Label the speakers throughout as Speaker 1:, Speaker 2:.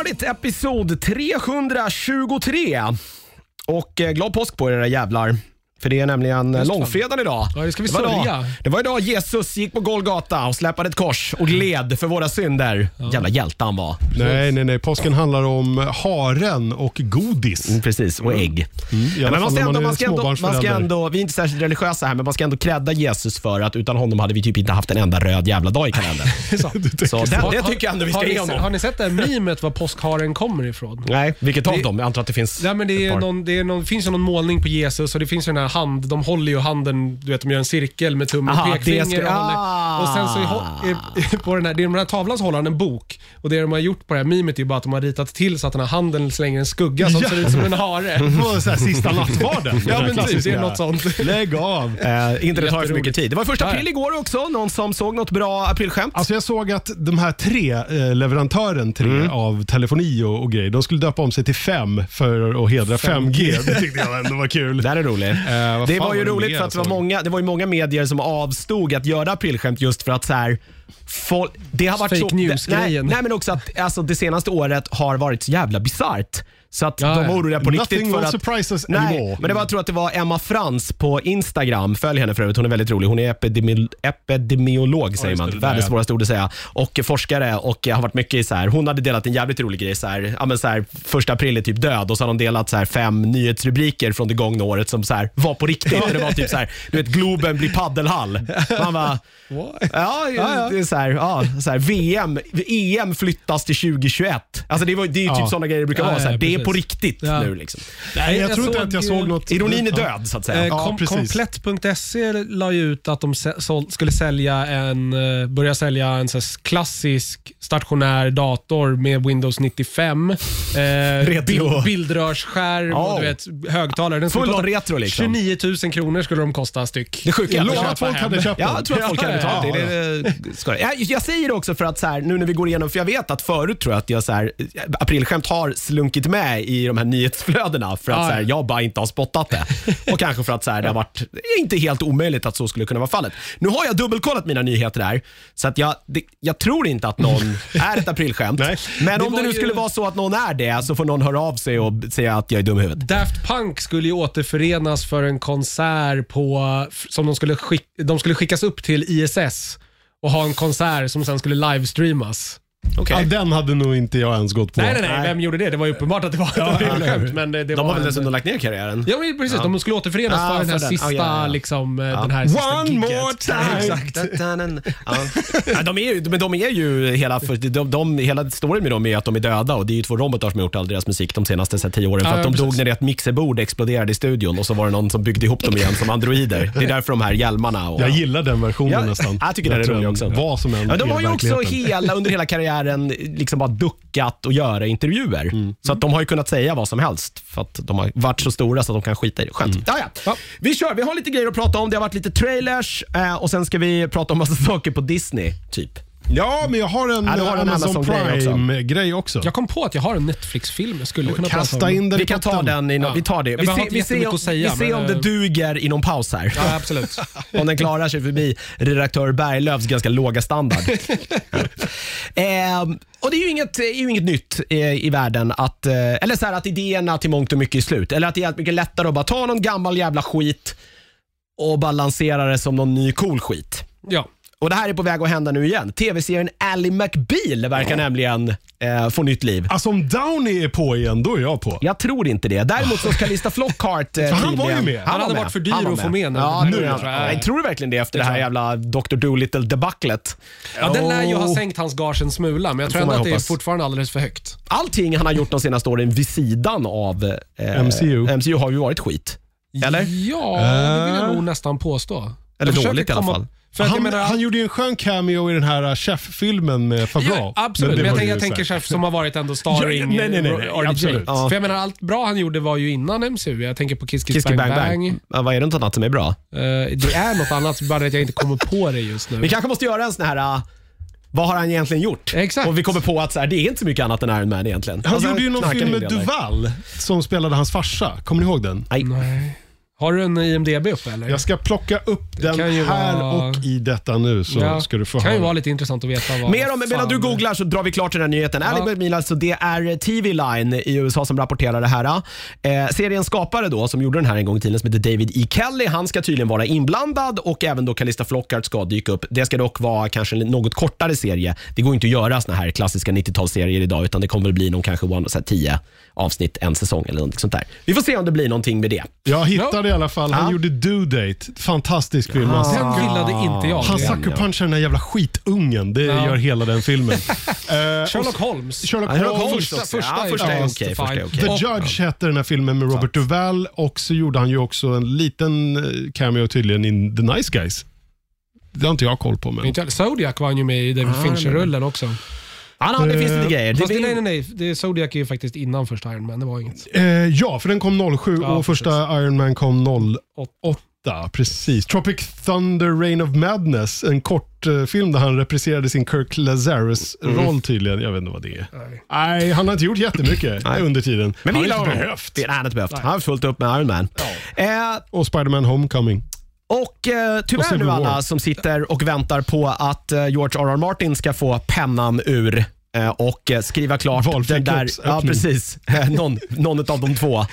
Speaker 1: avsnitt, episod 323. Och eh, glad påsk på er era jävlar. För det är nämligen eh, långfredagen idag.
Speaker 2: Ja, det ska vi
Speaker 1: var
Speaker 2: sörja.
Speaker 1: idag- Det var idag Jesus gick på Golgata och släpade ett kors och gled för våra synder. Jävla hjälte han var.
Speaker 3: Nej, nej, nej. Påsken handlar om haren och godis.
Speaker 1: Mm, Precis, och ägg.
Speaker 3: i
Speaker 1: men
Speaker 3: alla
Speaker 1: man
Speaker 3: fall
Speaker 1: ska
Speaker 3: när man
Speaker 1: ändå,
Speaker 3: är
Speaker 1: man ska ändå, man ska
Speaker 3: småbarnsförälder.
Speaker 1: ändå, vi är inte särskilt religiösa här, men man ska ändå credda Jesus för att utan honom hade vi typ inte haft en enda röd jävla dag i kalendern.
Speaker 2: Så.
Speaker 1: Så det,
Speaker 2: Har-
Speaker 1: det
Speaker 2: har-
Speaker 1: tycker jag ändå vi
Speaker 2: har
Speaker 1: ska
Speaker 2: ni
Speaker 1: ge
Speaker 2: se-
Speaker 1: honom.
Speaker 2: Har ni sett det här memet var påskharen kommer ifrån?
Speaker 1: Nej, vilket av
Speaker 2: Det-
Speaker 1: dem? Jag antar att det finns
Speaker 2: Nej, men det,
Speaker 1: ett
Speaker 2: är
Speaker 1: par.
Speaker 2: någon, det, är någon, det finns ju någon målning på Jesus och det finns ju den här hand, de håller ju handen, du vet de gör en cirkel med tumme och
Speaker 1: Aha,
Speaker 2: pekfinger.
Speaker 1: det ska-
Speaker 2: och, håller,
Speaker 1: Ah.
Speaker 2: och sen så i ho- i- på den här, det är den här tavlan så håller han en bok och det de har gjort på det här mimet är ju bara att de har ritat till så att den här handen slänger en skugga som
Speaker 3: Ja.
Speaker 2: ser ut som en hare.
Speaker 3: Det var så här sista nattvarden.
Speaker 2: Ja men typ, det
Speaker 3: Klassiska.
Speaker 2: är något sånt.
Speaker 3: Lägg av.
Speaker 1: Eh, inte det tar ju för mycket
Speaker 2: Jätteroligt.
Speaker 1: tid. Det var första
Speaker 2: Ja, ja.
Speaker 1: april igår också. Någon som såg något bra aprilskämt?
Speaker 3: Alltså jag såg att de här tre eh, leverantören tre
Speaker 1: Mm.
Speaker 3: av telefoni och, och grejer, de skulle döpa om sig till fem för att hedra 5G. Det tyckte jag ändå var kul.
Speaker 1: det här är roligt.
Speaker 3: Eh, vad
Speaker 1: det
Speaker 3: fan
Speaker 1: var ju
Speaker 3: var det
Speaker 1: roligt
Speaker 3: mer
Speaker 1: för att det var,
Speaker 3: jag såg?
Speaker 1: många, det var ju många medier som avstod att göra aprilskämt just för att så här, folk, det har varit
Speaker 2: Fake
Speaker 1: så, nej,
Speaker 2: news-grejen.
Speaker 1: nej men också att alltså, det senaste året har varit så jävla bisarrt. Så att
Speaker 2: Ja,
Speaker 1: de
Speaker 2: ja.
Speaker 1: var oroliga på
Speaker 3: Nothing
Speaker 1: riktigt för
Speaker 3: will
Speaker 1: att...
Speaker 3: surprise us
Speaker 1: nej,
Speaker 3: anymore.
Speaker 1: men det var, jag tror att det var Emma Frans på Instagram. Följ henne för övrigt, hon är väldigt rolig. Hon är epidemi, epidemiolog säger
Speaker 3: just
Speaker 1: man.
Speaker 3: det, det där,
Speaker 1: Världens
Speaker 3: ja.
Speaker 1: svåraste ord att säga. Och forskare och har varit mycket i så här, hon hade delat en jävligt rolig grej så här, ja men så här, första april är typ död och så har de delat så här fem nyhetsrubriker från det gångna året som så här var på riktigt. Och det var typ så här, du vet Globen blir paddelhall. Man bara, ja, det är så här, ja, så här VM, EM flyttas till 2021. Alltså det, var, det är ju typ
Speaker 3: Ja.
Speaker 1: sådana grejer det brukar
Speaker 2: Ja,
Speaker 1: vara. Så här,
Speaker 2: ja,
Speaker 1: det är
Speaker 2: precis.
Speaker 1: på riktigt
Speaker 2: Ja.
Speaker 1: nu liksom.
Speaker 3: Nej, jag, tror inte att jag
Speaker 2: ju-
Speaker 3: såg något.
Speaker 1: Ironin är död så att säga.
Speaker 2: Eh,
Speaker 3: Ja,
Speaker 2: kom,
Speaker 3: precis.
Speaker 2: komplett.se E la ju ut att de sä- sål- skulle sälja en, eh, börja sälja en så här klassisk stationär dator med Windows 95. Eh,
Speaker 1: Retro.
Speaker 2: bild- bildrörsskärm
Speaker 1: Oh.
Speaker 2: och du vet, högtalare. Den skulle
Speaker 1: Full
Speaker 2: kosta
Speaker 1: on retro liksom.
Speaker 2: 29 000 kronor skulle de kosta styck.
Speaker 1: Det sjuka är att-
Speaker 3: Jag lovar att folk hade köpt
Speaker 1: Ja,
Speaker 3: den.
Speaker 1: jag tror att folk hade
Speaker 2: Ja,
Speaker 1: betalt. det. Det, det, ska det. Jag, jag säger det också för att så här, nu när vi går igenom, för jag vet att förut tror jag att jag så här, aprilskämt har slunkit med i de här nyhetsflödena för att
Speaker 2: Ja,
Speaker 1: så här,
Speaker 2: ja.
Speaker 1: jag bara inte har spottat det. Och kanske för att så här, det har varit inte helt omöjligt att så skulle kunna vara fallet. Nu har jag dubbelkollat mina nyheter där, så att jag, det, jag tror inte att någon är ett aprilskämt.
Speaker 3: Nej.
Speaker 1: Men
Speaker 2: Det
Speaker 1: om det
Speaker 2: var
Speaker 1: nu
Speaker 2: ju-
Speaker 1: skulle vara så att någon är det så får någon höra av sig och säga att jag är dum i huvudet.
Speaker 2: Daft Punk skulle ju återförenas för en konsert på, som de skulle, skick, de skulle skickas upp till ISS och ha en konsert som sen skulle livestreamas.
Speaker 3: Ja, den hade nog inte jag ens gått på.
Speaker 2: Nej, nej, nej, Vem gjorde det? Det var ju uppenbart att det var ett aprilskämt. men det, det
Speaker 1: De
Speaker 2: var
Speaker 1: har väl
Speaker 2: en-
Speaker 1: dessutom lagt ner karriären?
Speaker 2: Ja, men precis. De skulle återförenas
Speaker 1: Ah,
Speaker 2: för den här
Speaker 1: för den.
Speaker 2: sista,
Speaker 1: Ah, ja, ja, ja.
Speaker 2: liksom, eh, den här sista
Speaker 3: One
Speaker 2: gigget.
Speaker 3: more time.
Speaker 1: Exakt. ja, de, är ju, men de är ju hela, för- de, de, hela storyn med dem är ju att de är döda och det är ju två robotar som har gjort all deras musik de senaste så här, tio åren. För
Speaker 2: Ja,
Speaker 1: att de dog
Speaker 2: precis.
Speaker 1: när ett mixerbord exploderade i studion och så var det någon som byggde ihop dem igen som androider. Det är därför de här hjälmarna och...
Speaker 3: Jag gillar den versionen
Speaker 1: Ja,
Speaker 3: nästan.
Speaker 1: Jag tycker den är
Speaker 3: tror
Speaker 1: rolig
Speaker 3: den-
Speaker 1: också.
Speaker 3: Vad som än
Speaker 1: ja, de
Speaker 3: är
Speaker 1: har ju också
Speaker 3: verkligheten.
Speaker 1: hela, under hela karriären liksom bara duckat och göra intervjuer.
Speaker 2: Mm.
Speaker 1: Så att de har ju kunnat säga vad som helst för att de har varit så stora så att de kan skita i det.
Speaker 2: Mm.
Speaker 1: Skönt. Ja, ja. Vi kör. Vi har lite grejer att prata om. Det har varit lite trailers eh, och sen ska vi prata om massa saker på Disney, typ.
Speaker 3: Ja, men jag har en, eh,
Speaker 1: Ja, du har en
Speaker 3: Amazon
Speaker 1: Amazon-grej också.
Speaker 3: Prime-grej också.
Speaker 2: Jag kom på att jag har en Netflix-film jag skulle kunna prata
Speaker 3: Kasta
Speaker 2: om.
Speaker 3: in den i
Speaker 1: Vi kan ta
Speaker 3: potten.
Speaker 1: den i no-
Speaker 2: Ja.
Speaker 1: Vi tar det.
Speaker 2: Jag
Speaker 1: Vi,
Speaker 2: har
Speaker 1: ser,
Speaker 2: inte
Speaker 1: vi, ser,
Speaker 2: jättemycket
Speaker 1: om,
Speaker 2: att säga,
Speaker 1: vi ser
Speaker 2: men,
Speaker 1: om det
Speaker 2: eh,
Speaker 1: duger i någon paus här.
Speaker 2: Ja, absolut.
Speaker 1: Om den klarar sig förbi redaktör Berglövs ganska låga standard. Ehm, och det är ju inget, det är ju inget nytt eh, i världen att, eh, eller så här, att idéerna till mångt och mycket är slut. Eller att det är mycket lättare att bara ta någon gammal jävla skit och bara lansera det som någon ny cool skit.
Speaker 2: Ja.
Speaker 1: Och det här är på väg att hända nu igen. TV-serien Ally McBeal verkar nämligen eh, få nytt liv.
Speaker 3: Alltså om Downey är på igen, då är jag på.
Speaker 1: Jag tror inte det. Däremot så ska Lista Flockhart... Eh,
Speaker 3: För han var ju
Speaker 1: tydligen-
Speaker 3: med.
Speaker 2: Han hade varit för dyr
Speaker 1: Han var
Speaker 2: att få med nu.
Speaker 1: Ja, nu,
Speaker 2: Nu,
Speaker 1: jag,
Speaker 2: tror jag.
Speaker 1: jag tror verkligen det efter det här
Speaker 2: tror jag.
Speaker 1: jävla Dr. Dolittle debaclet.
Speaker 2: ja, den lär ju ha
Speaker 1: Oh.
Speaker 2: sänkt hans gage en smula, men jag tror
Speaker 1: får man
Speaker 2: ändå att det är
Speaker 1: hoppas.
Speaker 2: fortfarande alldeles för högt.
Speaker 1: Allting han har gjort de senaste åren vid sidan av eh,
Speaker 3: MCU.
Speaker 1: MCU har ju varit skit. Eller? Eh.
Speaker 2: Ja, det vill jag nog nästan påstå. Jag
Speaker 1: Eller
Speaker 2: försöker
Speaker 1: dåligt i alla
Speaker 2: komma-
Speaker 1: fall.
Speaker 2: För att jag
Speaker 3: han,
Speaker 2: menar,
Speaker 3: han gjorde ju en skön cameo i den här äh, Chef-filmen med Favreau.
Speaker 2: Ja, absolut, men,
Speaker 3: det
Speaker 2: jag,
Speaker 3: var
Speaker 2: tänker-
Speaker 3: ju
Speaker 2: jag
Speaker 3: så här-
Speaker 2: tänker chef som har varit ändå starring.
Speaker 3: Ja, nej, nej, nej, nej,
Speaker 2: RDJ.
Speaker 3: absolut.
Speaker 1: Ja.
Speaker 2: För jag menar, allt bra han gjorde var ju innan MCU. Jag tänker på Kiss Kiss,
Speaker 1: Kiss Kiss
Speaker 2: Bang Bang.
Speaker 1: Ja, vad är det något annat som är bra?
Speaker 2: Eh, det är något annat, bara att jag inte kommer på det just nu.
Speaker 1: Vi kanske måste göra en sån här... eh, vad har han egentligen gjort?
Speaker 2: Exakt.
Speaker 1: Och vi kommer på att så här, det är inte så mycket annat än Iron Man egentligen.
Speaker 3: Han
Speaker 1: Alltså,
Speaker 3: gjorde ju någon
Speaker 1: knarkar
Speaker 3: film
Speaker 1: en
Speaker 3: med
Speaker 1: del där.
Speaker 3: Duval som spelade hans farsa. Kommer ni ihåg den?
Speaker 1: Nej.
Speaker 2: Nej. Har du en IMDB uppe eller?
Speaker 3: Jag ska plocka upp den
Speaker 2: kan ju
Speaker 3: här
Speaker 2: vara-
Speaker 3: och i detta nu så
Speaker 2: Ja,
Speaker 3: ska du få
Speaker 2: kan ju
Speaker 3: höra.
Speaker 2: vara lite intressant att veta vad
Speaker 1: Mer om,
Speaker 2: fan
Speaker 1: medan du
Speaker 2: det-
Speaker 1: googlar så drar vi klart den här nyheten. Ja. Ali Bermil, alltså det är TV Line i USA som rapporterar det här. Eh, seriens skapare då, som gjorde den här en gång i tiden, som heter David E. Kelly, han ska tydligen vara inblandad och även då Calista Flockhart ska dyka upp. Det ska dock vara kanske en något kortare serie. Det går inte att göra såna här klassiska 90-talsserier idag, utan det kommer väl bli någon kanske one, så här, 10 avsnitt, en säsong eller något sånt där. Vi får se om det blir någonting med det.
Speaker 3: Jag hittade i alla fall. Han
Speaker 1: Ja.
Speaker 3: gjorde Due Date. Fantastisk film. Han-
Speaker 2: Ah. Den gillade inte jag.
Speaker 3: Han sucker-punchar den där jävla skitungen. Det gör hela den filmen. Eh, och
Speaker 2: Sherlock Holmes.
Speaker 3: Sherlock
Speaker 1: Ja,
Speaker 3: Holmes.
Speaker 2: Första,
Speaker 1: också.
Speaker 2: första,
Speaker 1: Ja,
Speaker 2: första
Speaker 1: första är
Speaker 2: bäst,
Speaker 1: okej, första är
Speaker 2: fine.
Speaker 1: okej.
Speaker 3: The
Speaker 2: Och-
Speaker 3: Judge hette den här filmen med Robert Duvall och så gjorde han ju också en liten eh, cameo tydligen i The Nice Guys. Det har inte jag koll på. Men.
Speaker 2: Inte heller- Zodiac var han ju med i David Fincher-rullen också.
Speaker 1: Ja, ja, det finns lite grejer. Det
Speaker 2: Fast det,
Speaker 1: blir-
Speaker 2: nej, nej, nej. Det, Zodiac är ju faktiskt innan första Iron Man. Det var inget.
Speaker 3: Eh, ja, för den kom 07
Speaker 2: Ja,
Speaker 3: och
Speaker 2: precis.
Speaker 3: första Iron Man kom
Speaker 2: 08.
Speaker 3: 08. Precis. Tropic Thunder Rain of Madness, en kort eh, film där han repriserade sin Kirk Lazarus-roll tydligen. Jag vet inte vad det är.
Speaker 2: Nej.
Speaker 3: Nej, han har inte gjort jättemycket under tiden.
Speaker 1: Men vi
Speaker 3: han
Speaker 1: gillar
Speaker 3: har
Speaker 1: honom.
Speaker 3: inte behövt.
Speaker 1: Det är han har inte behövt. Han har fullt upp med Iron Man. Eh,
Speaker 3: Och Spider-Man Homecoming.
Speaker 1: Och eh, tyvärr
Speaker 3: Civil
Speaker 1: nu alla
Speaker 3: War.
Speaker 1: som sitter och väntar på att eh, George R.R. Martin ska få pennan ur eh, och eh, skriva klart
Speaker 3: Valfri
Speaker 1: den där, ja
Speaker 3: kroppsöppning.
Speaker 1: precis, eh, någon, någon av de två,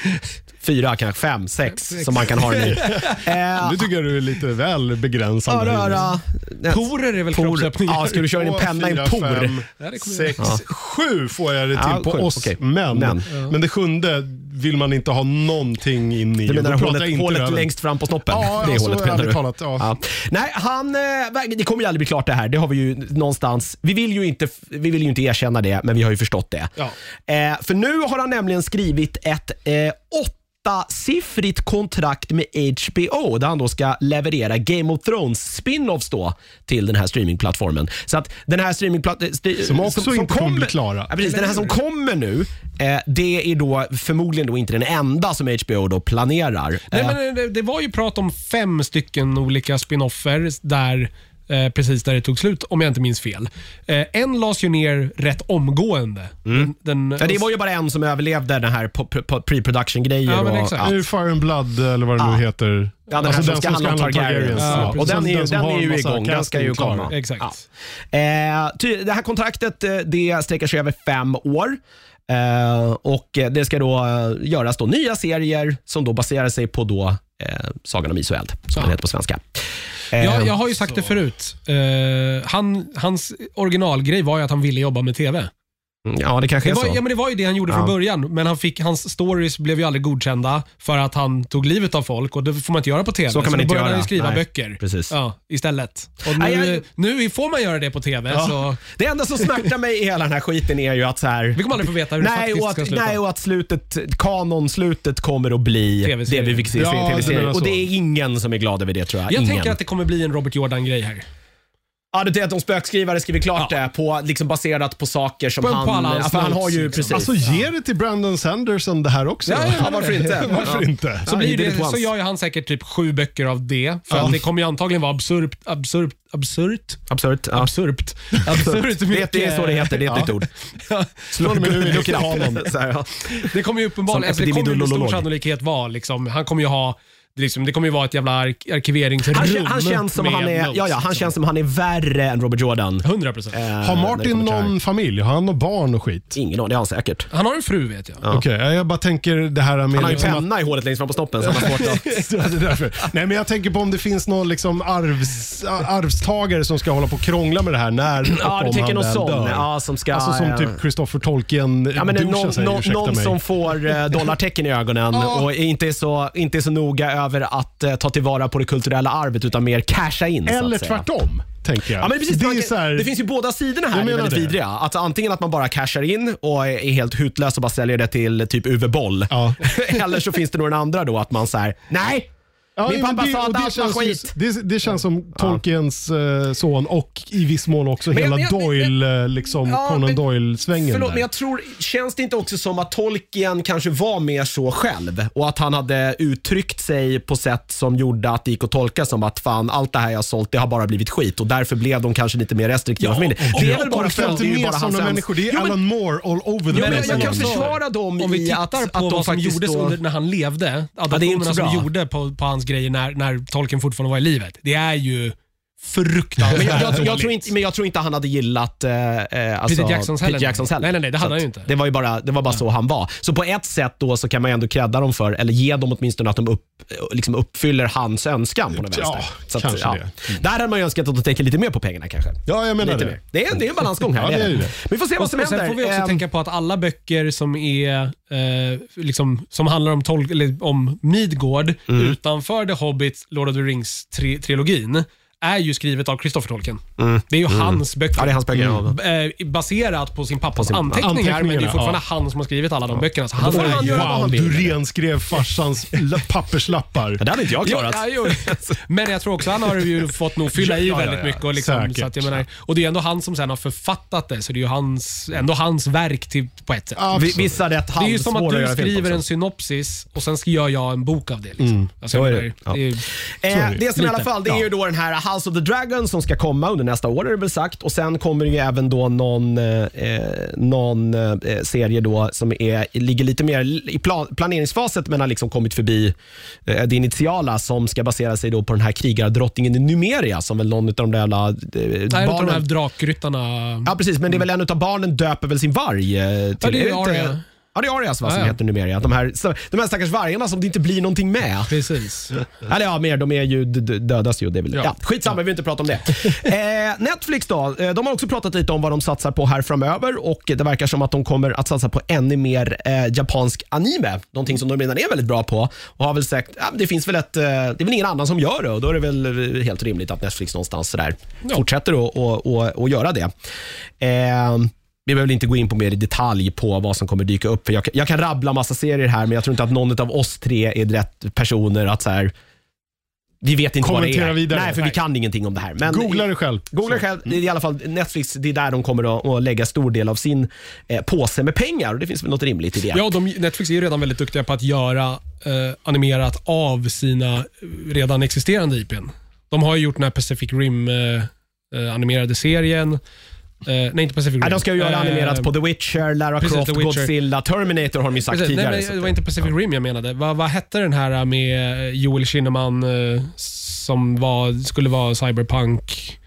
Speaker 1: fyra kanske, fem, sex som man kan ha den i. Eh,
Speaker 3: Nu tycker jag du är lite väl begränsande.
Speaker 1: öra, öra, eh,
Speaker 2: Porer är väl
Speaker 1: por.
Speaker 2: kroppsöppningar?
Speaker 1: Ja, ska du köra din
Speaker 3: Två,
Speaker 1: penna i en
Speaker 3: fyra,
Speaker 1: por?
Speaker 3: fem,
Speaker 2: Ja, det kommer
Speaker 3: Sex, sju får jag det till
Speaker 1: Ja,
Speaker 3: på
Speaker 1: sju,
Speaker 3: oss
Speaker 1: okej.
Speaker 3: män.
Speaker 1: Män.
Speaker 3: Men det sjunde vill man inte ha någonting in i.
Speaker 1: Du menar
Speaker 3: Då pratar jag
Speaker 1: hålet,
Speaker 3: inte
Speaker 1: hålet
Speaker 3: röven.
Speaker 1: längst fram på snoppen?
Speaker 3: Ja,
Speaker 1: det
Speaker 3: alltså,
Speaker 1: hålet menar
Speaker 3: ärligt
Speaker 1: du?
Speaker 3: talat, ja.
Speaker 1: Nej, han, eh, verkligen- det kommer ju aldrig bli klart det här. Det har vi ju någonstans. Vi vill ju inte, vi vill ju inte erkänna det, men vi har ju förstått det.
Speaker 3: Ja.
Speaker 1: Eh, för nu har han nämligen skrivit ett eh, åttasiffrigt kontrakt med HBO där han då ska leverera Game of Thrones spin-offs då till den här streamingplattformen. Så att den här streamingplattformen...
Speaker 3: Som också inte kommer bli klara.
Speaker 1: Ja, precis. Den här som kommer nu, eh, det är då förmodligen då inte den enda som HBO då planerar.
Speaker 2: Nej,
Speaker 1: Eh,
Speaker 2: men det, det var ju prat om fem stycken olika spinoffer där Eh, precis där det tog slut, om jag inte minns fel. Eh, en lades ju ner rätt omgående. Den, den,
Speaker 1: Mm. Ja, det var ju bara en som överlevde den här po- po- pre-production-grejen.
Speaker 2: Ja, men
Speaker 1: och-
Speaker 2: exakt.
Speaker 1: ja.
Speaker 3: Nu Fire and Blood eller vad det nu heter.
Speaker 1: Ah.
Speaker 3: Alltså,
Speaker 1: Ja, den här som ska handla om Targaryens.
Speaker 2: Ja,
Speaker 1: Ja,
Speaker 2: precis.
Speaker 1: och den är, ju-
Speaker 3: som
Speaker 1: den
Speaker 3: har
Speaker 1: är ju
Speaker 3: massa
Speaker 1: igång. Den ska ju
Speaker 3: casting klar.
Speaker 1: komma.
Speaker 2: Exakt.
Speaker 1: Ja. Eh, ty, det här kontraktet eh, det sträcker sig över fem år. Eh, och eh, Det ska då eh, göras då nya serier som då baserar sig på då, eh, Sagan om is och eld, som den heter på svenska. Eh,
Speaker 2: Jag, jag har ju sagt det förut. Eh, han, hans originalgrej var ju att han ville jobba med TV.
Speaker 1: ja, det kanske
Speaker 2: Det
Speaker 1: är
Speaker 2: var,
Speaker 1: så.
Speaker 2: ja, men det var ju det han gjorde från början, men han fick, hans stories blev ju aldrig godkända för att han tog livet av folk och det får man inte göra på TV.
Speaker 1: Så kan man
Speaker 2: då
Speaker 1: inte
Speaker 2: började
Speaker 1: göra.
Speaker 2: han ju skriva
Speaker 1: Nej,
Speaker 2: böcker
Speaker 1: precis.
Speaker 2: Ja, istället. Och nu,
Speaker 1: Nej, jag-
Speaker 2: nu får man göra det på TV. Så
Speaker 1: Det enda som smärtar mig i hela den här skiten är ju att så här,
Speaker 2: vi kommer aldrig få veta hur det
Speaker 1: Nej
Speaker 2: faktiskt
Speaker 1: och,
Speaker 2: ska
Speaker 1: att,
Speaker 2: sluta.
Speaker 1: nej, och att slutet, kanonslutet kommer att bli det
Speaker 2: TV-serien.
Speaker 1: vi fick se i
Speaker 3: Ja,
Speaker 1: en
Speaker 3: det menar
Speaker 1: tv-serien.
Speaker 3: jag
Speaker 1: Och
Speaker 3: så.
Speaker 1: det är ingen som är glad över det tror jag.
Speaker 2: jag
Speaker 1: ingen.
Speaker 2: tänker att det kommer bli en Robert Jordan-grej här.
Speaker 1: Ja, du tänker att de spökskrivare skriver klart
Speaker 2: Ja.
Speaker 1: det på, liksom baserat på saker som
Speaker 2: På- på
Speaker 1: han...
Speaker 2: alla hans
Speaker 1: ja, för han
Speaker 2: notes,
Speaker 1: har ju
Speaker 2: liksom.
Speaker 1: precis...
Speaker 3: Alltså ge det till Brandon Sanderson det här också.
Speaker 2: Ja, ja,
Speaker 1: varför inte?
Speaker 3: Varför inte?
Speaker 2: Så,
Speaker 1: Ja,
Speaker 2: blir
Speaker 1: he did
Speaker 2: det,
Speaker 1: it once.
Speaker 2: så gör ju han säkert typ sju böcker av det. För att det kommer ju antagligen vara absurt, absurt, absurt,
Speaker 1: Absurt. Ja.
Speaker 2: absurt, absurt
Speaker 1: Det, det är så det heter, det är ett nytt ord. Slå honom i huvudet och krama honom. Så här, ja.
Speaker 2: Det kommer ju
Speaker 1: Som
Speaker 2: uppenbarligen, alltså, det kommer ju med stor
Speaker 1: epidemiolog.
Speaker 2: sannolikhet vara liksom, han kommer ju ha, det liksom, det kommer ju vara ett jävla ark arkiveringsrum
Speaker 1: han, kän- han känns som
Speaker 2: med
Speaker 1: han är,
Speaker 2: notes,
Speaker 1: ja, ja, han
Speaker 2: liksom.
Speaker 1: känns som han är värre än Robert Jordan.
Speaker 2: 100 procent.
Speaker 1: Eh,
Speaker 3: Har
Speaker 1: när det
Speaker 3: Martin
Speaker 1: kommer till det här.
Speaker 3: någon familj? Har han några barn och skit?
Speaker 1: Ingen aning, det har han säkert.
Speaker 2: Han har en fru vet jag.
Speaker 3: Okej, ja, jag bara tänker det här med...
Speaker 1: Han har ju
Speaker 3: liksom att-
Speaker 1: penna i hålet längst fram på snoppen så han har svårt att...
Speaker 3: Så det är därför. Nej, men jag tänker på om det finns någon liksom arvs, arvstagare som ska hålla på och krångla med det här när och
Speaker 1: Ja,
Speaker 3: om
Speaker 1: du tänker
Speaker 3: han
Speaker 1: någon
Speaker 3: väl
Speaker 1: sån.
Speaker 3: dör.
Speaker 1: Ja, som ska...
Speaker 3: Alltså som
Speaker 1: eh,
Speaker 3: typ Christopher Tolkien
Speaker 1: Ja, men någon
Speaker 3: säger,
Speaker 1: någon,
Speaker 3: ursäkta
Speaker 1: någon
Speaker 3: mig.
Speaker 1: som får eh, dollartecken i ögonen och inte är, så, inte är så noga över att eh, ta tillvara på det kulturella arvet utan mer casha in. så
Speaker 3: Eller
Speaker 1: att säga.
Speaker 3: tvärtom, tänker jag.
Speaker 1: Ja, men precis,
Speaker 3: det,
Speaker 1: man
Speaker 3: är
Speaker 1: kan-
Speaker 3: så här,
Speaker 1: det finns ju båda sidorna här
Speaker 3: Jag
Speaker 1: är
Speaker 3: menar
Speaker 1: väldigt
Speaker 3: det.
Speaker 1: vidriga. Att antingen att man bara cashar in och är är helt hutlös och bara säljer det till typ Uwe Boll.
Speaker 3: Ja.
Speaker 1: Eller så finns det nog den andra då att man säger nej,
Speaker 3: Ja,
Speaker 1: Min
Speaker 3: men
Speaker 1: pappa
Speaker 3: det-
Speaker 1: sa
Speaker 3: och
Speaker 1: att
Speaker 3: det
Speaker 1: allt var
Speaker 3: känns ju-
Speaker 1: skit.
Speaker 3: Det, det känns som Tolkiens eh, son och i viss mån också
Speaker 1: Men
Speaker 3: hela
Speaker 1: jag- men-
Speaker 3: Doyle, eh, liksom
Speaker 1: Ja,
Speaker 3: Conan
Speaker 1: men-
Speaker 3: Doyle-svängen.
Speaker 1: Förlåt,
Speaker 3: där.
Speaker 1: men jag tror, känns det inte också som att Tolkien kanske var mer så själv och att han hade uttryckt sig på sätt som gjorde att det gick att tolka som att fan, allt det här jag sålt, det har bara blivit skit och därför blev de kanske lite mer restriktiva för min del.
Speaker 3: Och
Speaker 1: Det är
Speaker 3: jag
Speaker 1: väl bara
Speaker 3: orkar
Speaker 1: för att
Speaker 3: inte
Speaker 1: det är ju
Speaker 3: med
Speaker 1: bara hans
Speaker 3: sådana människor. Det är
Speaker 1: Jo, men-
Speaker 3: Alan Moore all over the
Speaker 1: Jo, men
Speaker 3: place.
Speaker 1: jag kan
Speaker 3: igen.
Speaker 1: försvara dem
Speaker 2: Om vi
Speaker 1: i
Speaker 2: tittar
Speaker 1: att,
Speaker 2: på
Speaker 1: att de
Speaker 2: vad som
Speaker 1: faktiskt
Speaker 2: gjordes
Speaker 1: då...
Speaker 2: under, när han levde,
Speaker 1: det är inte så
Speaker 2: adaptionerna som
Speaker 1: bra.
Speaker 2: gjorde på, på hans grejer när, när Tolkien fortfarande var i livet. Det är ju fruktansvärt
Speaker 1: Men jag, jag, jag
Speaker 2: dåligt.
Speaker 1: tror inte, men jag tror inte han hade gillat eh, eh, alltså,
Speaker 2: Peter Jacksons heller.
Speaker 1: Peter Jacksons heller.
Speaker 2: Nej, nej, nej, det hade
Speaker 1: Så
Speaker 2: han ju
Speaker 1: att
Speaker 2: inte.
Speaker 1: Det var ju bara, det var bara så han var. Så på ett sätt då så kan man ju ändå credda dem för, eller ge dem åtminstone att de upp, liksom uppfyller hans önskan på något
Speaker 3: Ja,
Speaker 1: vänster.
Speaker 3: kanske det. Mm.
Speaker 1: Där hade man ju önskat att de tänker lite mer på pengarna kanske.
Speaker 3: Ja, jag menar
Speaker 1: Lite
Speaker 3: det.
Speaker 1: mer. Det, är, det är en balansgång här.
Speaker 3: Ja, det är ju det.
Speaker 1: Men vi får se vad
Speaker 2: Och
Speaker 1: som
Speaker 2: sen
Speaker 1: händer.
Speaker 2: får vi också
Speaker 1: Ehm,
Speaker 2: tänka på att alla böcker som är eh, liksom, som handlar om, tol- eller om Midgård
Speaker 1: Mm.
Speaker 2: utanför The Hobbit, Lord of the Rings-trilogin, är ju skrivet av Christopher Tolkien. Det är ju hans böcker.
Speaker 1: Mm. Ja, det är hans böcker. Mm.
Speaker 2: Eh, baserat på sin pappas
Speaker 1: sin-
Speaker 2: anteckningar, men det är
Speaker 3: Anteckningarna,
Speaker 2: fortfarande
Speaker 3: ja.
Speaker 2: han som har skrivit alla de böckerna. Så han
Speaker 1: får
Speaker 2: är
Speaker 1: han
Speaker 2: ju-
Speaker 1: göra vad
Speaker 3: Wow,
Speaker 1: han vill.
Speaker 3: du renskrev farsans la- papperslappar.
Speaker 1: Det hade inte jag
Speaker 2: Jo,
Speaker 1: klarat.
Speaker 2: ja, jo. Men jag tror också han har ju fått nog fylla i
Speaker 3: Ja, ja, ja.
Speaker 2: väldigt mycket. Och, liksom,
Speaker 3: Säkert.
Speaker 2: så att jag menar, och det är ju ändå han som sen har författat det, så det är ju hans, ändå hans verk till, på ett sätt.
Speaker 1: Vi-
Speaker 3: Absolut.
Speaker 1: Vissa rätt
Speaker 2: Det är ju
Speaker 1: hand,
Speaker 2: som
Speaker 1: svåra
Speaker 2: att du
Speaker 1: göra fel på
Speaker 2: skriver
Speaker 1: också. Mm.
Speaker 2: en synopsis och sen ska jag göra en bok av det. Liksom.
Speaker 1: Så
Speaker 2: Alltså, jag
Speaker 1: är det.
Speaker 2: menar,
Speaker 1: Ja.
Speaker 2: det är ju-
Speaker 1: Eh,
Speaker 3: Sorry.
Speaker 1: det som i alla
Speaker 2: Lite.
Speaker 1: fall, det är ju då den här House of the Dragon som ska komma under nästa år är det väl sagt. Och sen kommer det ju även då någon, eh, eh, någon eh, serie då som är, ligger lite mer i plan, planeringsfaset men har liksom kommit förbi eh, det initiala som ska basera sig då på den här krigardrottningen i Numeria som väl någon av de där jävla eh,
Speaker 2: Nej, utav de här
Speaker 1: barnen...
Speaker 2: drakryttarna.
Speaker 1: Ja precis, men det är väl en av barnen döper väl sin varg eh, till...
Speaker 2: det är ju
Speaker 1: det inte-
Speaker 2: Arya.
Speaker 1: Ja, det är Arias va,
Speaker 2: Ja,
Speaker 1: som alltså
Speaker 2: ja.
Speaker 1: heter Numeria. De här, de här stackars vargarna som det inte blir någonting med.
Speaker 2: Precis.
Speaker 1: Eller ja, mer. De är ju, d- d- dödas ju. Det är väl, ja.
Speaker 3: Ja.
Speaker 1: skitsamma, vi vill inte prata om det. eh, Netflix då. eh, De har också pratat lite om vad de satsar på här framöver och det verkar som att de kommer att satsa på ännu mer eh, japansk anime. Någonting som de redan är väldigt bra på och har väl sagt ja, men det finns väl ett, eh, det är väl ingen annan som gör det och då är det väl eh, helt rimligt att Netflix någonstans sådär fortsätter att och, och, och göra det. Eh, vi behöver inte gå in på mer i detalj på vad som kommer dyka upp. För jag, kan- jag kan rabbla massa serier här, men jag tror inte att någon av oss tre är rätt personer att så här, vi vet inte vad
Speaker 3: Kommentera
Speaker 1: det är.
Speaker 3: vidare.
Speaker 1: Nej, för vi
Speaker 3: Nej.
Speaker 1: kan ingenting om det här. Men
Speaker 3: Googla det själv.
Speaker 1: Googla själv. Det är I alla fall Netflix, det är där de kommer att, att lägga stor del av sin eh, påse med pengar och det finns väl något rimligt i det.
Speaker 2: Ja, de, Netflix är ju redan väldigt duktiga på att göra eh, animerat av sina eh, redan existerande IPn. De har ju gjort den här Pacific Rim eh, eh, animerade serien. Eh, nej, inte Pacific Rim.
Speaker 1: Nej, de ska ju göra
Speaker 2: Eh,
Speaker 1: animerat på The Witcher, Lara
Speaker 2: precis,
Speaker 1: Croft,
Speaker 2: The Witcher.
Speaker 1: Godzilla, Terminator har de ju sagt
Speaker 2: Precis,
Speaker 1: tidigare.
Speaker 2: nej,
Speaker 1: så
Speaker 2: men
Speaker 1: att-
Speaker 2: det var inte Pacific Rim jag menade. Vad, vad hette den här äh, med Joel Kinnaman eh, som var, skulle vara cyberpunk?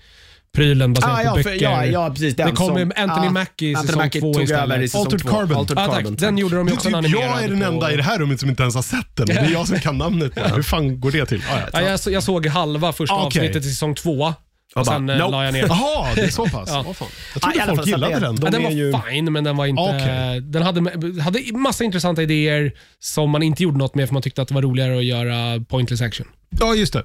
Speaker 2: Prylen baserad
Speaker 1: Ah,
Speaker 2: på
Speaker 1: ja, för,
Speaker 2: böcker.
Speaker 1: ja, ja, precis. Den
Speaker 2: Det kom
Speaker 1: som,
Speaker 2: ju Anthony
Speaker 1: ah,
Speaker 2: Mackie i säsong
Speaker 1: Anthony Mackie
Speaker 2: två
Speaker 1: tog
Speaker 2: istället.
Speaker 1: över i säsong
Speaker 3: Altered
Speaker 1: två.
Speaker 3: Carbon.
Speaker 1: Altered
Speaker 2: Ja, tack.
Speaker 1: Carbon,
Speaker 2: Den gjorde de
Speaker 3: Det
Speaker 2: ju
Speaker 3: är
Speaker 2: också
Speaker 3: typ jag är den enda i det här rummet som inte ens har sett den. Det är jag som kan namnet på den. Hur fan går det till? Ah, ja.
Speaker 2: Ja, jag, så- jag såg halva första
Speaker 3: Okej.
Speaker 2: avsnittet i säsong två.
Speaker 1: Ah, bara,
Speaker 2: Och sen eh,
Speaker 1: nope.
Speaker 2: la jag ner.
Speaker 3: Jaha, det är så pass?
Speaker 2: Ja.
Speaker 3: Åh, fan. Jag
Speaker 1: Ah, i
Speaker 3: trodde
Speaker 1: alla fall
Speaker 3: folk
Speaker 1: så
Speaker 3: gillade
Speaker 1: att det-
Speaker 3: den.
Speaker 1: de
Speaker 2: ja, den
Speaker 1: är
Speaker 2: var
Speaker 1: ju- Ah,
Speaker 2: fin, men den var inte...
Speaker 3: Okej.
Speaker 2: Den hade, hade massa intressanta idéer som man inte gjorde något med för man tyckte att det var roligare att göra pointless action.
Speaker 3: Ja, just det.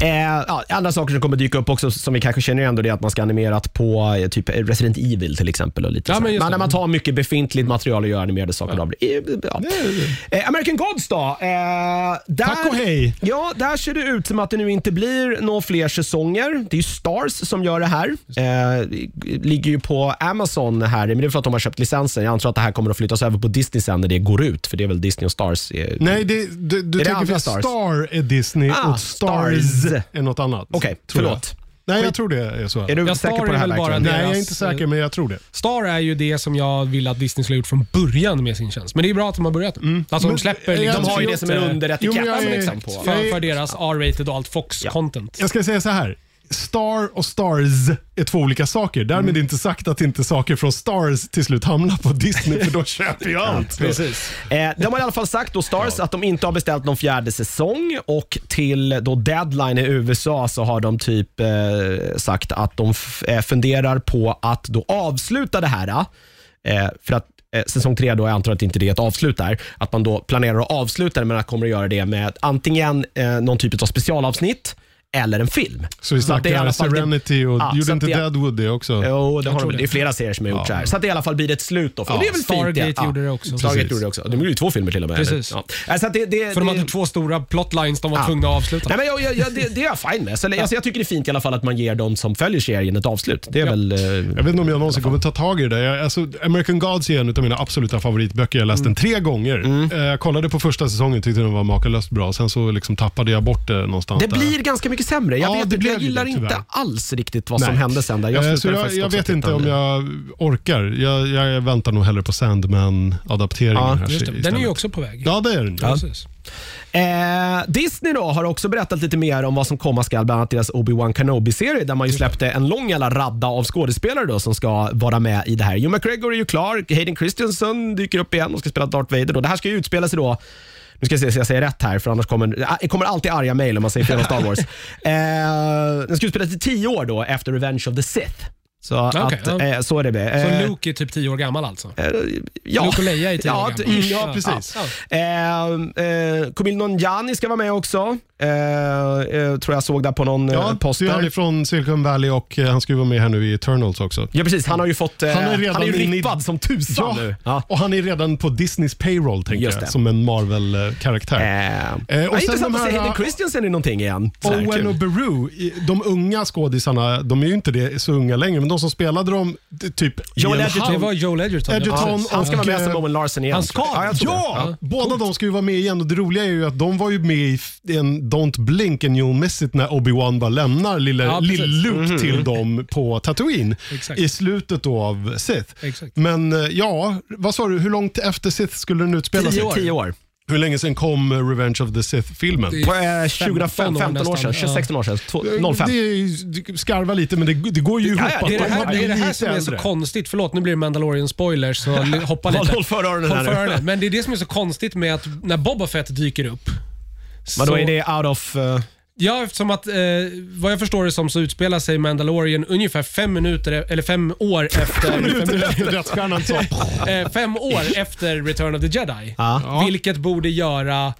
Speaker 1: Eh, ja, andra saker som kommer dyka upp också som vi kanske känner ändå det är att man ska animerat på eh, typ Resident Evil till exempel. Och lite
Speaker 2: Ja,
Speaker 1: så.
Speaker 2: men just
Speaker 1: men
Speaker 2: det.
Speaker 1: när man tar mycket befintligt material och gör animerade saker av det. Eh, Ja. Eh, American Gods då. Eh, där,
Speaker 3: Tack och hej.
Speaker 1: Ja, där ser det ut som att det nu inte blir några fler säsonger. Det är ju Stars som gör det här. Eh, ligger ju på Amazon här, men det är för att de har köpt licensen. Jag antar att det här kommer att flyttas över på Disney sen när det går ut, för det är väl Disney och Stars. eh,
Speaker 3: Nej, det, du, du
Speaker 1: det
Speaker 3: tänker
Speaker 1: andra
Speaker 3: för
Speaker 1: Stars?
Speaker 3: Star är Disney
Speaker 1: Ah,
Speaker 3: och Stars,
Speaker 1: Stars.
Speaker 3: är något annat.
Speaker 1: Okej,
Speaker 3: tror jag.
Speaker 1: förlåt.
Speaker 3: Nej, jag tror det är så.
Speaker 1: Är du säker
Speaker 2: Ja, Star
Speaker 1: på det
Speaker 2: är
Speaker 1: här
Speaker 2: väl bara
Speaker 1: verkligen?
Speaker 3: Nej, jag är
Speaker 2: deras-
Speaker 3: inte säker, men jag tror det.
Speaker 2: Star är ju det som jag ville att Disney skulle ha gjort från början med sin tjänst. Men det är ju bra att de har börjat. Alltså de
Speaker 3: Men-
Speaker 2: släpper
Speaker 3: jag
Speaker 2: liksom
Speaker 1: De har Mm. ju det
Speaker 3: tror
Speaker 2: ut,
Speaker 1: som en
Speaker 2: eh,
Speaker 3: Jo,
Speaker 1: underetikett.
Speaker 3: men jag
Speaker 1: Ja, men
Speaker 3: är-
Speaker 1: exakt.
Speaker 3: jag
Speaker 2: för,
Speaker 3: är-
Speaker 2: för deras R-rated och allt Fox-content.
Speaker 3: Jag ska säga så här. Star och Stars är två olika saker.
Speaker 1: Mm.
Speaker 3: Därmed inte sagt att inte saker från Stars till slut hamnar på Disney, för då köper jag allt.
Speaker 2: Precis.
Speaker 1: Eh, de har i alla fall sagt då, Stars, att de inte har beställt någon fjärde säsong och till då deadline i USA så har de typ eh, sagt att de f- eh, funderar på att då avsluta det här. Eh, för att eh, Säsong tre, då, jag antar att inte det är ett avslut där, att man då planerar att avsluta det men att kommer att göra det med antingen eh, någon typ av specialavsnitt eller en film.
Speaker 3: Så vi
Speaker 1: att det är i
Speaker 3: snackar
Speaker 1: alla fall-
Speaker 3: Serenity och
Speaker 1: Ja, så
Speaker 3: gjorde
Speaker 1: att
Speaker 3: inte
Speaker 1: det-
Speaker 3: Deadwood det också?
Speaker 1: Jo, det, har
Speaker 2: tror
Speaker 1: de,
Speaker 2: det.
Speaker 1: det är flera serier som har gjort så här. Så att det i alla fall blir ett slut då. För
Speaker 2: Ja,
Speaker 1: det är väl
Speaker 2: Stargate
Speaker 1: fint, ja.
Speaker 2: gjorde det också.
Speaker 1: Stargate
Speaker 2: Precis.
Speaker 1: gjorde det också. De gjorde ju två filmer till och med. eller?
Speaker 2: Precis.
Speaker 1: Ja. Ja, Så att det, det,
Speaker 2: För de
Speaker 1: det,
Speaker 2: hade två stora plotlines de var
Speaker 1: Ja.
Speaker 2: tvungna att avsluta.
Speaker 1: Nej, men jag, jag, jag, det, det är jag fine med. Så, eller, alltså, jag tycker det är fint i alla fall att man ger de som följer serien ett avslut. Det är väl... eh,
Speaker 3: Jag vet inte om jag någonsin kommer ta tag i det. Jag, alltså, American Gods är en av mina absoluta favoritböcker. Jag läste
Speaker 1: Mm.
Speaker 3: den tre gånger. Eh, Jag kollade på första säsongen tyckte den var makalöst bra. Sen så liksom tappade jag bort det någonstans.
Speaker 1: Det
Speaker 3: där.
Speaker 1: blir ganska mycket sämre. Jag,
Speaker 3: Ja,
Speaker 1: vet,
Speaker 3: det
Speaker 1: inte, jag
Speaker 3: blev ju
Speaker 1: gillar
Speaker 3: det,
Speaker 1: inte
Speaker 3: tyvärr.
Speaker 1: alls riktigt vad
Speaker 3: Nej.
Speaker 1: som hände sen. Där. Jag,
Speaker 3: Eh, så
Speaker 1: slutade
Speaker 3: jag,
Speaker 1: faktiskt
Speaker 3: jag
Speaker 1: också
Speaker 3: vet
Speaker 1: titta
Speaker 3: inte om
Speaker 1: nu.
Speaker 3: jag orkar. Jag, jag väntar nog hellre på Sandman-adapteringen.
Speaker 1: Ja,
Speaker 3: här
Speaker 2: Just det. Den är
Speaker 3: istället.
Speaker 2: ju också på väg.
Speaker 3: Ja, det är den.
Speaker 2: Precis.
Speaker 1: Eh, Disney då har också berättat lite mer om vad som komma skall, bland annat deras Obi-Wan Kenobi-serie där man ju släppte en lång jävla radda av skådespelare då, som ska vara med i det här. Hugh McGregor är ju klar, Hayden Christensen dyker upp igen och ska spela Darth Vader. Då. Det här ska ju utspela sig då nu ska jag se så jag säger rätt här, för annars kommer äh, det kommer alltid arga mejl om man säger fel om Star Wars. Eh, den ska utspelas i tio år då, efter Revenge of the Sith. Så,
Speaker 2: Okej,
Speaker 1: att, eh, så är det. med.
Speaker 2: Så
Speaker 1: Eh,
Speaker 2: Luke är typ 10 år gammal alltså?
Speaker 1: Eh, ja.
Speaker 2: Luke och Leia är tio
Speaker 1: ja,
Speaker 2: år gamla.
Speaker 1: mm,
Speaker 3: Ja,
Speaker 1: ja,
Speaker 3: precis.
Speaker 1: precis. Ja. Eh, eh, Kumail Nanjiani ska vara med också. Eh, eh, tror jag såg där på någon eh,
Speaker 3: Ja, det är han
Speaker 1: poster.
Speaker 3: från Silicon Valley och eh, han ska ju vara med här nu i Eternals också.
Speaker 1: Ja, precis. Han har ju fått... Eh,
Speaker 3: Han
Speaker 1: han
Speaker 3: är
Speaker 1: är,
Speaker 3: redan
Speaker 1: ju
Speaker 3: in i-
Speaker 1: rippad som tusan nu. Ja.
Speaker 3: och han är redan på Disneys payroll tänker
Speaker 1: Just
Speaker 3: jag,
Speaker 1: det.
Speaker 3: som en Marvel-karaktär.
Speaker 1: Eh, och
Speaker 3: sen de
Speaker 1: intressant att
Speaker 3: här-
Speaker 1: se Hayden Christensen i någonting igen. Så här,
Speaker 3: Owen
Speaker 1: kul.
Speaker 3: och Beru, i- de unga skådisarna, de är ju inte det, så unga längre, men de som spelade dem d- typ
Speaker 1: Joel
Speaker 3: Ian
Speaker 1: Edgerton.
Speaker 2: Det
Speaker 3: Hunt.
Speaker 2: var Joel Edgerton.
Speaker 3: Edgerton
Speaker 2: Ja,
Speaker 1: Ja,
Speaker 2: precis.
Speaker 1: han ska
Speaker 3: och,
Speaker 1: vara med
Speaker 3: eh,
Speaker 1: som Owen Larsen igen.
Speaker 2: han ska?
Speaker 1: Ja, jag tror det.
Speaker 3: Ja, båda de ska ju vara med igen och det roliga är ju att de var ju med i f- en Don't Blink and You'll Miss It när Obi-Wan bara lämnar lille,
Speaker 2: Ja, precis.
Speaker 3: lille Luke till dem på Tatooine
Speaker 2: Exakt.
Speaker 3: i slutet då av Sith.
Speaker 2: Exakt.
Speaker 3: Men eh, ja, vad sa du, hur långt efter Sith skulle den utspela sig?
Speaker 1: Tio år. Tio år.
Speaker 3: Hur länge sedan kom eh, Revenge of the Sith-filmen?
Speaker 2: Det-
Speaker 1: På, eh,
Speaker 2: 15
Speaker 1: 2015
Speaker 2: år
Speaker 1: 15 år
Speaker 2: nästan.
Speaker 1: sedan, 16 år sedan, Två-
Speaker 3: Det
Speaker 1: 05.
Speaker 3: är ju- det skarvar lite, men det, det går ju ihop.
Speaker 1: ja,
Speaker 3: att
Speaker 2: Det är det
Speaker 3: de har
Speaker 2: här, det är det här
Speaker 3: blivit
Speaker 2: som är så
Speaker 3: äldre.
Speaker 2: konstigt. Förlåt, nu blir det Mandalorian-spoilers, så li- hoppa lite.
Speaker 1: Håll för öronen
Speaker 2: Håll
Speaker 1: här
Speaker 2: för
Speaker 1: nu.
Speaker 2: öronen. Men det är det som är så konstigt med att när Boba Fett dyker upp.
Speaker 1: Vadå,
Speaker 2: så-
Speaker 1: är det out of... eh,
Speaker 2: Ja, eftersom att eh, vad jag förstår det som så utspelar sig Mandalorian ungefär fem minuter, e- eller fem år efter...
Speaker 3: Minuter efter dödsstjärnan så.
Speaker 2: eh, fem år efter Return of the Jedi.
Speaker 1: Ja.
Speaker 2: Vilket borde göra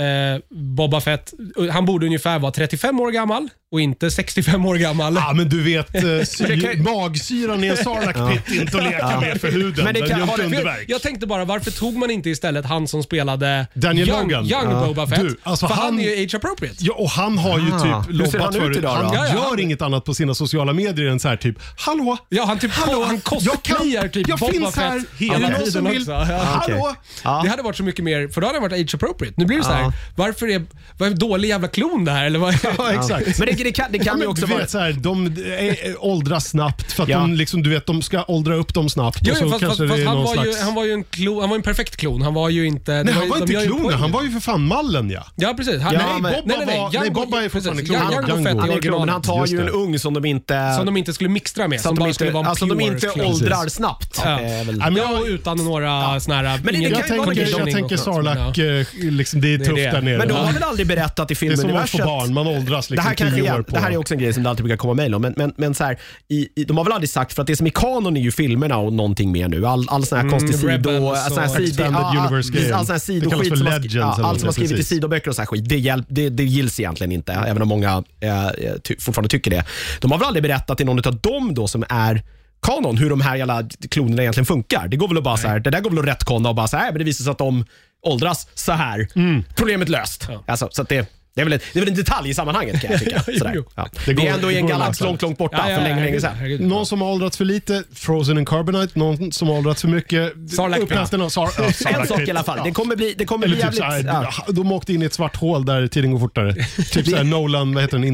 Speaker 2: eh, Boba Fett, eh, han borde ungefär vara 35 år gammal och inte 65 år gammal.
Speaker 3: Ja, men du vet, eh,
Speaker 1: det
Speaker 3: sy-
Speaker 1: kan ju-
Speaker 3: magsyran i en sarlacc pit är inte att leka med för huden.
Speaker 1: Men det
Speaker 3: Den
Speaker 1: kan-
Speaker 3: gör
Speaker 1: har
Speaker 3: inte
Speaker 1: det-
Speaker 2: För
Speaker 3: underverk.
Speaker 2: Jag, jag tänkte bara, varför tog man inte istället han som spelade
Speaker 3: Daniel
Speaker 2: Young,
Speaker 3: Logan?
Speaker 2: young
Speaker 3: Ja.
Speaker 2: Boba Fett?
Speaker 3: Du, alltså
Speaker 2: för han,
Speaker 3: han-
Speaker 2: är ju age appropriate.
Speaker 3: Ja, och han har ju
Speaker 1: Ah.
Speaker 3: typ
Speaker 1: Hur ser
Speaker 3: lobbat
Speaker 1: han ut
Speaker 3: för det.
Speaker 1: idag då?
Speaker 3: Han
Speaker 2: Ja, ja,
Speaker 3: gör
Speaker 2: han-
Speaker 3: inget annat på sina sociala medier än så här typ, hallå?
Speaker 2: Ja, han typ han
Speaker 3: jag kan,
Speaker 2: cosplayar typ
Speaker 3: jag
Speaker 2: Boba
Speaker 3: finns
Speaker 2: Fett
Speaker 3: här
Speaker 2: hela
Speaker 3: Är det någon
Speaker 2: tiden
Speaker 3: som vill?
Speaker 2: också.
Speaker 1: okej.
Speaker 3: Hallå?
Speaker 2: Det hade varit så mycket mer, för då hade han varit age appropriate. Nu blir det så här, varför är, vad är dålig jävla klon det här? Eller vad,
Speaker 3: Ja, exakt.
Speaker 1: Men det, det kan, det
Speaker 3: Ja,
Speaker 1: kan ju
Speaker 3: men
Speaker 1: också
Speaker 3: du vet,
Speaker 1: vara...
Speaker 3: så här, de är- är- åldras snabbt för att
Speaker 1: Ja.
Speaker 3: de, liksom, du vet, de ska åldra upp dem snabbt.
Speaker 2: Jo,
Speaker 3: och så
Speaker 2: jo, fast, fast,
Speaker 3: kanske det
Speaker 2: fast
Speaker 3: är
Speaker 2: han,
Speaker 3: någon
Speaker 2: var
Speaker 3: slags...
Speaker 2: ju, han var ju en klon, han var ju en perfekt klon. Han var ju inte... det
Speaker 3: Nej,
Speaker 2: var
Speaker 3: han
Speaker 2: ju-
Speaker 3: var
Speaker 2: de gör
Speaker 3: inte
Speaker 2: ju
Speaker 3: klonen.
Speaker 2: poäng.
Speaker 3: Han var ju för fan mallen ja.
Speaker 2: Ja, precis. Han,
Speaker 1: Ja,
Speaker 3: nej,
Speaker 1: men-
Speaker 3: Bobba var- nej, Bobba är fortfarande
Speaker 2: precis.
Speaker 3: klon.
Speaker 2: Young-
Speaker 3: Han-
Speaker 2: Young och
Speaker 3: Django.
Speaker 2: Fett
Speaker 1: Han
Speaker 2: är
Speaker 1: är klon, men
Speaker 2: originalet.
Speaker 1: han tar
Speaker 3: Just
Speaker 1: ju en
Speaker 3: det.
Speaker 1: ung som de inte...
Speaker 2: Som de inte skulle mixtra med.
Speaker 1: Så att de
Speaker 2: bara
Speaker 1: inte,
Speaker 2: skulle vara en
Speaker 1: alltså, de
Speaker 2: pure
Speaker 1: inte
Speaker 2: klon.
Speaker 1: åldrar snabbt.
Speaker 2: Ja.
Speaker 1: Är väl,
Speaker 3: Nej, men
Speaker 2: Ja,
Speaker 3: jag-
Speaker 2: och utan några såna här...
Speaker 1: det
Speaker 2: ingen
Speaker 1: kan
Speaker 3: Jag
Speaker 1: ju vara
Speaker 3: tänker, jag
Speaker 2: conditioning
Speaker 3: tänker
Speaker 2: och sånt, men, ja.
Speaker 3: Sarlacc, eh, liksom, det är tufft
Speaker 2: det.
Speaker 3: där nere.
Speaker 1: men de
Speaker 3: Ja.
Speaker 1: har väl aldrig berättat i
Speaker 3: det är som att
Speaker 1: filmuniverset...
Speaker 3: få barn, man åldras
Speaker 1: det
Speaker 3: liksom
Speaker 1: här, kanske
Speaker 3: tio år
Speaker 1: är,
Speaker 3: på...
Speaker 1: det här är också en grej som det alltid brukar komma mejl om. Men, men, men så här, i, i, de har väl aldrig sagt, för att det som är kanon är ju filmerna och någonting mer nu. All, all sån här konstig
Speaker 2: Rebels
Speaker 1: sido...
Speaker 2: och
Speaker 1: sån här sido-
Speaker 3: Mm, Extended
Speaker 1: ja,
Speaker 3: Universe
Speaker 1: all-
Speaker 3: Game.
Speaker 1: all sån här
Speaker 3: Det kallas
Speaker 1: sidoskit
Speaker 3: för
Speaker 1: som har-
Speaker 3: Legends
Speaker 1: ja,
Speaker 3: eller
Speaker 1: Allt som har
Speaker 3: någonting,
Speaker 1: skrivit i
Speaker 3: precis.
Speaker 1: sidoböcker och sån här skit, det, hjälp, det, det gills egentligen inte. Även om många eh, ty, fortfarande tycker det. De har väl aldrig berättat i någon av dem då som är kanon hur de här jävla klonerna egentligen funkar. Det går väl att bara så här, det där går väl att rättkonna och bara så här, men det visar sig att de åldras så här. Problemet löst. Alltså, så att det, det, är väl en, det är väl en detalj i sammanhanget kan jag tycka.
Speaker 2: Jo,
Speaker 1: Sådär.
Speaker 2: jo.
Speaker 1: Ja.
Speaker 3: Det
Speaker 1: Det,
Speaker 3: går-
Speaker 1: är ändå
Speaker 3: det
Speaker 1: i en
Speaker 3: går att
Speaker 1: galax
Speaker 3: lösa.
Speaker 1: långt, långt borta
Speaker 2: Ja, ja,
Speaker 1: för länge, länge
Speaker 2: herregud,
Speaker 1: sedan.
Speaker 2: herregud.
Speaker 3: Någon som har åldrats för lite, Frozen and Carbonite. Någon som har åldrats för mycket,
Speaker 2: Sarlacc Pit.
Speaker 3: Uppäten av Sar- ja, Sarlacc
Speaker 1: En sak
Speaker 3: Pit.
Speaker 1: i alla fall.
Speaker 3: Ja.
Speaker 1: Det kommer bli, det kommer
Speaker 3: Eller
Speaker 1: bli
Speaker 3: typ
Speaker 1: jävligt...
Speaker 3: såhär,
Speaker 1: ja.
Speaker 3: de åkte in i ett svart hål där tiden går fortare. typ såhär Nolan, vad heter den,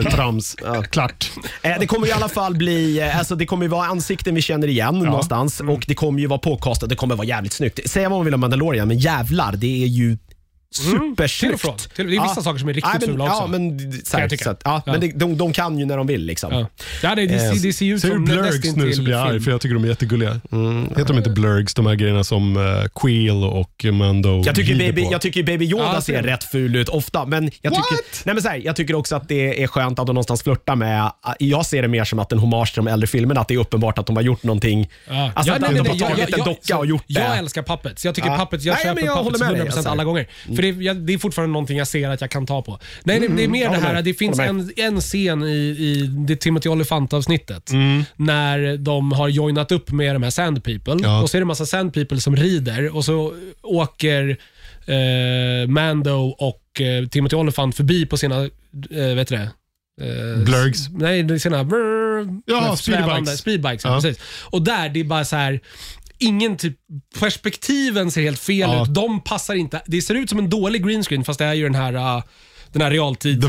Speaker 3: Interstellar-trams. Klart.
Speaker 1: Eh, Det kommer ju i alla fall bli, eh, alltså det kommer ju vara ansikten vi känner igen någonstans
Speaker 2: Mm.
Speaker 1: och det kommer ju vara påkastat. Det kommer vara jävligt snyggt. Säga vad man vill om Mandalorian, men jävlar, det är ju supersnyggt.
Speaker 2: Mm. Till och från. Till- det är vissa saker som är riktigt
Speaker 1: Nej, men,
Speaker 2: fula också.
Speaker 1: Ja, men, d- så här,
Speaker 2: jag tycka.
Speaker 1: så att, ja,
Speaker 2: Ja.
Speaker 1: men det, de, de kan ju när de vill liksom.
Speaker 2: Ja. Ja, det, det,
Speaker 3: Eh,
Speaker 2: ser- det ser ut
Speaker 3: Säger du
Speaker 2: som
Speaker 3: blurgs nu så blir jag arg
Speaker 2: film.
Speaker 3: för jag tycker de är jättegulliga.
Speaker 1: Mm.
Speaker 3: Heter de inte blurgs, de här grejerna som uh, Queel och Mando
Speaker 1: Jag tycker,
Speaker 3: rider
Speaker 1: baby,
Speaker 3: på?
Speaker 1: jag tycker Baby Yoda
Speaker 2: Ja,
Speaker 1: ser
Speaker 2: det-
Speaker 1: rätt ful ut ofta, men jag tycker,
Speaker 3: What?
Speaker 1: nej men så här, jag tycker också att det är skönt att de någonstans flörtar med... Jag ser det mer som att en hommage till de äldre filmerna, att det är uppenbart att de har gjort någonting.
Speaker 2: Ja.
Speaker 1: Alltså
Speaker 2: Ja,
Speaker 1: att
Speaker 2: nej,
Speaker 1: de
Speaker 2: nej,
Speaker 1: har
Speaker 2: jag-
Speaker 1: tagit
Speaker 2: jag-
Speaker 1: en
Speaker 2: jag-
Speaker 1: docka
Speaker 2: så-
Speaker 1: och gjort det.
Speaker 2: Jag älskar puppets. Jag tycker
Speaker 1: Ja.
Speaker 2: puppets, jag
Speaker 1: Nej,
Speaker 2: köper
Speaker 1: men jag håller
Speaker 2: puppets
Speaker 1: med dig,
Speaker 2: 100%
Speaker 1: alltså.
Speaker 2: alla gånger. För det, jag, det är fortfarande någonting jag ser att jag kan ta på. Nej, det, det är
Speaker 1: Mm.
Speaker 2: mer
Speaker 1: jag
Speaker 2: det här,
Speaker 1: håller med.
Speaker 2: det finns
Speaker 1: Håller
Speaker 2: en, en scen i, i det Timothy Olyphant-avsnittet
Speaker 1: Mm.
Speaker 2: när de har joinat upp med de här Sand People.
Speaker 3: Ja.
Speaker 2: Och så är det en massa Sand People som rider och så åker eh, Mando och eh, Timothy Olyphant förbi på sina, eh, vet du det? Eh,
Speaker 3: Blurgs.
Speaker 2: Nej, det är sina... brr- svävande-
Speaker 3: Jaha, speedbikes.
Speaker 2: Speedbikes, ja.
Speaker 3: Ja.
Speaker 2: precis. Och där, det är bara så här... Ingen typ, perspektiven ser helt fel
Speaker 3: Ja.
Speaker 2: ut. De passar inte. Det ser ut som en dålig green screen fast det är ju den här, uh, den här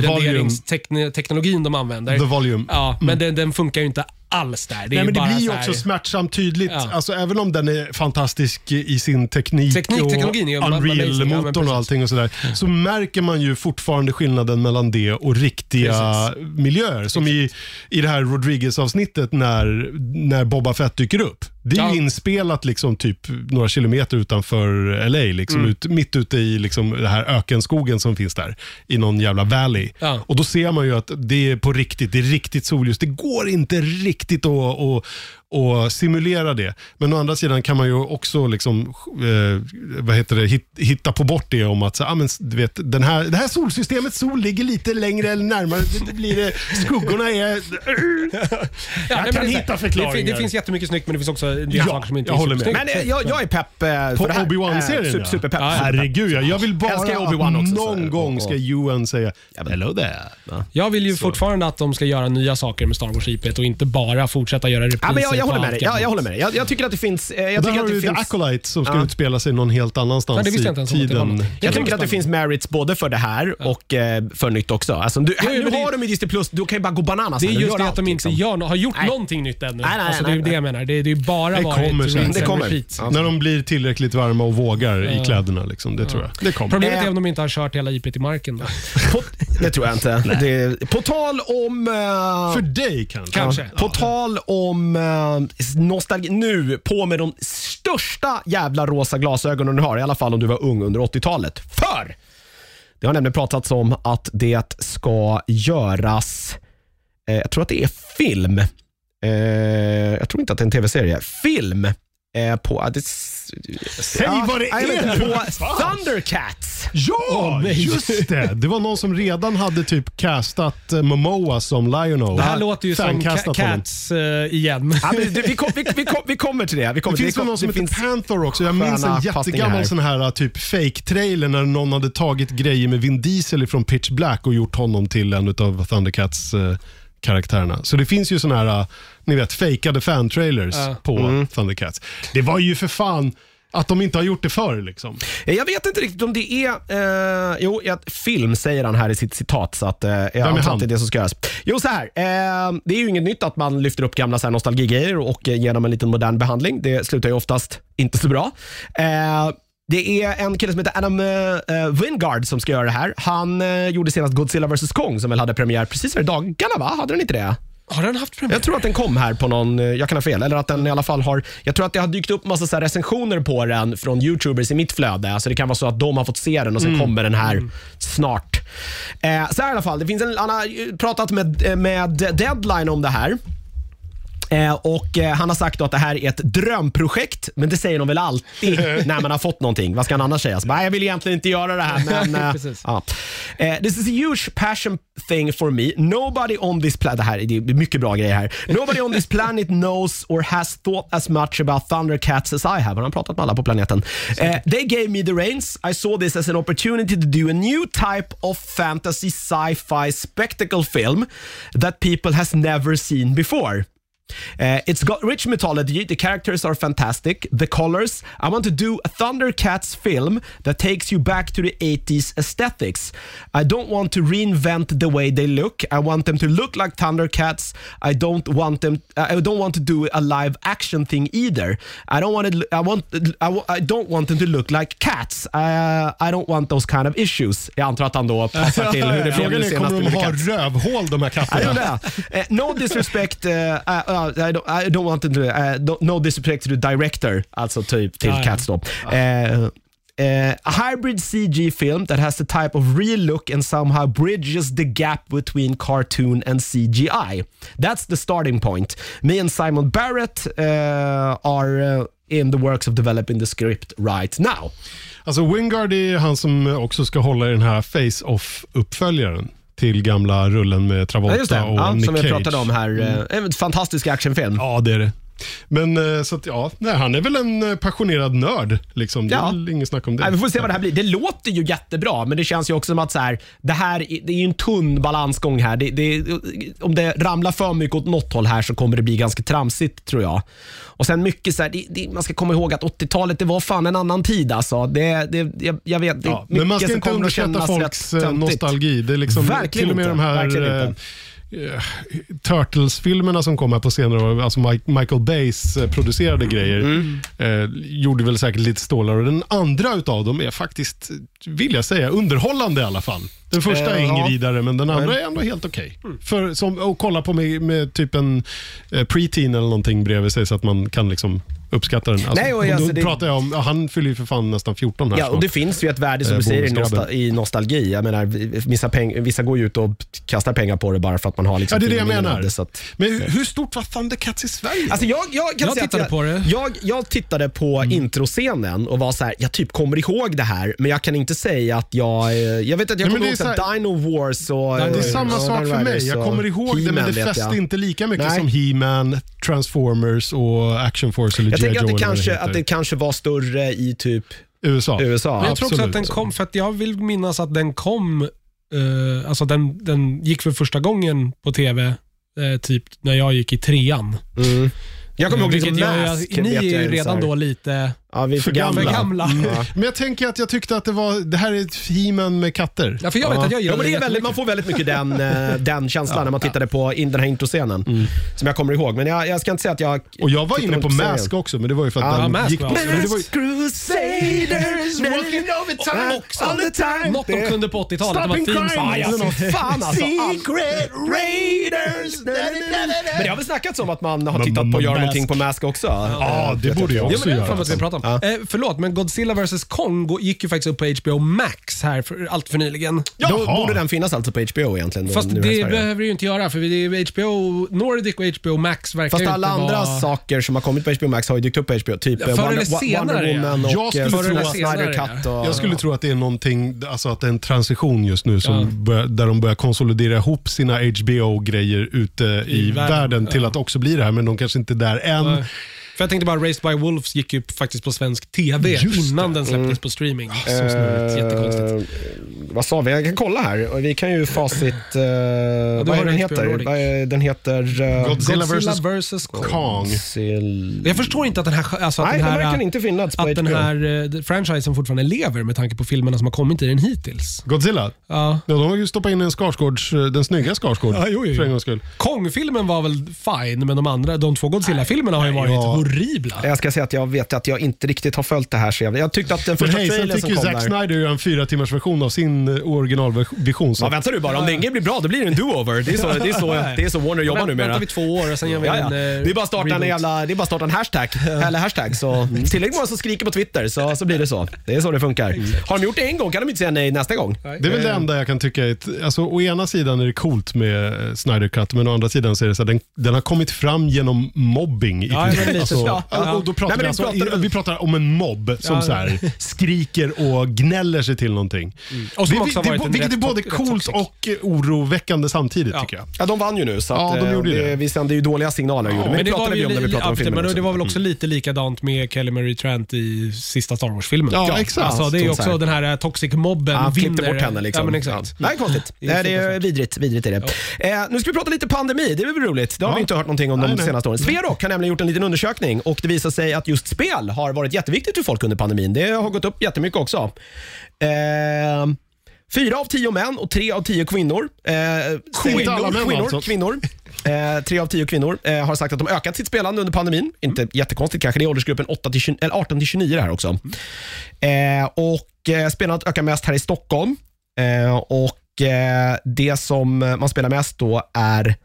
Speaker 3: The volume.
Speaker 2: realtidsrenderingsteknologin de använder.
Speaker 3: The volume.
Speaker 2: Ja, men den, den funkar ju inte alls där. Det, är
Speaker 3: Nej, men det
Speaker 2: bara
Speaker 3: blir ju
Speaker 2: så här,
Speaker 3: också smärtsamt tydligt.
Speaker 2: Ja.
Speaker 3: Alltså, även om den är fantastisk i sin teknik,
Speaker 2: Teknik,
Speaker 3: och
Speaker 2: teknologin är ju amazing, ja, men
Speaker 3: Unreal-motorn
Speaker 2: precis. Mm.
Speaker 3: och allting och sådär, så märker man ju fortfarande skillnaden mellan det och riktiga miljöer. Som i, i det här Rodriguez-avsnittet när, när Boba Fett dyker upp. Det är
Speaker 2: Ja.
Speaker 3: ju inspelat liksom typ några kilometer utanför LA, liksom
Speaker 2: Mm.
Speaker 3: ut, mitt ute i liksom den här ökenskogen som finns där, i någon jävla valley.
Speaker 2: Ja.
Speaker 3: Och då ser man ju att det är på riktigt, det är riktigt solljus. Det går inte riktigt att, att, att simulera det. Men å andra sidan kan man ju också liksom, eh, vad heter det, hit, hitta på bort det om att så, ah, men, du vet, den här, det här solsystemets sol ligger lite längre eller närmare. Det- Det blir det, skuggorna är...
Speaker 2: Ja,
Speaker 3: Jag
Speaker 2: nej, men
Speaker 3: kan
Speaker 2: det-
Speaker 3: hitta
Speaker 2: Det,
Speaker 3: förklaringar.
Speaker 2: fin- det finns jättemycket snyggt men det finns också en del
Speaker 3: Ja,
Speaker 2: saker som inte
Speaker 3: jag
Speaker 2: är
Speaker 3: håller med.
Speaker 2: supersnyggt.
Speaker 1: Men eh, jag, jag är pepp eh, för
Speaker 3: På
Speaker 1: det här.
Speaker 3: Obi-Wan-serien,
Speaker 1: Eh,
Speaker 3: ja.
Speaker 1: super, superpepp. superpepp.
Speaker 3: Herregud, ja. jag vill
Speaker 1: Älskar
Speaker 3: bara
Speaker 1: Obi-Wan
Speaker 3: att
Speaker 1: också,
Speaker 3: någon
Speaker 1: så-
Speaker 3: gång ska Ewan säga
Speaker 1: men-
Speaker 3: “Hello there”.
Speaker 2: Jag vill ju fortfarande att de ska göra nya saker med Star Wars-IPet och inte bara fortsätta göra repriser
Speaker 1: Ja, men jag, jag
Speaker 2: på
Speaker 1: håller med
Speaker 2: allt
Speaker 1: dig. Jag, jag
Speaker 2: gammalt.
Speaker 1: håller med dig. Jag, jag tycker att det finns... eh, Jag
Speaker 3: Där
Speaker 1: tycker
Speaker 3: har
Speaker 1: att
Speaker 3: du
Speaker 1: det
Speaker 3: The
Speaker 1: finns...
Speaker 3: Acolyte som ska
Speaker 1: Ja.
Speaker 3: utspela sig någon helt
Speaker 2: Nej,
Speaker 3: annanstans
Speaker 2: det visste jag inte
Speaker 3: i
Speaker 2: ens om att det var
Speaker 3: tiden.
Speaker 2: något.
Speaker 1: Jag tycker att
Speaker 2: Spännande.
Speaker 1: det finns merits både för det här och eh, för nytt också. Alltså, du,
Speaker 2: Jo, jo,
Speaker 1: nu
Speaker 2: men det-
Speaker 1: har de ju Disney Plus, du kan ju bara gå bananas.
Speaker 2: Det är
Speaker 1: här. Du
Speaker 2: just
Speaker 1: gör
Speaker 2: det att
Speaker 1: allt,
Speaker 2: de inte
Speaker 1: liksom.
Speaker 2: gör, har gjort
Speaker 1: Nej.
Speaker 2: någonting nytt ännu.
Speaker 1: Nej, nej,
Speaker 2: alltså, det är
Speaker 1: nej,
Speaker 2: ju det jag menar. Det, det är ju bara
Speaker 3: Det
Speaker 2: varit liksom
Speaker 3: kommer sen.
Speaker 2: rinse
Speaker 1: Det
Speaker 2: and
Speaker 1: kommer.
Speaker 2: repeat.
Speaker 1: Ja.
Speaker 3: När de blir tillräckligt varma och vågar i kläderna. Liksom, det tror jag. Det kommer.
Speaker 2: Problemet
Speaker 1: Eh.
Speaker 2: är om de inte har kört hela IPet i marken. Då.
Speaker 1: På, det tror jag inte. Det, på tal om... eh,
Speaker 3: För dig kanske?
Speaker 2: Kanske.
Speaker 1: Ja. På tal om eh, nostalgi, nu på med de största jävla rosa glasögonen du har, i alla fall om du var ung under 80-talet. För det har nämligen pratats om att det ska göras, eh, jag tror att det är film, eh, jag tror inte att det är en tv-serie, film eh, på... ah, det, Säg
Speaker 3: vad det är nu!
Speaker 1: På Thundercats!
Speaker 3: Ja, just det! Det var någon som redan hade typ castat eh, Momoa som Lion-O.
Speaker 2: Det här låter ju som Ca-
Speaker 3: Fancastat honom.
Speaker 2: Cats eh, igen.
Speaker 1: Ja, men det, vi, kom, vi, vi, kom, vi kommer till det. Vi kommer
Speaker 3: Det
Speaker 1: till
Speaker 3: finns
Speaker 1: det
Speaker 3: väl någon som
Speaker 1: det
Speaker 3: heter Panther också. Jag minns
Speaker 1: sköna
Speaker 3: en
Speaker 1: passningar här.
Speaker 3: jättegammal sån här eh, typ fake-trailer när någon hade tagit grejer med Vin Diesel ifrån Pitch Black och gjort honom till en av Thundercats eh, karaktärerna. Så det finns ju såna här, eh, ni vet, fejkade fan-trailers
Speaker 2: Ja.
Speaker 3: på Thundercats. Det var ju för fan att de inte har gjort det förr liksom.
Speaker 1: Eh, Jag vet inte riktigt om det är... Eh, jo, jag, film säger han här i sitt citat, så att, eh, jag antar att
Speaker 3: han?
Speaker 1: det är det som ska göras. Jo, så här. Eh, det är ju inget nytt att man lyfter upp gamla så här, nostalgigrejer och eh, ger dem en liten modern behandling. Det slutar ju oftast inte så bra. Eh, det är en kille som heter Adam eh, Wingard som ska göra det här. Han eh, gjorde senast Godzilla vs Kong som väl hade premiär precis för dagarna, va? Hade den inte det?
Speaker 2: Har den haft premiär?
Speaker 1: Jag tror att den kom här på någon, eh, jag kan ha fel, eller att den i alla fall har, jag tror att det har dykt upp massa så här recensioner på den från youtubers i mitt flöde. Alltså det kan vara så att de har fått se den och sen kommer den här snart. Eh, så här i alla fall, det finns en, han har ju pratat med, eh, med Deadline om det här. Eh, och eh, Han har sagt då att det här är ett drömprojekt, men det säger de väl alltid när man har fått någonting. Vad ska han annars säga? Så bara, "Nej, jag vill egentligen inte göra det här, men... eh,
Speaker 2: Precis.
Speaker 1: ja. Eh, this is a huge passion thing for me. Nobody on this planet... Det här det är mycket bra grejer här. Nobody on this planet knows or has thought as much about Thundercats as I have. Han har pratat med alla på planeten. Eh, they gave me the reins. I saw this as an opportunity to do a new type of fantasy sci-fi spectacle film that people has never seen before. Uh, it's got rich mythology. The characters are fantastic. The colors. I want to do a Thundercats film that takes you back to the 80s aesthetics. I don't want to reinvent the way they look. I want them to look like Thundercats. I don't want them. I don't want to do a live action thing either. I don't want to. I want. I, wa- I don't want them to look like cats. Uh, I don't want those kind of issues. Jag antar att han då passar till hur det blev
Speaker 3: Frågan
Speaker 1: nu
Speaker 3: är,
Speaker 1: senast
Speaker 3: kommer
Speaker 1: med
Speaker 3: de ha
Speaker 1: Cats.
Speaker 3: rövhål de här
Speaker 1: I
Speaker 3: katterna?
Speaker 1: don't know. Uh, no disrespect. Uh, uh, uh, I, don't, I don't want to. do- Uh, don't- no disrespect to the director, alltså typ till
Speaker 2: Ja, ja.
Speaker 1: Cats då. Uh, uh, a hybrid CG film that has the type of real look and somehow bridges the gap between cartoon and CGI. That's the starting point. Me and Simon eh, Barrett uh, are uh, in the works of developing the script right now.
Speaker 3: Alltså Wingard är han som också ska hålla i den här Face-Off-uppföljaren till gamla rullen med
Speaker 1: Ja,
Speaker 3: Travolta
Speaker 1: just det. Oh,
Speaker 3: och
Speaker 1: Ja,
Speaker 3: Nick
Speaker 1: Eh, som vi
Speaker 3: Cage.
Speaker 1: pratade om här. Eh, En fantastisk actionfilm.
Speaker 3: Ja, det är det. Men eh, så att, ja, nej, han är väl en eh, passionerad nörd. Liksom. Det är
Speaker 1: Ja.
Speaker 3: väl inget snack om det.
Speaker 1: Nej, vi får se vad det här blir. Det låter ju jättebra, men det känns ju också som att så här, det här är- det är ju en tunn balansgång här. Det, det, om det ramlar för mycket åt något håll här så kommer det bli ganska tramsigt, tror jag. Och sen mycket så här, det, det, man ska komma ihåg att 80-talet, det var fan en annan tid alltså. Det, det, jag, jag vet, det är
Speaker 3: Ja,
Speaker 1: mycket
Speaker 3: men man ska
Speaker 1: som
Speaker 3: inte
Speaker 1: kommer att
Speaker 3: underskatta
Speaker 1: kännas rätt
Speaker 3: folks eh,
Speaker 1: töntigt.
Speaker 3: nostalgi. Det är liksom,
Speaker 1: Verkligen
Speaker 3: till och med
Speaker 1: inte.
Speaker 3: de här
Speaker 1: Verkligen
Speaker 3: eh,
Speaker 1: inte.
Speaker 3: eh, Turtles-filmerna som kom här på senare år, alltså Mi- Michael Bays eh, producerade
Speaker 1: Mm.
Speaker 3: grejer, eh, gjorde väl säkert lite stålar. Och den andra utav dem är faktiskt, vill jag säga, underhållande i alla fall. Den första
Speaker 1: Eh,
Speaker 3: är ingen
Speaker 1: ja. Mm.
Speaker 3: vidare, men den andra är ändå helt okej. För som Att kolla på med, med typ en eh, preteen eller någonting bredvid sig så att man kan liksom uppskatta den. Alltså,
Speaker 1: Nej, och
Speaker 3: då
Speaker 1: alltså, det-
Speaker 3: pratar jag om, ja, han fyller ju för fan nästan 14 här
Speaker 1: Ja, och
Speaker 3: snart.
Speaker 1: det finns ju ett värde som
Speaker 3: Eh,
Speaker 1: du säger i,
Speaker 3: bonusgrabben.
Speaker 1: nostal i nostalgi. Jag menar, vi- vissa, peng vissa går ju ut och kastar pengar på det bara för att man har liksom
Speaker 3: Ja, det är det jag
Speaker 1: filmen innan
Speaker 3: menar.
Speaker 1: det, så att-
Speaker 3: Men hur, hur stort var Thundercats i Sverige?
Speaker 1: Alltså jag, jag, kan
Speaker 2: Jag
Speaker 1: säga
Speaker 2: tittade
Speaker 1: att jag,
Speaker 2: på det.
Speaker 1: Jag, jag tittade på
Speaker 2: Mm.
Speaker 1: introscenen och var så här, jag typ kommer ihåg det här, men jag kan inte säga att jag... eh, Jag vet att jag
Speaker 3: Nej, men
Speaker 1: kommer
Speaker 3: det
Speaker 1: ihåg
Speaker 3: är
Speaker 1: så här,
Speaker 3: så här-
Speaker 1: Dino Wars och...
Speaker 2: Det
Speaker 3: det är
Speaker 1: och-
Speaker 3: samma
Speaker 1: och
Speaker 3: sak
Speaker 1: Dino
Speaker 3: för mig.
Speaker 1: Riders
Speaker 3: Jag
Speaker 1: och
Speaker 3: kommer ihåg det, men
Speaker 1: He-Man
Speaker 3: det
Speaker 1: vet jag.
Speaker 3: fäste inte lika mycket
Speaker 1: Nej.
Speaker 3: som He-Man, Transformers och Action Force eller
Speaker 1: Jag
Speaker 3: G.I.
Speaker 1: tänker att
Speaker 3: Joe
Speaker 1: det,
Speaker 3: eller vad
Speaker 1: kanske,
Speaker 3: heter.
Speaker 1: att det kanske var större i typ
Speaker 3: USA.
Speaker 1: USA.
Speaker 2: Men jag tror också att
Speaker 3: absolut.
Speaker 2: den kom, för att jag vill minnas att den kom, eh, alltså den, den gick för första gången på tv, eh, typ när jag gick i trean. Eh,
Speaker 1: Mm. Jag kommer ihåg liksom
Speaker 2: Vilket gör ju
Speaker 1: Mask.
Speaker 2: att ni
Speaker 1: vet jag
Speaker 2: är ju
Speaker 1: så här-
Speaker 2: redan då lite
Speaker 1: Ja, vi är för
Speaker 3: för
Speaker 1: gamla.
Speaker 3: gamla. Mm.
Speaker 2: för gamla.
Speaker 1: Ja.
Speaker 3: Men jag tänker att jag tyckte att det var, det här är ett He-Man med katter.
Speaker 2: Ja, för jag vet att jag
Speaker 1: Ja,
Speaker 2: gillar
Speaker 1: men det är väldigt, man får väldigt mycket den, eh, den känslan när man tittade på in, den här introscenen.
Speaker 2: Mm.
Speaker 1: Som jag kommer ihåg. Men jag, jag ska inte säga att jag...
Speaker 3: Och jag var
Speaker 1: tittar
Speaker 3: inne
Speaker 1: runt
Speaker 3: på
Speaker 1: serien.
Speaker 3: Mask också, men det var ju för att
Speaker 1: Ja,
Speaker 3: den
Speaker 2: Mask
Speaker 3: gick
Speaker 2: var
Speaker 3: på...
Speaker 2: också.
Speaker 3: men det var ju-
Speaker 1: Crusaders
Speaker 3: walking over time
Speaker 1: all the time.
Speaker 2: Något de kunde på 80-talet, det var
Speaker 3: Stopping
Speaker 2: Theme
Speaker 3: crime.
Speaker 2: Song.
Speaker 1: Ja,
Speaker 3: Eller
Speaker 1: ja,
Speaker 3: något.
Speaker 1: fy fan alltså. All-
Speaker 3: Secret Raiders! Da, da, da, da, da.
Speaker 1: Men det har väl snackats om att man har
Speaker 3: Men-
Speaker 1: tittat på att göra
Speaker 3: Mask.
Speaker 1: någonting på Mask också. Eh,
Speaker 3: Ja, det alltså. borde jag
Speaker 2: Ja,
Speaker 3: också
Speaker 2: men det
Speaker 3: göra.
Speaker 2: är för att vi pratar om. Eh, förlåt, men Godzilla vs Kong gå- gick ju faktiskt upp på HBO Max här för, allt för nyligen.
Speaker 1: Då
Speaker 3: Jaha.
Speaker 1: borde den finnas alltså på HBO egentligen.
Speaker 2: Fast
Speaker 1: nu här i
Speaker 2: det
Speaker 1: Sverige.
Speaker 2: behöver det ju inte göra för det är HBO Nordic och HBO Max verkar
Speaker 1: Fast
Speaker 2: ju
Speaker 1: alla
Speaker 2: inte
Speaker 1: andra
Speaker 2: vara...
Speaker 1: saker som har kommit på HBO Max har ju dykt upp på HBO. Typ eh,
Speaker 2: Förr
Speaker 1: Wonder,
Speaker 2: eller senare,
Speaker 1: Wonder
Speaker 2: ja.
Speaker 1: Woman
Speaker 3: Jag
Speaker 1: och
Speaker 3: skulle
Speaker 1: eh,
Speaker 3: tro
Speaker 1: Snyder
Speaker 3: att-
Speaker 1: Snyder Cut. Och,
Speaker 3: Jag skulle tro att det är någonting, alltså att det är en transition just nu som börjar, där de börjar konsolidera ihop sina HBO-grejer ute i,
Speaker 2: I
Speaker 3: världen,
Speaker 2: världen,
Speaker 3: till
Speaker 2: ja.
Speaker 3: att också bli det här, men de kanske inte är där än.
Speaker 2: Nej. Eh, För jag tänkte bara, Raised by Wolves gick ju faktiskt på svensk TV
Speaker 3: Just
Speaker 2: innan den släpptes
Speaker 1: Mm.
Speaker 2: på streaming. Så snurrigt. Jättekonstigt.
Speaker 1: Eh, vad sa vi? Jag kan kolla här. Och Vi kan ju facit. Eh, vad
Speaker 2: har
Speaker 1: är
Speaker 2: du
Speaker 1: den
Speaker 2: HBO
Speaker 1: heter?
Speaker 2: Nordic.
Speaker 1: Vad är- Den heter... eh,
Speaker 3: Godzilla vs.
Speaker 2: vs Kong.
Speaker 3: Kong.
Speaker 1: Godzilla-
Speaker 2: Jag förstår inte att den här, alltså att
Speaker 1: Nej,
Speaker 2: den
Speaker 1: den
Speaker 2: här,
Speaker 1: verkar inte finnas på
Speaker 2: att den
Speaker 1: HBO.
Speaker 2: här eh, franchisen fortfarande lever med tanke på filmerna som har kommit i den hittills.
Speaker 3: Godzilla?
Speaker 2: Ja.
Speaker 3: Ja, de har ju stoppat in en Skarsgårds, eh, den snygga Skarsgård
Speaker 2: Ja, jo, jo, jo.
Speaker 3: för en gångs skull.
Speaker 2: Kong-filmen var väl fine, men de andra, de två Godzilla-filmerna har ju varit
Speaker 3: ja.
Speaker 2: horribla.
Speaker 1: Jag ska säga att jag vet att jag inte riktigt har följt det här. Så jag, jag tyckte att den
Speaker 3: Men
Speaker 1: första
Speaker 3: hej, sen
Speaker 1: trailern
Speaker 3: fick
Speaker 1: som
Speaker 3: ju
Speaker 1: kom
Speaker 3: Zack
Speaker 1: där...
Speaker 3: Snyder göra en fyra timmars version av sin eh, originalvision. Så
Speaker 1: Ja, väntar du bara. Om det ingen blir bra, då blir det en do-over. Det är så, det är så, det är så Warner jobbar
Speaker 2: Vänt-
Speaker 1: numera.
Speaker 2: Väntar vi två år och sen gör vi
Speaker 1: Ja,
Speaker 2: en
Speaker 1: ja.
Speaker 2: eh,
Speaker 1: Det är bara att starta en,
Speaker 2: reboot. Mm.
Speaker 1: jävla, det är bara att starta en hashtag. Eller hashtag så tillräckligt många som skriker på Twitter så, så blir det så. Det är så det funkar. Har de gjort det en gång kan de inte säga nej nästa gång.
Speaker 3: Det är väl det
Speaker 2: Eh.
Speaker 3: enda jag kan tycka. Är ett, alltså, å ena sidan är det coolt med eh, Snyder Cut, men å andra sidan så är det så här, den, den har kommit fram genom mobbing. I
Speaker 2: Ja,
Speaker 3: princip.
Speaker 2: men lite
Speaker 3: alltså,
Speaker 2: så. Ja.
Speaker 3: och då
Speaker 1: Nej, men
Speaker 3: pratar vi,
Speaker 1: det
Speaker 3: alltså,
Speaker 1: pratar-
Speaker 3: i, vi pratar om en mobb som
Speaker 2: Ja.
Speaker 3: så här, skriker och gnäller sig till någonting.
Speaker 2: Och som
Speaker 3: Det-
Speaker 2: också har
Speaker 3: det,
Speaker 2: varit en
Speaker 3: vilket är
Speaker 2: rätt
Speaker 3: både
Speaker 2: toxic-
Speaker 3: coolt
Speaker 2: toxic.
Speaker 3: och eh, oroväckande samtidigt
Speaker 2: Ja.
Speaker 3: tycker jag.
Speaker 1: Ja, de vann ju nu så
Speaker 3: Ja,
Speaker 1: att,
Speaker 3: de
Speaker 1: eh,
Speaker 3: gjorde ju det.
Speaker 1: Vi sände ju dåliga signaler. gjorde. vi. Men det pratade
Speaker 2: var
Speaker 1: vi om
Speaker 2: ju
Speaker 1: när vi
Speaker 2: li-
Speaker 1: pratade om
Speaker 2: absolut,
Speaker 1: filmen.
Speaker 2: Men det
Speaker 1: också. Mm.
Speaker 2: var väl också lite likadant med Kelly Marie Trant i sista Star Wars-filmen.
Speaker 3: Ja, exakt.
Speaker 2: Alltså, det är ju
Speaker 1: Stort så
Speaker 2: också
Speaker 1: här.
Speaker 2: den här eh, toxic mobben
Speaker 1: Han klippte
Speaker 2: vinner.
Speaker 1: bort henne liksom.
Speaker 2: Ja, men exakt.
Speaker 1: Ja. Nej, konstigt.
Speaker 2: Det är
Speaker 1: Nej, det är
Speaker 2: fruktansvärt.
Speaker 1: vidrigt. vidrigt är det. Eh, nu ska vi prata lite pandemi. Det är väl roligt? Det har
Speaker 3: Ja.
Speaker 1: vi inte hört någonting om de
Speaker 3: Nej, nej.
Speaker 1: senaste åren. Sverok har nämligen gjort en liten undersökning och det visar sig att just spel har varit jätteviktigt för folk under pandemin. Det har gått upp jättemycket också. Eh, Fyra av tio män och tre av tio kvinnor. Eh,
Speaker 3: Inte alla män,
Speaker 1: kvinnor,
Speaker 3: alltså.
Speaker 1: kvinnor. Eh, tre av tio kvinnor eh, har sagt att de ökat sitt spelande under pandemin. Inte jättekonstigt kanske. Det är åldersgruppen 8 till 20, eller 18 till 29 det här också. Eh, och eh, spelandet ökar mest här i Stockholm. Eh, och eh, det som eh, man spelar mest då är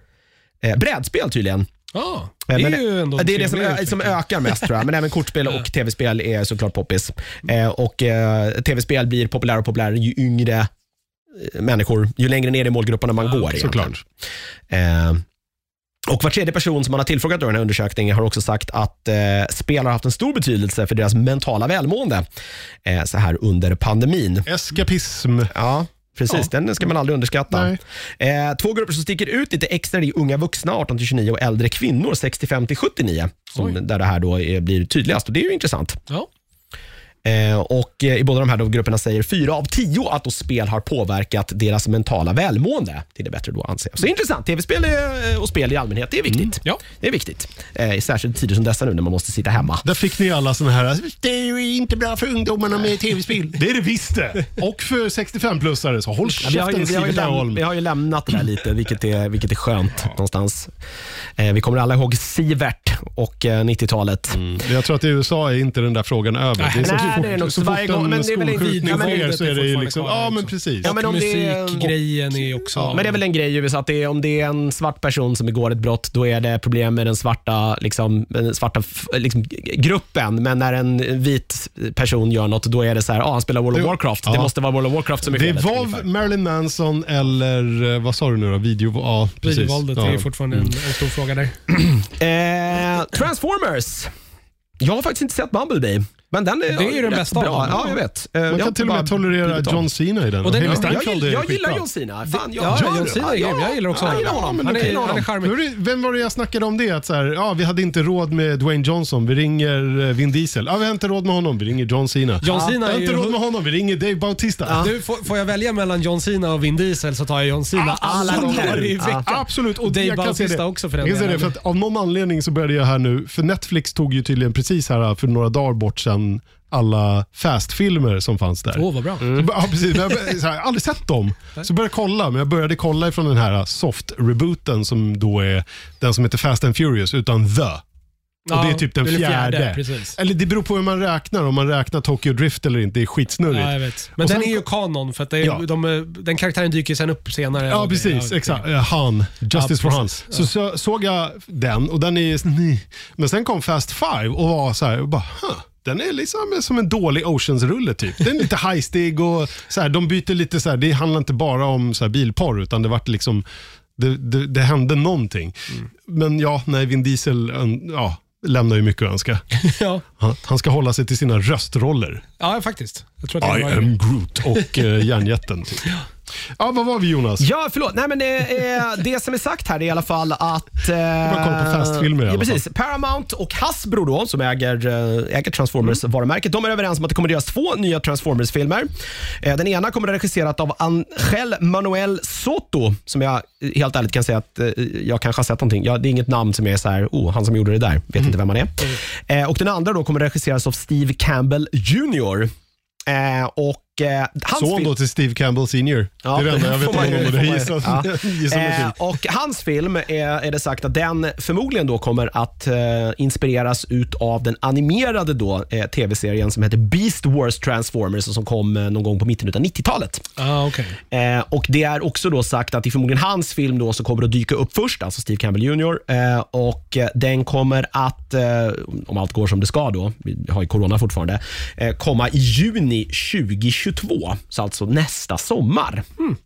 Speaker 1: eh, brädspel tydligen.
Speaker 2: Ja, det
Speaker 1: Eh, men
Speaker 2: är ju ändå en
Speaker 1: det är det som,
Speaker 2: trevlig
Speaker 1: ö- som
Speaker 2: utveckling.
Speaker 1: ökar mest tror jag, men även kortspel och tv-spel är såklart poppis. Eh, och eh, tv-spel blir populärare och populärare ju yngre eh, människor, ju längre ner i målgrupperna man går. egentligen.
Speaker 3: Såklart.
Speaker 1: Eh, Och var tredje person som man har tillfrågat i den här undersökningen har också sagt att eh, spel har haft en stor betydelse för deras mentala välmående eh, så här under pandemin.
Speaker 3: Eskapism.
Speaker 1: Ja, precis. Den ska man aldrig underskatta.
Speaker 3: Nej.
Speaker 1: Eh, två grupper som sticker ut lite extra det är unga vuxna 18-29 och äldre kvinnor 65-79,
Speaker 2: Oj.
Speaker 1: som- där det här då är, blir tydligast. Och Det är ju intressant.
Speaker 2: Ja.
Speaker 1: Eh, och eh, I båda de här då grupperna säger fyra av tio att då spel har påverkat deras mentala välmående till det bättre. då anser jag. Så intressant. Tv-spel är, eh, och spel i allmänhet, det är viktigt.
Speaker 2: Mm. ja.
Speaker 1: Det är viktigt. Eh, I särskilt tider som dessa nu när man måste sitta hemma.
Speaker 3: Där fick ni alla såna här, det är ju inte bra för ungdomarna med tv-spel. Det är det visst det. Och för 65-plussare, så håll
Speaker 1: Ja, vi, har ju,
Speaker 3: käften
Speaker 1: vi, har ju
Speaker 3: Siewert
Speaker 1: läm-
Speaker 3: Öholm.
Speaker 1: vi har ju lämnat det där lite, vilket är, vilket är skönt någonstans. Eh, vi kommer alla ihåg Sivert och eh, 90-talet.
Speaker 3: Mm. Jag tror att i USA är inte den där frågan över.
Speaker 2: Nej,
Speaker 3: det är så,
Speaker 1: nej,
Speaker 3: fort-
Speaker 1: det är nog-
Speaker 3: så
Speaker 1: varje
Speaker 3: fort
Speaker 1: gång- men
Speaker 3: en
Speaker 1: det är väl en
Speaker 3: skolskjutning
Speaker 1: vid- ja, men
Speaker 3: sker
Speaker 2: det-
Speaker 3: så
Speaker 2: det
Speaker 3: är
Speaker 2: är
Speaker 3: det
Speaker 2: fortfarande
Speaker 3: ju liksom,
Speaker 2: kvar
Speaker 3: ja
Speaker 2: liksom.
Speaker 3: men precis.
Speaker 1: Ja, men om det är-
Speaker 2: Musikgrejen är också...
Speaker 1: Men det är väl en grej i USA, att det är, om det är en svart person som begår ett brott, då är det problem med den svarta, liksom, den svarta f- liksom, g- gruppen. Men när en vit person gör något, då är det så här, ah, han spelar World of
Speaker 3: Jo.
Speaker 1: Warcraft. Det
Speaker 3: Ja.
Speaker 1: måste vara World of Warcraft som är
Speaker 3: Det
Speaker 1: felet,
Speaker 3: var
Speaker 1: ungefär.
Speaker 3: Marilyn Manson eller eh, vad sa du nu då? Video, ja, precis.
Speaker 2: Videovåldet
Speaker 3: ja.
Speaker 2: är ju fortfarande en, en stor fråga där.
Speaker 1: Eh, Transformers. Jag har faktiskt inte sett Bumblebee. Men den är,
Speaker 2: Det är ju den
Speaker 1: rätt
Speaker 2: bästa av
Speaker 1: Bra.
Speaker 2: dem.
Speaker 1: Ja, jag vet. Eh,
Speaker 3: Man
Speaker 1: jag
Speaker 3: kan till och med
Speaker 1: bara
Speaker 3: tolerera
Speaker 1: blivit av.
Speaker 3: John Cena i den.
Speaker 2: Och den-
Speaker 3: Haley
Speaker 2: ja,
Speaker 1: Jag,
Speaker 3: Steinfeld
Speaker 1: gillar-
Speaker 3: är
Speaker 1: jag gillar
Speaker 3: skitbra.
Speaker 1: John Cena. Fan, jag,
Speaker 2: Ja,
Speaker 1: gör
Speaker 2: John
Speaker 1: det.
Speaker 2: Cena är grym. Jag gillar också
Speaker 1: jag
Speaker 2: honom.
Speaker 1: gillar honom.
Speaker 2: Han är-
Speaker 1: Jag gillar
Speaker 2: han är
Speaker 1: honom.
Speaker 2: charmig.
Speaker 3: Nu är det- Vem var det jag snackade om det? Att så här, ja, vi hade inte råd med Dwayne Johnson, vi ringer eh, Vin Diesel. Ja, vi har inte råd med honom, vi ringer John Cena.
Speaker 2: John Cena
Speaker 3: vi har
Speaker 2: är
Speaker 3: inte
Speaker 2: ju-
Speaker 3: råd med honom, vi ringer Dave Bautista.
Speaker 2: Du, får, får jag välja mellan John Cena och Vin Diesel så tar jag John Cena alla
Speaker 1: Absolut.
Speaker 2: dagar i veckan.
Speaker 3: Absolut. Och
Speaker 2: Dave
Speaker 3: jag kan se
Speaker 2: Bautista
Speaker 3: det.
Speaker 2: också för den
Speaker 3: jag kan se det,
Speaker 2: delen.
Speaker 3: för att Av någon anledning så började jag här nu, för Netflix tog ju tydligen precis här för några dagar bort sedan alla fast-filmer som fanns där.
Speaker 2: Åh, vad bra.
Speaker 3: Så bara- Ja, precis. Men Jag bör- så här, jag har aldrig sett dem. Så började jag kolla, men jag började kolla ifrån den här soft-rebooten som då är den som heter Fast and Furious, utan The. Och det är typ den
Speaker 2: eller
Speaker 3: fjärde.
Speaker 2: precis.
Speaker 3: Eller det beror på hur man räknar, om man räknar Tokyo Drift eller inte. Det är skitsnurrigt.
Speaker 2: Ja, jag vet. Men
Speaker 3: Och
Speaker 2: den
Speaker 3: sen-
Speaker 2: är ju kanon för att det är,
Speaker 3: Ja.
Speaker 2: de, är- den karaktären dyker ju sen upp senare.
Speaker 3: Ja,
Speaker 2: Och det-
Speaker 3: precis.
Speaker 2: det-
Speaker 3: exakt. Eh, Han. Justice
Speaker 2: Ja,
Speaker 3: for Han.
Speaker 2: precis.
Speaker 3: Så, så såg jag den och den är ju... sn- Men sen kom Fast Five och var så här, och bara, huh. Den är liksom som en dålig Oceans-rulle typ. Den är lite hajstig och så här, de byter lite så här, det handlar inte bara om så här bilporr utan det vart liksom, det, det, det hände någonting.
Speaker 2: Mm.
Speaker 3: Men ja, nej, Vin Diesel en- ja, lämnar ju mycket att önska.
Speaker 2: ja.
Speaker 3: Han, han ska hålla sig till sina röstroller.
Speaker 2: ja, faktiskt. Jag tror att
Speaker 3: I
Speaker 2: det var
Speaker 3: am Groot och eh, Järnjätten. Typ. Ja, vad var vi Jonas?
Speaker 1: Ja, förlåt. Nej, men, eh, eh, det som är sagt här är i alla fall att... Eh,
Speaker 3: bara kolla på fastfilmer i
Speaker 1: ja,
Speaker 3: alla
Speaker 1: precis. Paramount och Hasbro då, som äger, eh, äger
Speaker 3: Mm.
Speaker 1: Transformers-varumärket, de är överens om att det kommer att göras två nya Transformers-filmer. Eh, den ena kommer att regisserat av Angel Manuel Soto, som jag eh, helt ärligt kan säga att eh, jag kanske har sett någonting. Ja, det är inget namn som jag är så här, oh, han som gjorde det där, vet
Speaker 3: Mm.
Speaker 1: inte vem han är. Eh, och Den andra då kommer att regisseras av Steve Campbell Jr. Eh, och, eh, hans
Speaker 3: Son
Speaker 1: film-
Speaker 3: då till Steve Campbell senior.
Speaker 1: Ja,
Speaker 3: det är det enda jag vet
Speaker 1: får
Speaker 3: om
Speaker 1: man ju-
Speaker 3: honom och
Speaker 1: får
Speaker 3: det
Speaker 1: man ju.
Speaker 3: gissar
Speaker 1: Ja.
Speaker 3: gissar mig
Speaker 1: Eh,
Speaker 3: till.
Speaker 1: och hans film är, är det sagt att den förmodligen då kommer att eh, inspireras ut av den animerade då, eh, tv-serien som heter Beast Wars Transformers och som kom eh, någon gång på mitten av 90-talet.
Speaker 2: ah, okej.
Speaker 1: Eh, och Det är också då sagt att det är förmodligen hans film då som kommer att dyka upp först, alltså Steve Campbell Jr. Eh, och eh, Den kommer att, eh, om allt går som det ska då, vi har ju corona fortfarande, eh, komma i juni 2022. Så alltså nästa sommar.
Speaker 2: Hmm.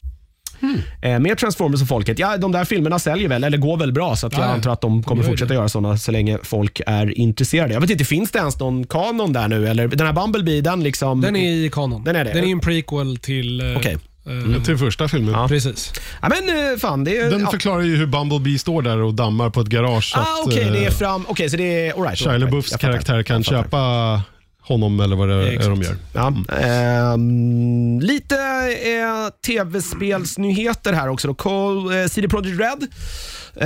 Speaker 1: Eh, Mer Transformers och folket. Ja, de där filmerna säljer väl, eller går väl bra, så att jag
Speaker 2: Ja, ja.
Speaker 1: antar att de kommer
Speaker 2: gör ju
Speaker 1: fortsätta göra sådana så länge folk är intresserade. Jag vet inte, finns det ens någon kanon där nu? Eller den här Bumblebee, den liksom...
Speaker 2: Den är i kanon.
Speaker 1: Den är det.
Speaker 2: Den är ju en prequel till... eh,
Speaker 1: Okej.
Speaker 2: eh,
Speaker 3: Mm. Till första filmen.
Speaker 2: Precis.
Speaker 1: mm. Ja, men eh, fan, det är...
Speaker 3: Den
Speaker 1: ja.
Speaker 3: förklarar ju hur Bumblebee står där och dammar på ett garage. så
Speaker 1: Ah,
Speaker 3: att,
Speaker 1: okej, det är
Speaker 3: eh,
Speaker 1: fram... Okej, så det är... All right,
Speaker 3: Shia
Speaker 1: all right,
Speaker 3: LaBeoufs
Speaker 1: jag fattar.
Speaker 3: karaktär kan
Speaker 1: Jag fattar.
Speaker 3: köpa Mm. honom eller vad det är de
Speaker 2: Exakt.
Speaker 3: gör.
Speaker 1: Ja, ehm, lite eh, tv-spelsnyheter här också. Då. Cole, eh, CD Projekt Red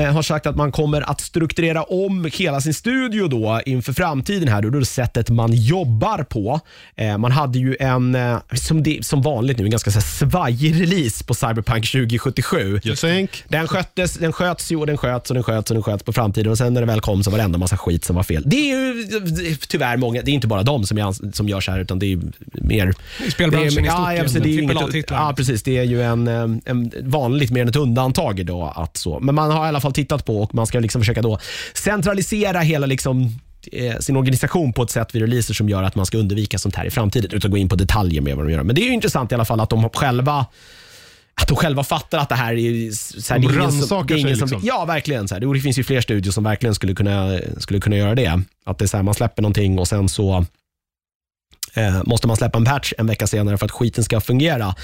Speaker 1: eh, har sagt att man kommer att strukturera om hela sin studio då inför framtiden här. Då, då är det sättet man jobbar på. Eh, man hade ju en, eh, som, det, som vanligt nu, en ganska så här, svajig release på Cyberpunk 2077.
Speaker 3: You think?
Speaker 1: Den, sköttes, den sköts ju och den sköts och den sköts och den sköts på framtiden och sen när det väl kom så var det ändå massa skit som var fel. Det är ju det är tyvärr många, det är inte bara de som, är ans- som gör så här utan det är ju mer...
Speaker 2: I spelbranschen
Speaker 1: det är,
Speaker 2: i stort
Speaker 1: ja, ja,
Speaker 2: igen.
Speaker 1: precis, det är ju inget,
Speaker 2: AAA-titlar.
Speaker 1: ja, precis. Det är ju en, eh, en vanligt mer än ett undantag då att så. Men man har i alla fall tittat på och man ska liksom försöka då centralisera hela liksom eh, sin organisation på ett sätt vid releaser som gör att man ska undvika sånt här i framtiden utan att gå in på detaljer med vad de gör. Men det är ju intressant i alla fall att de själva att de själva fattar att det här är... Så här,
Speaker 3: De
Speaker 1: det är ingen som, det
Speaker 3: rannsakar
Speaker 1: är ingen
Speaker 3: sig,
Speaker 1: som,
Speaker 3: liksom.
Speaker 1: Ja, verkligen. Så här. Och det finns ju fler studier som verkligen skulle kunna, skulle kunna göra det. Att det är så här, man släpper någonting och sen så eh, måste man släppa en patch en vecka senare för att skiten ska fungera.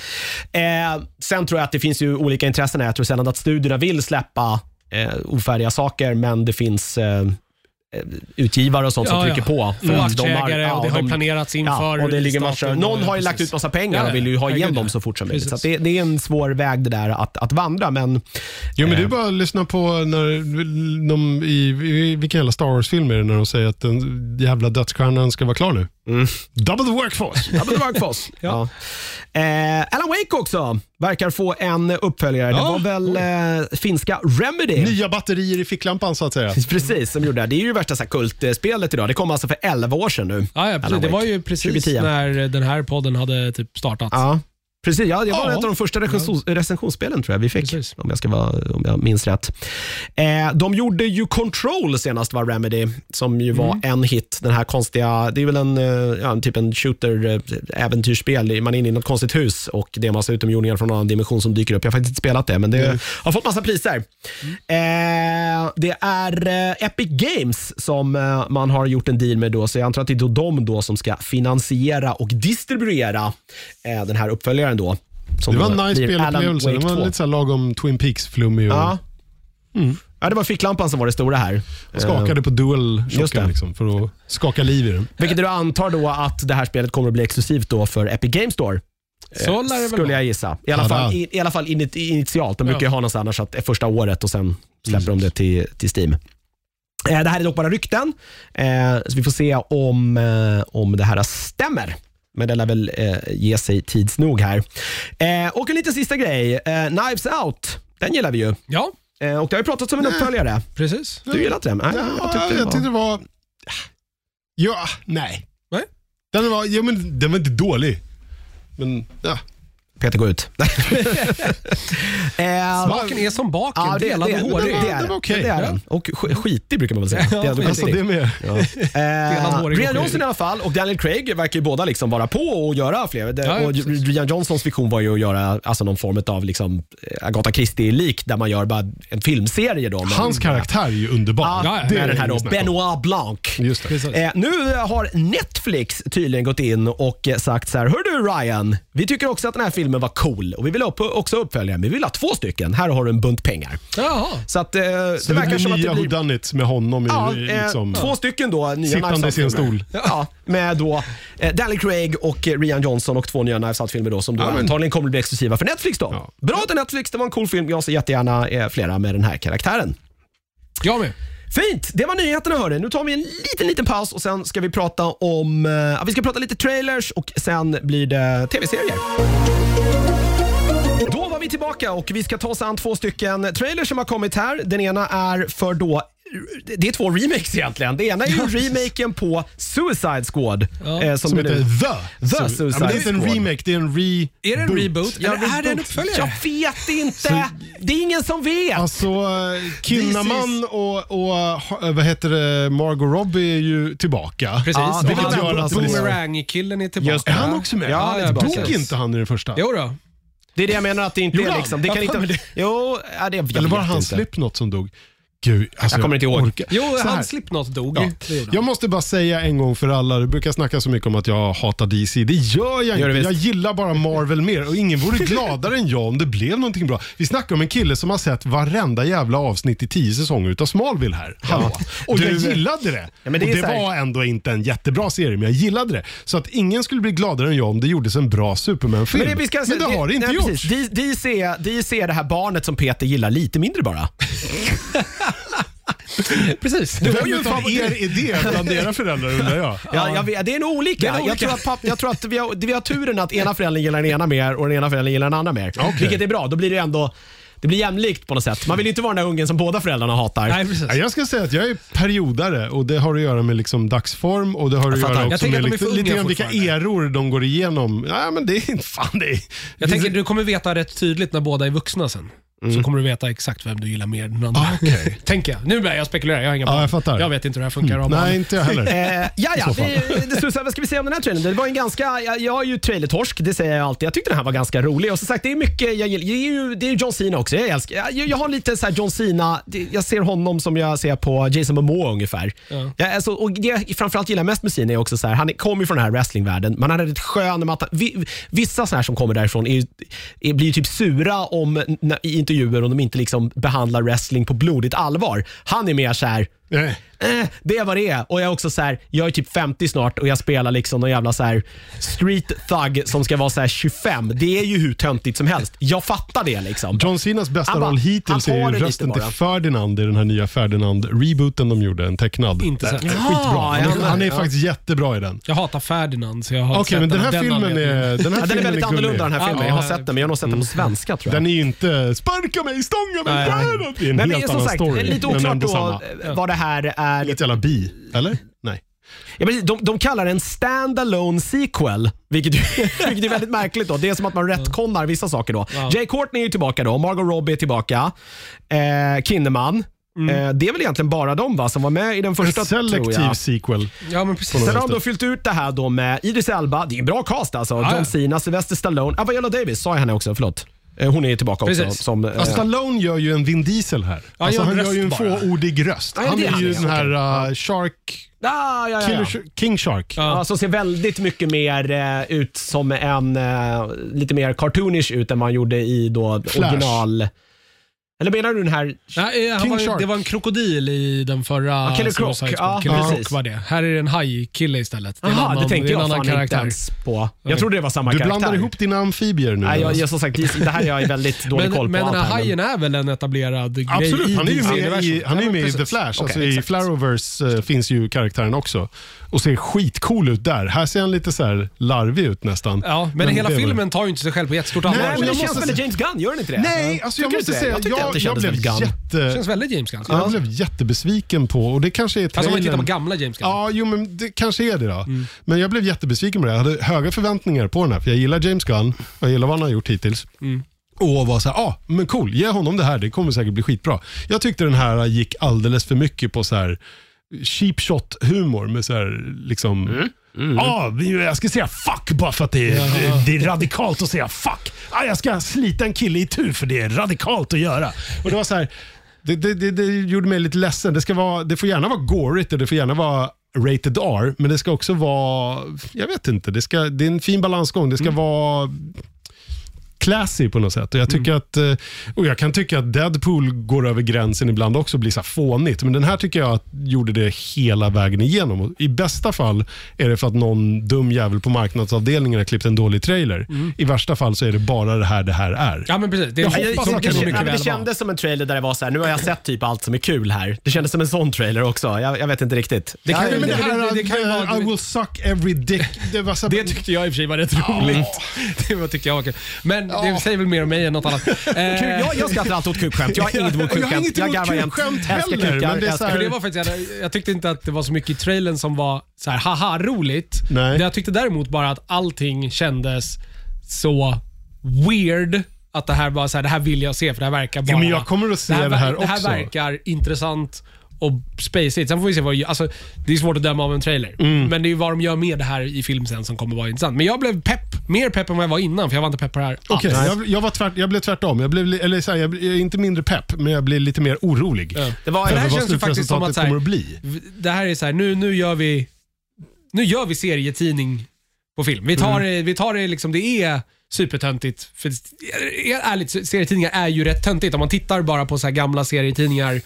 Speaker 1: Eh, sen tror jag att det finns ju olika intressen här. Jag tror sällan att studierna vill släppa eh, ofärdiga saker, men det finns eh, eh, utgivare och sånt som
Speaker 2: Ja, ja.
Speaker 1: trycker på. För
Speaker 2: Och
Speaker 1: att Mm. de har-
Speaker 2: aktieägare
Speaker 1: ja,
Speaker 2: och det har ju
Speaker 1: de-
Speaker 2: planerats inför
Speaker 1: Ja, och det ligger
Speaker 2: starten
Speaker 1: massor,
Speaker 2: och-
Speaker 1: någon har ju
Speaker 2: precis.
Speaker 1: lagt ut massa pengar
Speaker 2: Ja,
Speaker 1: och vill ju ha igen
Speaker 2: herregud,
Speaker 1: dem
Speaker 2: ja.
Speaker 1: så fort som möjligt. Så
Speaker 2: Precis.
Speaker 1: att det, det är en svår väg det där att, att vandra, men eh,
Speaker 3: Jo, men det är bara att lyssna på när de, i, i vilken jävla Star Wars-film är det när de säger att den jävla dödsstjärnan ska vara klar nu?
Speaker 1: Mm.
Speaker 3: Double the workforce.
Speaker 1: Ja, men det var en kvass. ja. eh, Alan Wake också verkar få en uppföljare. Det
Speaker 3: Ja.
Speaker 1: var väl eh, finska Remedy?
Speaker 3: Nya batterier i ficklampan så att säga.
Speaker 1: Precis, som gjorde det. här. Det är ju värsta så här, kultspelet idag. Det kom alltså för 11 år sedan nu.
Speaker 2: Ja, ja, precis.
Speaker 1: Alan
Speaker 2: Det var
Speaker 1: Wake.
Speaker 2: ju precis
Speaker 1: 2010.
Speaker 2: när den här podden hade typ startat.
Speaker 1: Ja. Precis, ja, det var
Speaker 2: Ja.
Speaker 1: ett av de första recensions- recensionsspelen tror jag vi fick,
Speaker 2: Precis.
Speaker 1: om jag, ska vara, om jag minns rätt. Eh, de gjorde ju Control senast, var Remedy, som ju var
Speaker 2: Mm.
Speaker 1: en hit. Den här konstiga, det är väl en, eh, ja, en typ en shooter-äventyrsspel. Man är inne i något konstigt hus och det är en massa utomjordingar från en annan dimension som dyker upp. Jag har faktiskt inte spelat det, men det
Speaker 2: Mm.
Speaker 1: har fått massa priser. Eh, det är eh, Epic Games som eh, man har gjort en deal med då, så jag antar att det är då de då som ska finansiera och distribuera eh, den här uppföljaren då. Som
Speaker 3: Det var
Speaker 1: då
Speaker 3: en nice
Speaker 1: blir Alan
Speaker 3: spelupplevelse.
Speaker 1: Wake
Speaker 3: Den var
Speaker 1: 2.
Speaker 3: lite så här lagom Twin Peaks-flummig och
Speaker 1: Ja. ja, det var ficklampan som var det stora här.
Speaker 3: skakade på dual
Speaker 1: Eh, just det.
Speaker 3: liksom, för att skaka liv i den.
Speaker 1: Vilket du antar då att det här spelet kommer att bli exklusivt då för Epic Games Store.
Speaker 2: Så lär det väl
Speaker 1: Skulle
Speaker 2: vara.
Speaker 1: jag gissa. I alla
Speaker 3: Ja,
Speaker 1: fall,
Speaker 3: där.
Speaker 1: i, i alla fall init- initialt. De brukar ju
Speaker 2: Ja.
Speaker 1: ha något annars att det är första året och sen släpper de det till, till Steam. Eh, Det här är dock bara rykten, eh, så vi får se om, eh, om det här stämmer. Men det lär väl eh, ge sig tids nog här. Eh, Och en liten sista grej. Eh, Knives Out, den gillar vi ju.
Speaker 2: Ja,
Speaker 1: Eh, Och det har ju pratats om en uppföljare.
Speaker 2: precis.
Speaker 1: Du gillar inte den? Nej,
Speaker 3: Ja, jag,
Speaker 1: det var-
Speaker 3: tyckte det var... Ja, nej.
Speaker 2: Nej.
Speaker 3: Den var, ja, men, den var inte dålig. Men, ja.
Speaker 1: Peter, gå ut. Eh,
Speaker 2: Baken är som baken,
Speaker 1: Ja, det, det,
Speaker 2: delad
Speaker 1: det,
Speaker 2: och hårig.
Speaker 1: det,
Speaker 3: Den
Speaker 1: är
Speaker 3: var okej.
Speaker 1: det. är den. Och sk- skitig brukar man väl säga.
Speaker 2: Ja,
Speaker 1: Delad och
Speaker 2: precis.
Speaker 3: Alltså,
Speaker 1: skitig.
Speaker 3: det med.
Speaker 1: Eh,
Speaker 2: Delad hårig och
Speaker 1: Rian
Speaker 2: sjuk.
Speaker 1: Johnson i alla fall och Daniel Craig verkar ju båda liksom vara på och göra fler. Det-
Speaker 2: Ja, ja,
Speaker 1: och
Speaker 2: precis.
Speaker 1: Rian Johnsons vision var ju att göra alltså, någon form av liksom, eh, Agatha Christie-lik där man gör bara en filmserie. Då, men-
Speaker 3: Hans karaktär är ju underbar.
Speaker 1: Ja,
Speaker 2: Ja, ja.
Speaker 1: det
Speaker 2: Det
Speaker 1: är
Speaker 2: är
Speaker 1: den här då,
Speaker 3: ingen snack om.
Speaker 1: Benoit Blanc.
Speaker 3: Just det.
Speaker 2: Precis.
Speaker 1: Eh, nu har Netflix tydligen gått in och eh, sagt så här, Hör du Ryan, vi tycker också att den här filmen var cool och vi vill upp, också uppfölja, men vi vill ha två stycken. Här har du en bunt pengar.
Speaker 2: Jaha.
Speaker 1: Så att eh,
Speaker 3: Så
Speaker 1: det
Speaker 3: det
Speaker 1: verkar
Speaker 3: blir
Speaker 1: som att
Speaker 3: nya
Speaker 1: det blir
Speaker 3: whodunits med honom i,
Speaker 1: Ja,
Speaker 3: i,
Speaker 1: eh,
Speaker 3: liksom,
Speaker 1: två stycken då. Nya
Speaker 3: Sittande
Speaker 1: Knives
Speaker 3: i sin
Speaker 1: Out-filmer.
Speaker 3: stol.
Speaker 1: Ja, med då eh, Daniel Craig och eh, Rian Johnson och två nya Knives Out-filmer då som då
Speaker 3: Ja, men-
Speaker 1: antagligen kommer bli exklusiva för Netflix då.
Speaker 3: Ja.
Speaker 1: Bra till Netflix, det var en cool film. Jag ser jättegärna eh, flera med den här karaktären.
Speaker 2: Jag med.
Speaker 1: Fint! Det var nyheterna hörni. Nu tar vi en liten, liten paus och sen ska vi prata om, eh, ja, vi ska prata lite trailers och sen blir det tv-serier. Då var vi tillbaka och vi ska ta oss an två stycken trailers som har kommit här. Den ena är för då det är två remakes egentligen. Det ena är ju remaken på Suicide Squad.
Speaker 2: Ja.
Speaker 1: eh, som
Speaker 3: som
Speaker 1: det
Speaker 3: heter
Speaker 1: nu-
Speaker 3: The.
Speaker 1: The
Speaker 3: Su-
Speaker 1: Suicide
Speaker 3: ja, men det är inte en
Speaker 1: Squad.
Speaker 3: remake, det är en re
Speaker 2: Är det en reboot?
Speaker 1: Ja,
Speaker 2: Eller är det en
Speaker 1: reboot.
Speaker 2: uppföljare?
Speaker 1: Jag vet inte. Det är ingen som vet.
Speaker 3: Alltså, eh, Kinnaman och, och ha- vad heter det, Margot Robbie är ju tillbaka.
Speaker 2: Precis.
Speaker 1: Ja,
Speaker 2: det
Speaker 1: vilket
Speaker 2: är
Speaker 3: gör
Speaker 2: väl
Speaker 3: att
Speaker 2: den
Speaker 3: det är så.
Speaker 2: Boomerang-killen är tillbaka.
Speaker 1: Just
Speaker 3: Är han också med?
Speaker 2: Ja,
Speaker 1: han är
Speaker 2: ja,
Speaker 1: tillbaka.
Speaker 3: Dog
Speaker 2: precis.
Speaker 3: inte han i den första?
Speaker 2: Jo då.
Speaker 1: Det är det jag menar att det inte
Speaker 3: Gjorde
Speaker 1: är
Speaker 3: han?
Speaker 1: liksom. Det kan
Speaker 2: Jag
Speaker 1: inte...
Speaker 2: har för mig
Speaker 1: Jo, ja, det, jag
Speaker 3: Eller var det
Speaker 1: vet
Speaker 3: hans
Speaker 1: inte.
Speaker 3: slip något som dog? Gud, alltså,
Speaker 1: Jag kommer inte ihåg.
Speaker 3: orkar-
Speaker 2: Jo,
Speaker 3: Så här.
Speaker 2: han Slipknot dog.
Speaker 3: Ja.
Speaker 2: Det gjorde han.
Speaker 3: Jag måste bara säga en gång för alla, du brukar snacka så mycket om att jag hatar DC. Det gör jag
Speaker 1: Gör det
Speaker 3: inte.
Speaker 1: visst.
Speaker 3: jag gillar bara Marvel mer och ingen vore gladare än jag om det blev någonting bra. Vi snackar om en kille som har sett varenda jävla avsnitt i tio säsonger utav Smallville här. Hallå. Och jag
Speaker 1: Du-
Speaker 3: gillade det.
Speaker 1: Ja, men det är
Speaker 3: och det
Speaker 1: så här-
Speaker 3: var ändå inte en jättebra serie, men jag gillade det. Så att ingen skulle bli gladare än jag om det gjordes en bra Superman-film.
Speaker 1: Men det,
Speaker 3: Men
Speaker 1: vi ska,
Speaker 3: det, har det inte
Speaker 1: nej,
Speaker 3: gjorts.
Speaker 1: precis. De- DC, är- DC är det här barnet som Peter gillar lite mindre bara.
Speaker 2: Precis.
Speaker 3: Det
Speaker 2: Det
Speaker 3: Vem utav er är det bland era föräldrar undrar jag?
Speaker 1: Ja, jag vet, det är nog olika.
Speaker 2: Det är nog
Speaker 1: Jag
Speaker 2: olika.
Speaker 1: tror att, papp, jag tror att vi, har, vi har turen att ena föräldern gillar den ena mer och den ena föräldern gillar den andra mer. Vilket är bra. Då blir det ändå det blir jämlikt på något sätt. Man vill ju inte vara den där ungen som båda föräldrarna hatar.
Speaker 2: Nej, precis.
Speaker 3: Ja, jag ska säga att jag är periodare och det har att göra med liksom dagsform och det har
Speaker 1: Jag
Speaker 3: att göra
Speaker 1: fattar.
Speaker 2: Jag
Speaker 3: också
Speaker 2: tänker
Speaker 3: med
Speaker 2: att de är för
Speaker 3: lite,
Speaker 2: unga
Speaker 3: lite grann vilka
Speaker 2: fortfarande.
Speaker 3: eror de går igenom. Nej, men det är inte fan det. Är,
Speaker 2: Jag
Speaker 3: det
Speaker 2: tänker du kommer veta rätt tydligt när båda är vuxna sen. så kommer du veta exakt vem du gillar mer än den andra.
Speaker 3: Mm. Ah, okej.
Speaker 2: Tänker jag. Nu börjar jag spekulera, jag har inga
Speaker 3: Ja,
Speaker 2: plan.
Speaker 3: jag fattar.
Speaker 2: Jag vet inte hur det här funkar. av
Speaker 3: Nej,
Speaker 2: banan.
Speaker 3: inte jag heller.
Speaker 1: Eh, ja, ja.
Speaker 3: så fall.
Speaker 1: Vi, det slutar, vad ska vi säga om den här trailern? Det var en ganska, jag, jag är ju trailertorsk, det säger jag alltid. Jag tyckte den här var ganska rolig. Och som sagt, det är mycket jag gillar. Det är ju, det är ju John Cena också. Jag, älskar, jag, jag har lite så här John Cena, det- jag ser honom som jag ser på Jason Momoa ungefär. Jag, alltså, och det jag framförallt gillar mest med Cena är också så här, han kommer ju från den här wrestlingvärlden, men han är rätt skön. Med att, han- vi, vissa så här som kommer därifrån är, ju- är, blir ju typ sura om, n- i intervjuer om de inte liksom behandlar wrestling på blodigt allvar. Han är mer så här,
Speaker 3: Nej.
Speaker 1: Eh, det är vad det är. Och jag är också så här, jag är typ 50 snart och jag spelar liksom någon jävla så här street thug som ska vara så här 25. Det är ju hur töntigt som helst. Jag fattar det liksom.
Speaker 3: John Cenas bästa
Speaker 1: Han bara-
Speaker 3: roll hittills
Speaker 1: han tar
Speaker 3: är
Speaker 1: det
Speaker 3: ju
Speaker 1: lite
Speaker 3: rösten till
Speaker 1: bara.
Speaker 3: Ferdinand i den här nya Ferdinand-rebooten de gjorde, en tecknad.
Speaker 2: Inte sett.
Speaker 3: Den är
Speaker 2: Ja,
Speaker 3: Skitbra. Han
Speaker 1: ja,
Speaker 3: är, han är
Speaker 1: ja.
Speaker 3: faktiskt jättebra i den.
Speaker 2: Jag hatar Ferdinand, så jag har
Speaker 3: Okej,
Speaker 2: inte sett
Speaker 3: men den
Speaker 2: av
Speaker 3: här filmen
Speaker 2: anledningen.
Speaker 3: är, den här
Speaker 1: Ja, den är väldigt
Speaker 3: filmen gullig. mm.
Speaker 1: annorlunda den här
Speaker 2: Ja,
Speaker 1: filmen. Jag har
Speaker 2: ja.
Speaker 1: sett den, men jag har nog sett den på svenska tror jag.
Speaker 3: Den är ju inte “sparka mig, stånga mig,
Speaker 2: Nej.
Speaker 3: nej, nej. Det är en
Speaker 1: men det är
Speaker 3: helt
Speaker 1: som
Speaker 3: annan
Speaker 1: sagt
Speaker 3: story.
Speaker 1: lite
Speaker 3: men
Speaker 1: oklart
Speaker 3: ändå
Speaker 1: då
Speaker 3: samma.
Speaker 1: eh, vad det här är.
Speaker 3: Inget jävla bi, eller? Nej.
Speaker 1: Ja, men de, de kallar det en stand-alone sequel, vilket, ju- vilket är väldigt märkligt. då. Det är som att man retconnar vissa saker. då.
Speaker 2: Ja.
Speaker 1: Jay Courtney är ju tillbaka, då, Margot Robbie är tillbaka, eh, Kinnaman.
Speaker 2: Mm.
Speaker 1: Eh, det är väl egentligen bara de va, som var med i den första.
Speaker 3: En
Speaker 1: tror
Speaker 3: selektiv
Speaker 1: jag. Eh.
Speaker 3: sequel.
Speaker 2: Ja, men precis.
Speaker 1: Sen har de då fyllt ut det här då med Idris Elba, det är en bra cast alltså.
Speaker 2: ja.
Speaker 1: John Cena, Sylvester Stallone, ah, Viola Davis sa jag henne också, förlåt. Eh, Hon är ju tillbaka
Speaker 2: Precis. Alltså,
Speaker 1: också. Som, eh,
Speaker 3: Ja, Alltså, Stallone gör ju en Vin Diesel här.
Speaker 2: Ja,
Speaker 3: alltså,
Speaker 2: gör en
Speaker 3: han gör
Speaker 2: röst
Speaker 3: ju en
Speaker 2: bara.
Speaker 3: fåordig röst.
Speaker 1: Ja, det
Speaker 3: han
Speaker 1: är
Speaker 3: är
Speaker 1: han,
Speaker 3: ju
Speaker 1: ja,
Speaker 3: den här uh, Shark...
Speaker 1: ah, ja, ja,
Speaker 3: Killer,
Speaker 1: ja.
Speaker 3: Sh- King Shark.
Speaker 1: Ja, som ser väldigt mycket mer eh, ut som en, eh, lite mer cartoonish ut än man gjorde i då
Speaker 3: Flash.
Speaker 1: original... Eller menar du den här...
Speaker 2: Nej, eh, han
Speaker 3: King
Speaker 2: var, ju-
Speaker 3: Shark.
Speaker 2: det var en krokodil i den förra...
Speaker 1: Ja, Ah, Killer Croc.
Speaker 2: Suicide
Speaker 1: Ja,
Speaker 2: Squad. Killer
Speaker 1: ja,
Speaker 2: Croc
Speaker 1: precis.
Speaker 2: var det. Här är det en hajkille istället. Det är en
Speaker 1: Jaha,
Speaker 2: annan-
Speaker 1: det tänkte
Speaker 2: är en
Speaker 1: jag
Speaker 2: annan
Speaker 1: fan inte ens på. Jag trodde det var samma
Speaker 3: Du
Speaker 1: karaktär.
Speaker 3: blandar ihop dina amfibier nu. alltså.
Speaker 1: Nej, jag, jag, som sagt, det här jag är väldigt dålig
Speaker 2: Men,
Speaker 1: koll på.
Speaker 2: men den
Speaker 1: allt
Speaker 2: här
Speaker 1: här,
Speaker 2: hajen är väl en etablerad grej i
Speaker 3: Absolut, han är ju med i,
Speaker 2: DC-universum?
Speaker 3: han är
Speaker 2: Ja,
Speaker 3: ju
Speaker 2: men
Speaker 3: med i
Speaker 2: precis.
Speaker 3: The Flash. alltså
Speaker 1: Okej,
Speaker 3: I
Speaker 1: exakt.
Speaker 3: Flareverse eh, finns ju karaktären också. Och ser skitcool ut där. Här ser han lite så här larvig ut nästan.
Speaker 2: Ja, men, hela
Speaker 3: det är väl-
Speaker 2: filmen tar ju inte sig själv på jättestort
Speaker 1: Nej,
Speaker 2: allvar.
Speaker 1: men det
Speaker 3: jag
Speaker 1: känns
Speaker 3: måste
Speaker 1: väldigt
Speaker 3: se-
Speaker 1: James Gunn, gör det inte det?
Speaker 3: Nej, alltså
Speaker 1: Tycker
Speaker 3: jag
Speaker 1: du inte
Speaker 3: måste
Speaker 1: det?
Speaker 3: säga,
Speaker 1: Jag tyckte
Speaker 3: jag,
Speaker 1: alltid det
Speaker 3: jag,
Speaker 1: kändes
Speaker 3: blev
Speaker 1: väldigt Gunn.
Speaker 2: Det
Speaker 3: jätte,
Speaker 2: känns väldigt James Gunn.
Speaker 3: jag blev jättebesviken på, och det kanske är
Speaker 2: Alltså om man tittar på
Speaker 3: trailern.
Speaker 2: gamla James Gunn.
Speaker 3: Ja, jo, men det kanske är det då. Men jag blev jättebesviken på det. Jag hade höga förväntningar på den här, för jag gillar James Gunn. Jag gillar vad han har gjort hittills. Och var så här, ah, men cool, ge honom det här. Det kommer säkert bli skitbra. Jag tyckte den här gick alldeles för mycket på så här cheap shot humor med så här liksom Ah, jag ska säga fuck bara för att det är, det är radikalt att säga fuck. Ah, jag ska slita en kille i tur för det är radikalt att göra. Och det var så här, det, det, det, det gjorde mig lite ledsen. Det, ska vara, det får gärna vara gorigt och det får gärna vara rated R, men det ska också vara, jag vet inte, det, ska, det är en fin balansgång. Det ska vara classy på något sätt. Och jag, tycker
Speaker 2: Mm.
Speaker 3: att, eh, och jag kan tycka att Deadpool går över gränsen ibland också och blir så här fånigt. Men den här tycker jag att gjorde det hela vägen igenom. Och I bästa fall är det för att någon dum jävel på marknadsavdelningen har klippt en dålig trailer. I värsta fall så är det bara det här det här är.
Speaker 2: Mm. Ja, men precis. Det
Speaker 3: Jag
Speaker 2: är
Speaker 1: Jag,
Speaker 3: hoppas
Speaker 2: som
Speaker 3: att
Speaker 1: det,
Speaker 2: kan
Speaker 3: det-
Speaker 2: mycket
Speaker 1: ja, men
Speaker 2: väl
Speaker 1: det
Speaker 2: vara.
Speaker 1: kändes som en trailer där det var så här, nu har jag sett typ allt som är kul här. Det kändes som en sån trailer också. Jag, jag vet inte riktigt.
Speaker 2: Det kan
Speaker 1: jag,
Speaker 2: ju-
Speaker 3: Nej, men det här
Speaker 2: det- det kan ju
Speaker 3: eh,
Speaker 2: vara-
Speaker 3: I will suck every dick. Det var så här,
Speaker 2: Det tyckte jag i och för sig var rätt roligt. Det var, tyckte jag var kul. Men det säger väl mer om mig än något annat. Eh,
Speaker 1: Kul, jag, jag skrattar alltid åt kukskämt. Jag har inget emot
Speaker 3: Jag har
Speaker 1: kukskämt.
Speaker 3: inget emot kukskämt
Speaker 1: Älskar
Speaker 3: heller,
Speaker 1: kukar.
Speaker 3: men det är så
Speaker 1: älskar-
Speaker 2: För det var faktiskt, jag, jag tyckte inte att det var så mycket i trailern som var så här haha roligt.
Speaker 3: Nej.
Speaker 2: Det jag tyckte däremot bara att allting kändes så weird. Att det här var så här, det här vill jag se för det här verkar bara...
Speaker 3: Ja, men jag kommer att se det här
Speaker 2: ver- Det här
Speaker 3: också.
Speaker 2: verkar intressant och spacigt. Sen får vi se vad... Alltså, det är svårt att döma av en trailer.
Speaker 3: Mm.
Speaker 2: Men det är ju vad de gör med det här i film sen som kommer vara intressant. Men jag blev pepp. Mer pepp än vad jag var innan för jag var inte pepp på det här
Speaker 3: Okej,
Speaker 2: alls.
Speaker 3: jag, jag, var tvärt, jag blev tvärtom. Jag blev, li- eller så här, jag, jag är inte mindre pepp, men jag blev lite mer orolig.
Speaker 2: Ja.
Speaker 1: Det var-
Speaker 2: För det
Speaker 1: Över
Speaker 2: här
Speaker 3: vad
Speaker 2: känns ju faktiskt som
Speaker 3: slutresultatet
Speaker 2: att så här,
Speaker 3: kommer att bli.
Speaker 2: v- det här är så här, nu, nu gör vi nu gör vi serietidning på film. Vi
Speaker 1: Mm.
Speaker 2: tar, det- vi tar det liksom, det är supertöntigt. För, är- ärligt, serietidningar är ju rätt töntigt. Om man tittar bara på så här gamla serietidningar,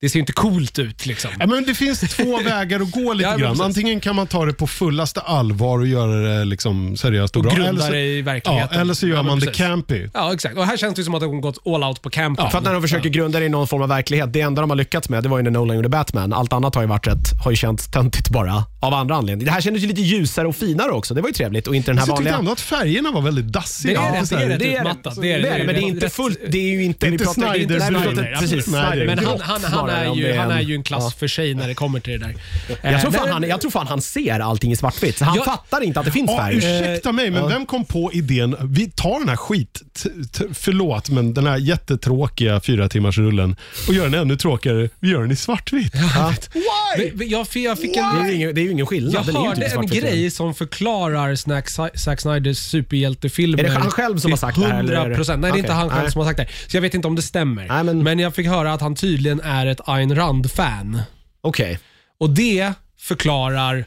Speaker 2: det ser ju inte coolt ut liksom.
Speaker 3: Ja, men det finns två vägar att gå lite
Speaker 2: Ja, men
Speaker 3: grann.
Speaker 2: precis.
Speaker 3: Antingen kan man ta det på fullaste allvar och göra det liksom seriöst och,
Speaker 2: Och
Speaker 3: bra.
Speaker 2: grunda
Speaker 3: eller så,
Speaker 2: det i
Speaker 3: ja,
Speaker 2: verkligheten.
Speaker 3: eller så gör
Speaker 2: Ja, men
Speaker 3: man det
Speaker 2: precis.
Speaker 3: campy.
Speaker 2: Ja, exakt. Och här känns det som att de har gått all out på campen.
Speaker 1: För att när de försöker grunda det i någon form av verklighet, det enda de har lyckats med det var ju när Nolan gjorde Batman. Allt annat har ju varit rätt, har ju känts töntigt bara av andra anledningar. Det här kändes ju lite ljusare och finare också. Det var ju trevligt och inte den här
Speaker 3: Så jag tyckte
Speaker 1: vanliga...
Speaker 3: ändå att färgerna var väldigt
Speaker 2: Det är
Speaker 3: dassiga.
Speaker 1: Ja,
Speaker 2: rätt-
Speaker 3: så här-
Speaker 2: det är rätt
Speaker 1: det är
Speaker 2: utmattat.
Speaker 1: det, men det är inte
Speaker 2: rätt-
Speaker 1: fullt. Det är ju inte...
Speaker 3: Det är inte
Speaker 1: vi pratar- det är inte-
Speaker 3: Snyder-
Speaker 1: nej, vi pratar-
Speaker 3: Snyder.
Speaker 1: Precis,
Speaker 3: Snyder.
Speaker 1: Snyder.
Speaker 2: Men han,
Speaker 1: Grått
Speaker 2: han, han,
Speaker 1: snarare
Speaker 2: är
Speaker 1: om det
Speaker 2: ju,
Speaker 1: är
Speaker 2: han
Speaker 1: en-
Speaker 2: är ju en klass för sig när det kommer till det där. Eh,
Speaker 1: Jag tror, fan
Speaker 2: men-
Speaker 1: han, jag tror fan han ser allting i svartvitt. Så han
Speaker 2: Jag-
Speaker 1: fattar inte att det finns
Speaker 3: Ja,
Speaker 1: färg.
Speaker 3: ursäkta mig, men vem kom på idén? Vi tar den här skit... T- t- förlåt, men den här jättetråkiga fyra timmars rullen och gör den ännu tråkigare. Vi gör den i svartvitt. Why?
Speaker 2: Men Jag, fick- jag fick en...
Speaker 1: Det är ju ingen, det är ju ingen skillnad.
Speaker 2: Jag
Speaker 1: Den är ju typ
Speaker 2: hörde
Speaker 1: inte
Speaker 2: en
Speaker 1: svartvit.
Speaker 2: grej som förklarar Snack, Zack Snyders superhjältefilmer.
Speaker 1: Är det han själv som har sagt det här, eller är det-
Speaker 2: 100 procent. Nej, det är inte
Speaker 1: Okej,
Speaker 2: han själv
Speaker 1: nej.
Speaker 2: som har sagt det. här. Så jag vet inte om det stämmer.
Speaker 1: Nej, men-
Speaker 2: jag fick höra att han tydligen är ett Ayn Rand-fan.
Speaker 1: Okej.
Speaker 2: Och det förklarar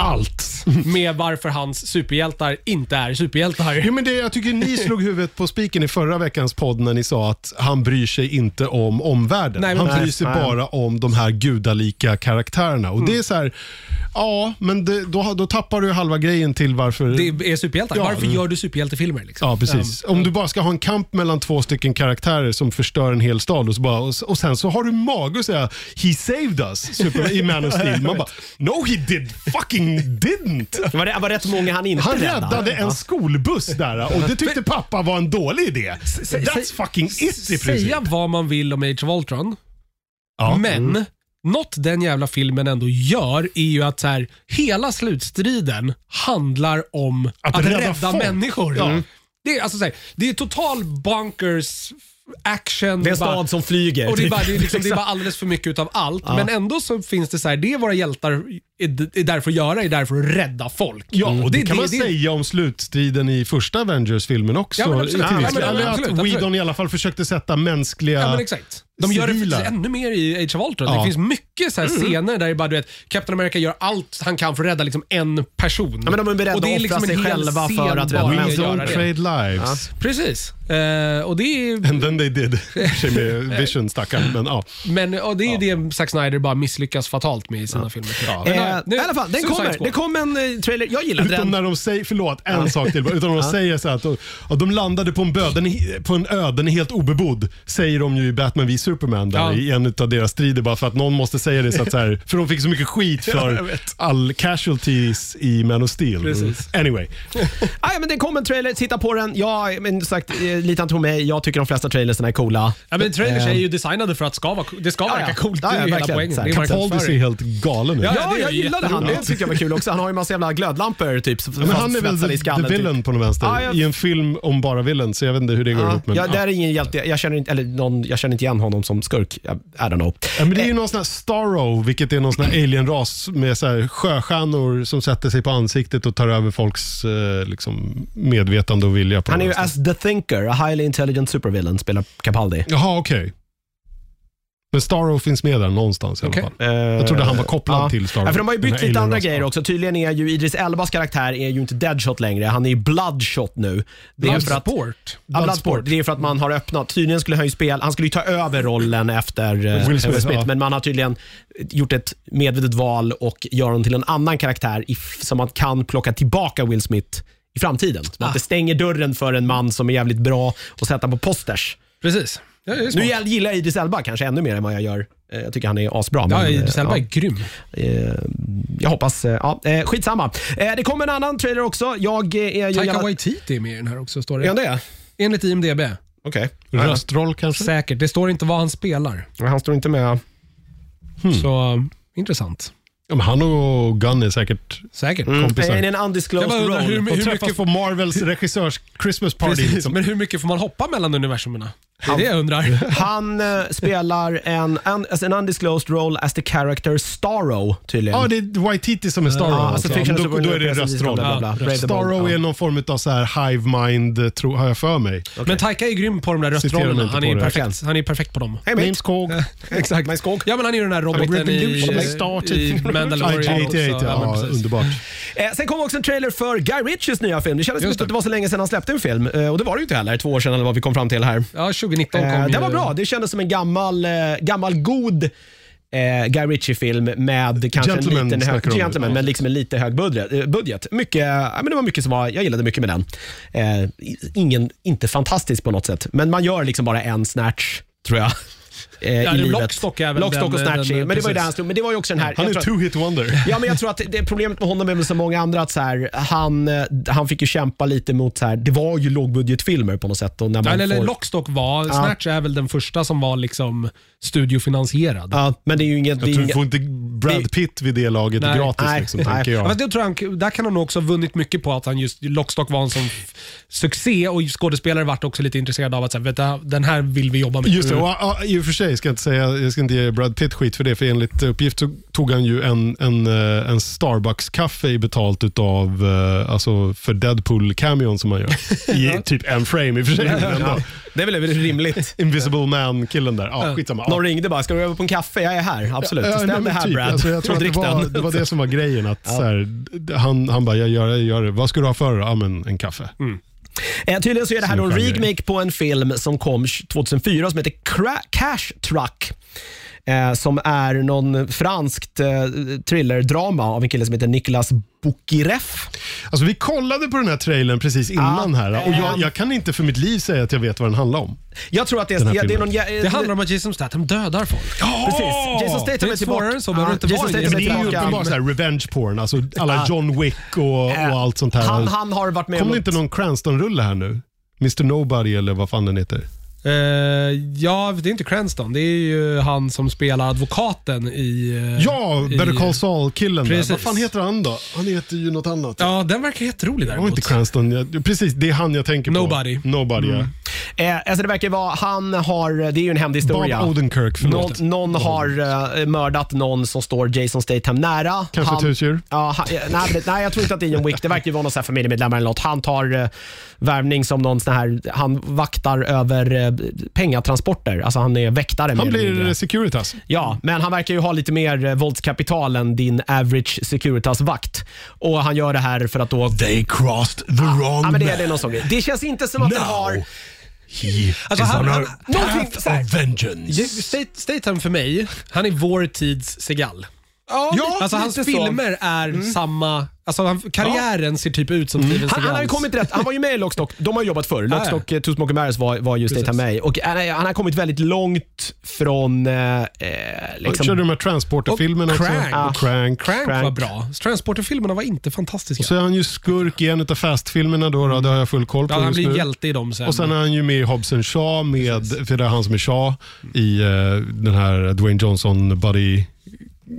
Speaker 2: allt med varför hans superhjältar inte är superhjältar.
Speaker 3: Jo, men det, jag tycker ni slog huvudet på spiken i förra veckans podd när ni sa att han bryr sig inte om omvärlden.
Speaker 2: Nej, Mm. men-
Speaker 3: han bryr
Speaker 1: Nej,
Speaker 3: sig
Speaker 1: nej.
Speaker 3: bara om de här gudalika karaktärerna. Och Det är så här, ja, men det, då, då tappar du halva grejen till varför...
Speaker 2: Det är superhjältar.
Speaker 3: Ja.
Speaker 2: Varför gör du superhjältefilmer? Liksom?
Speaker 3: Ja, precis. Om du bara ska ha en kamp mellan två stycken karaktärer som förstör en hel stad och, så bara, och, och sen så har du mage att säga “He saved us” super, i Man of Steel. Man bara “No he did fucking didn't”.
Speaker 1: Det var, det var rätt många han inte
Speaker 3: Han räddade en skolbuss där och det tyckte pappa var en dålig idé. That's fucking it i princip.
Speaker 2: Säga vad man vill om Age of Ultron,
Speaker 3: Ja. Mm.
Speaker 2: Men något den jävla filmen ändå gör är ju att så här, hela slutstriden handlar om att, rädda,
Speaker 3: rädda folk.
Speaker 2: människor.
Speaker 3: Ja.
Speaker 2: Det, är, alltså, så här, det är total bonkers action.
Speaker 1: Det är en
Speaker 2: bara-
Speaker 1: stad som flyger.
Speaker 2: och det är, bara, det, är liksom, det är
Speaker 1: Exakt.
Speaker 2: bara alldeles för mycket utav allt. Men ändå så finns det så här, det våra hjältar är, är där för att göra, är där för att rädda folk. Mm.
Speaker 3: Ja, och det,
Speaker 2: är
Speaker 3: kan man säga om slutstriden i första Avengers-filmen också.
Speaker 2: Ja, men absolut.
Speaker 3: till
Speaker 2: Ja, men
Speaker 3: viss del.
Speaker 2: absolut,
Speaker 3: Eller att
Speaker 2: absolut.
Speaker 3: Whedon i alla fall försökte sätta mänskliga...
Speaker 2: Ja, men liksom- exakt. De gör det
Speaker 3: Civila.
Speaker 2: faktiskt ännu mer i Age of Ultron. Det
Speaker 3: Ja.
Speaker 2: finns mycket så här
Speaker 1: Mm.
Speaker 2: scener där det bara, du vet, Captain America gör allt han kan för att rädda liksom en person.
Speaker 1: Ja, men de är beredda
Speaker 2: Och det liksom
Speaker 1: att offra
Speaker 2: en
Speaker 1: sig
Speaker 2: hel
Speaker 1: själva
Speaker 2: scen
Speaker 1: för att
Speaker 2: bara
Speaker 1: rädda
Speaker 2: i
Speaker 3: We
Speaker 1: människor.
Speaker 2: att göra
Speaker 3: don't
Speaker 2: det.
Speaker 3: trade lives.
Speaker 2: Precis. Eh, och det är,
Speaker 3: And then they did. Tjej med vision stackarn. Men, ja.
Speaker 2: men och det, är det Zack Snyder bara misslyckas fatalt med i sina filmer. Ja.
Speaker 1: Eh, I alla fall, den kommer. Det kom en eh, trailer. Jag gillade
Speaker 3: Utom
Speaker 1: den.
Speaker 3: när de säger, förlåt, en sak till bara. Utan de säger så här att de, ja, de landade på en, bö, den, är- på en ö, den är helt obebodd. Säger de ju i Batman v Superman där,
Speaker 2: Ja.
Speaker 3: i en av deras strider bara för att någon måste säga det. Så att, så här, för de fick så mycket skit för all casualties i Man of Steel.
Speaker 2: Precis.
Speaker 3: Anyway,
Speaker 1: Ah, ja, men det kom en trailer, titta på den. Ja, men som sagt, eh, lita inte på mig. Jag tycker de flesta trailersen är coola.
Speaker 2: Ja, men trailers är ju designade för att ska vara, det ska
Speaker 1: Eh. ja.
Speaker 2: verka coolt.
Speaker 1: Ja,
Speaker 2: det är
Speaker 1: ja,
Speaker 2: ju hela
Speaker 1: verkligen.
Speaker 2: poängen.
Speaker 1: Så här,
Speaker 2: Det är
Speaker 3: Capaldi ser
Speaker 2: marknadsföring.
Speaker 3: helt galen ut.
Speaker 2: Ja,
Speaker 1: Ja,
Speaker 2: det är
Speaker 1: jag
Speaker 2: ju
Speaker 1: gillade han. Det
Speaker 2: jätteroligt.
Speaker 1: tycker jag var kul också. Han har ju massa jävla glödlampor typ. Som
Speaker 3: Men han är väl
Speaker 1: svetsade i
Speaker 3: the,
Speaker 1: skallen.
Speaker 3: the villain
Speaker 1: typ.
Speaker 3: på något vänster
Speaker 1: Ja, jag-
Speaker 3: i en film om bara villain, så jag vet inte hur det går
Speaker 1: Ja,
Speaker 3: ihop. Men,
Speaker 1: ja, där är ingen hjälte. Jag känner inte, eller någon, jag känner inte igen honom som skurk. Jag- I don't know.
Speaker 3: Ja, men det är ju någon sån här Starro, vilket är någon sån här alienras med så här sjöstjärnor som sätter sig på ansiktet och tar över folks eh, liksom, medvetande och vilja. På
Speaker 1: Han är ju
Speaker 3: något sätt.
Speaker 1: as the thinker, a highly intelligent supervillain, spelar Capaldi.
Speaker 3: Jaha, okej. Men Starro finns med där någonstans i
Speaker 2: Okej.
Speaker 3: alla fall. Jag
Speaker 1: Eh,
Speaker 3: trodde han var kopplad
Speaker 1: Ja.
Speaker 3: till Starro.
Speaker 1: Ja, för de har ju
Speaker 3: den
Speaker 1: bytt
Speaker 3: här
Speaker 1: lite andra
Speaker 3: alienrasen.
Speaker 1: grejer också. Tydligen är ju Idris Elbas karaktär är ju inte Deadshot längre. Han är ju Bloodshot nu. Det är ju för att,
Speaker 2: Bloodsport.
Speaker 1: Ja, Bloodsport. Det är för att man har öppnat. Tydligen skulle han ju spela, han skulle ju ta över rollen efter eh,
Speaker 3: Will
Speaker 1: Will
Speaker 3: Smith,
Speaker 1: Smith.
Speaker 3: ja.
Speaker 1: Men man har tydligen gjort ett medvetet val och gör honom till en annan karaktär i, som man kan plocka tillbaka Will Smith i framtiden. Så att det stänger dörren för en man som är jävligt bra och sätta på posters.
Speaker 2: Precis. Ja, det är
Speaker 1: Nu
Speaker 2: smart.
Speaker 1: jag gillar jag Idris Elba kanske ännu mer än vad jag gör. Eh, Jag tycker han är asbra.
Speaker 2: Ja,
Speaker 1: men, eh,
Speaker 2: Idris Elba är
Speaker 1: ja.
Speaker 2: grym.
Speaker 1: Eh, Jag hoppas... eh, Ja, eh, skitsamma. Eh, Det kommer en annan trailer också. Jag eh, är ju...
Speaker 2: Taika
Speaker 1: jävla-
Speaker 2: Waititi är med i den här också, står
Speaker 1: Är han
Speaker 2: det.
Speaker 1: det?
Speaker 2: Enligt IMDB.
Speaker 1: Okej.
Speaker 3: Röstroll kanske?
Speaker 2: Säkert. Det står inte vad han spelar.
Speaker 1: Nej, Han står inte med.
Speaker 2: Så um, intressant.
Speaker 3: Ja, men han och Gunn är säkert
Speaker 2: Säkert.
Speaker 3: kompisar.
Speaker 1: Är det Eh, en
Speaker 2: Jag
Speaker 1: undisclosed
Speaker 2: bara undrar
Speaker 1: role?
Speaker 2: hur,
Speaker 3: De
Speaker 2: hur
Speaker 3: träffas
Speaker 2: mycket...
Speaker 3: på Marvels regissörs Christmas party.
Speaker 2: Precis,
Speaker 3: Liksom.
Speaker 2: men hur mycket får man hoppa mellan universumerna? Det är det jag undrar.
Speaker 1: Han eh, spelar en, alltså en, as an undisclosed role as the character Starro tydligen.
Speaker 3: Ja, det är Waititi som är Starro.
Speaker 1: Ja, alltså
Speaker 3: alltså,
Speaker 1: fiction
Speaker 3: då, då är det
Speaker 1: superhero-
Speaker 3: röstroll.
Speaker 1: bla, bla, bla. Brave the Bold,
Speaker 3: Starro
Speaker 1: ja.
Speaker 3: är någon form av så här hive mind, tro, har jag för mig.
Speaker 2: Men Taika är grym på de där
Speaker 3: Citerar mig
Speaker 2: röstrollerna.
Speaker 3: inte
Speaker 2: Han
Speaker 3: på
Speaker 2: är,
Speaker 3: det.
Speaker 2: perfekt, han är perfekt på dem.
Speaker 1: Hej mate.
Speaker 3: Names Cog.
Speaker 1: Exakt. My skog.
Speaker 2: Ja, men han är ju den där roboten i,
Speaker 3: Revolution
Speaker 2: eh,
Speaker 3: started.
Speaker 2: i Mandalorian. också.
Speaker 3: 1988,
Speaker 2: Ja, men
Speaker 3: typ. ja,
Speaker 2: precis.
Speaker 3: underbart.
Speaker 1: Eh, sen kom också en trailer för Guy Ritchies nya film. Det kändes som
Speaker 2: Just
Speaker 1: inte
Speaker 2: det.
Speaker 1: att det var så länge sedan han släppte en film. Eh, och det var det ju inte heller, två år sedan eller vad vi kom fram till här.
Speaker 2: Ja, 2019 kom
Speaker 1: Eh,
Speaker 2: ju-
Speaker 1: det var bra. Det kändes som en gammal, eh, gammal god eh, Guy Ritchie-film med kanske
Speaker 3: Gentlemen
Speaker 1: en liten
Speaker 3: snackar
Speaker 1: hög,
Speaker 3: om det.
Speaker 1: gentleman, men liksom en lite hög budget. eh, budget. Mycket, ja, men det var mycket som var, jag gillade mycket med den. Eh, ingen, inte fantastisk på något sätt, men man gör liksom bara en snatch, tror jag. eh, i
Speaker 2: det är
Speaker 1: livet.
Speaker 2: Lockstock är väl
Speaker 1: Lockstock
Speaker 2: den-
Speaker 1: och Snatchy,
Speaker 2: den-
Speaker 1: men det var ju
Speaker 2: precis.
Speaker 1: där han stod. Men det var ju också den här...
Speaker 3: Han
Speaker 1: jag
Speaker 3: är
Speaker 1: tror-
Speaker 3: two-hit wonder.
Speaker 1: Ja, men jag tror att det problemet med honom är väl som många andra att så här, han, eh, han fick ju kämpa lite mot, så här, det var ju lågbudgetfilmer på något sätt. Och när man
Speaker 2: Eller, eller
Speaker 1: får,
Speaker 2: Lockstock var, Snatch är väl den första som var liksom studiofinansierad.
Speaker 1: ja, men det är ju inget... Det är
Speaker 3: Jag
Speaker 1: ju
Speaker 3: tror,
Speaker 1: inget
Speaker 3: får inte
Speaker 1: det-
Speaker 3: Brad Pitt vid det laget
Speaker 2: Nej.
Speaker 3: gratis,
Speaker 1: Nej.
Speaker 3: liksom,
Speaker 1: Nej.
Speaker 3: tänker jag.
Speaker 2: Ja. Fast jag tror han, där kan han nog också ha vunnit mycket på att han just Lockstock var en sån f- succé och skådespelare vart också lite intresserade av att så här, vet du, den här vill vi jobba med. Mm.
Speaker 3: Just det, och, ja, i och för sig ska jag, inte säga, jag ska inte ge Brad Pitt skit för det, för enligt uppgift så tog han ju en, en, eh, en Starbucks-kaffe i betalt utav, eh, alltså för Deadpool-cameon som han gör. I typ en frame i och för sig. men ändå.
Speaker 1: Det är väl rimligt.
Speaker 3: Invisible Man-killen där. Ja, skitsamma. Ja.
Speaker 1: Någon ringde bara, ska du över på en kaffe? Jag är här, absolut.
Speaker 3: Ja, nej,
Speaker 1: Ställ dig
Speaker 3: men
Speaker 1: här
Speaker 3: typ.
Speaker 1: Brad.
Speaker 3: Alltså, jag tror
Speaker 1: Och
Speaker 3: att det,
Speaker 1: drick
Speaker 3: var,
Speaker 1: den.
Speaker 3: det var det som var grejen. Att, så här, d- han, han bara, jag gör det, jag gör det. Vad ska du ha för det? Ja, men en kaffe.
Speaker 1: Eh, tydligen så är det här då en
Speaker 3: Som en genre.
Speaker 1: remake på en film som kom 2004 som heter Cra- Cash Truck. Eh, som är någon franskt eh, thrillerdrama av en kille som heter Niklas Bukireff.
Speaker 3: Alltså, vi kollade på den här trailern precis
Speaker 1: Ah.
Speaker 3: innan här och jag, jag kan inte för mitt liv säga att jag vet vad den handlar om.
Speaker 1: Jag tror att det är,
Speaker 3: Den här
Speaker 1: ja, det är
Speaker 3: filmen.
Speaker 1: någon...
Speaker 2: Det handlar om att Jason Statham dödar folk.
Speaker 1: Precis. Jason
Speaker 2: Det
Speaker 1: Statham
Speaker 2: är
Speaker 1: är tillbaka.
Speaker 2: svårare än så behöver det inte
Speaker 1: Jason
Speaker 2: vara i det.
Speaker 1: Statham är
Speaker 3: Men det är ju
Speaker 1: tillbaka.
Speaker 3: uppenbart så här revenge porn, alltså alla John Wick och, och
Speaker 1: Eh,
Speaker 3: allt sånt här.
Speaker 1: Han, han har varit med
Speaker 3: Kom
Speaker 1: om-
Speaker 3: det inte någon Cranston-rulle här nu? Mr Nobody eller vad fan den
Speaker 1: Äh,
Speaker 3: heter.
Speaker 2: Eh, ja, det är inte Cranston. Det är ju han som spelar advokaten i... eh,
Speaker 3: Ja, Better
Speaker 2: i-
Speaker 3: Call Saul-killen där.
Speaker 2: Precis.
Speaker 3: Vad fan heter han då? Han heter ju något annat.
Speaker 2: Ja, den verkar jätterolig
Speaker 3: Det var
Speaker 2: däremot.
Speaker 3: inte Cranston. Jag, precis, det är han jag tänker på.
Speaker 2: Nobody.
Speaker 3: Nobody, ja.
Speaker 1: Eh, alltså det verkar vara, han har, det är ju en hämndhistoria.
Speaker 3: Bob Odenkirk,
Speaker 1: någon,
Speaker 3: förlåt.
Speaker 1: någon har eh, mördat någon som står Jason Statham nära.
Speaker 3: Kanske ett husdjur?
Speaker 1: Ja, han, ja, nej, men- nej, jag tror inte att det är John Wick. Det verkar ju vara någon så här familjemedlem eller något. Han tar eh, värvning som någon sån här, han vaktar över eh, pengatransporter. Alltså han är väktare. mer
Speaker 3: Han
Speaker 1: eller mindre.
Speaker 3: blir Securitas.
Speaker 1: Ja, men han verkar ju ha lite mer eh, våldskapital än din average Securitas-vakt. Och han gör det här för att då...
Speaker 4: They crossed the wrong
Speaker 1: Ah. Ja, men det, är- det
Speaker 4: man.
Speaker 1: är någon sån grej. Det känns inte som att den har...
Speaker 4: Now he
Speaker 2: Alltså,
Speaker 4: is
Speaker 2: han-
Speaker 4: on
Speaker 2: han-
Speaker 4: a
Speaker 1: någonting
Speaker 4: path
Speaker 1: så här.
Speaker 4: of vengeance.
Speaker 2: Ja, Stat- Statham för mig, han är vår tids Segal.
Speaker 1: Ja, Mm.
Speaker 2: alltså hans filmer är samma... Alltså han, karriären ser typ ut som Steven
Speaker 1: Han,
Speaker 2: Segals.
Speaker 1: han har ju kommit rätt. Han var ju med i Lockstock. De har jobbat förr. Lockstock, ah, Two Smoking Barrels var, var ju Statham med i. Och han, är- han har kommit väldigt långt från... Eh, eh, liksom,
Speaker 3: Körde de här Transporter-filmerna
Speaker 2: Och
Speaker 3: också?
Speaker 2: Crank.
Speaker 3: Och Crank.
Speaker 2: Crank, var
Speaker 1: Crank.
Speaker 2: bra. Transporter-filmerna var inte fantastiska.
Speaker 3: Så är han ju skurk i en av Fast-filmerna. Då, då, det har jag full koll på
Speaker 2: ja, han
Speaker 3: just
Speaker 2: blir
Speaker 3: nu.
Speaker 2: hjälte i dem sen.
Speaker 3: Och sen är han ju med i Hobson Shaw, med, för det är han som är Shaw i eh, den här Dwayne Johnson buddy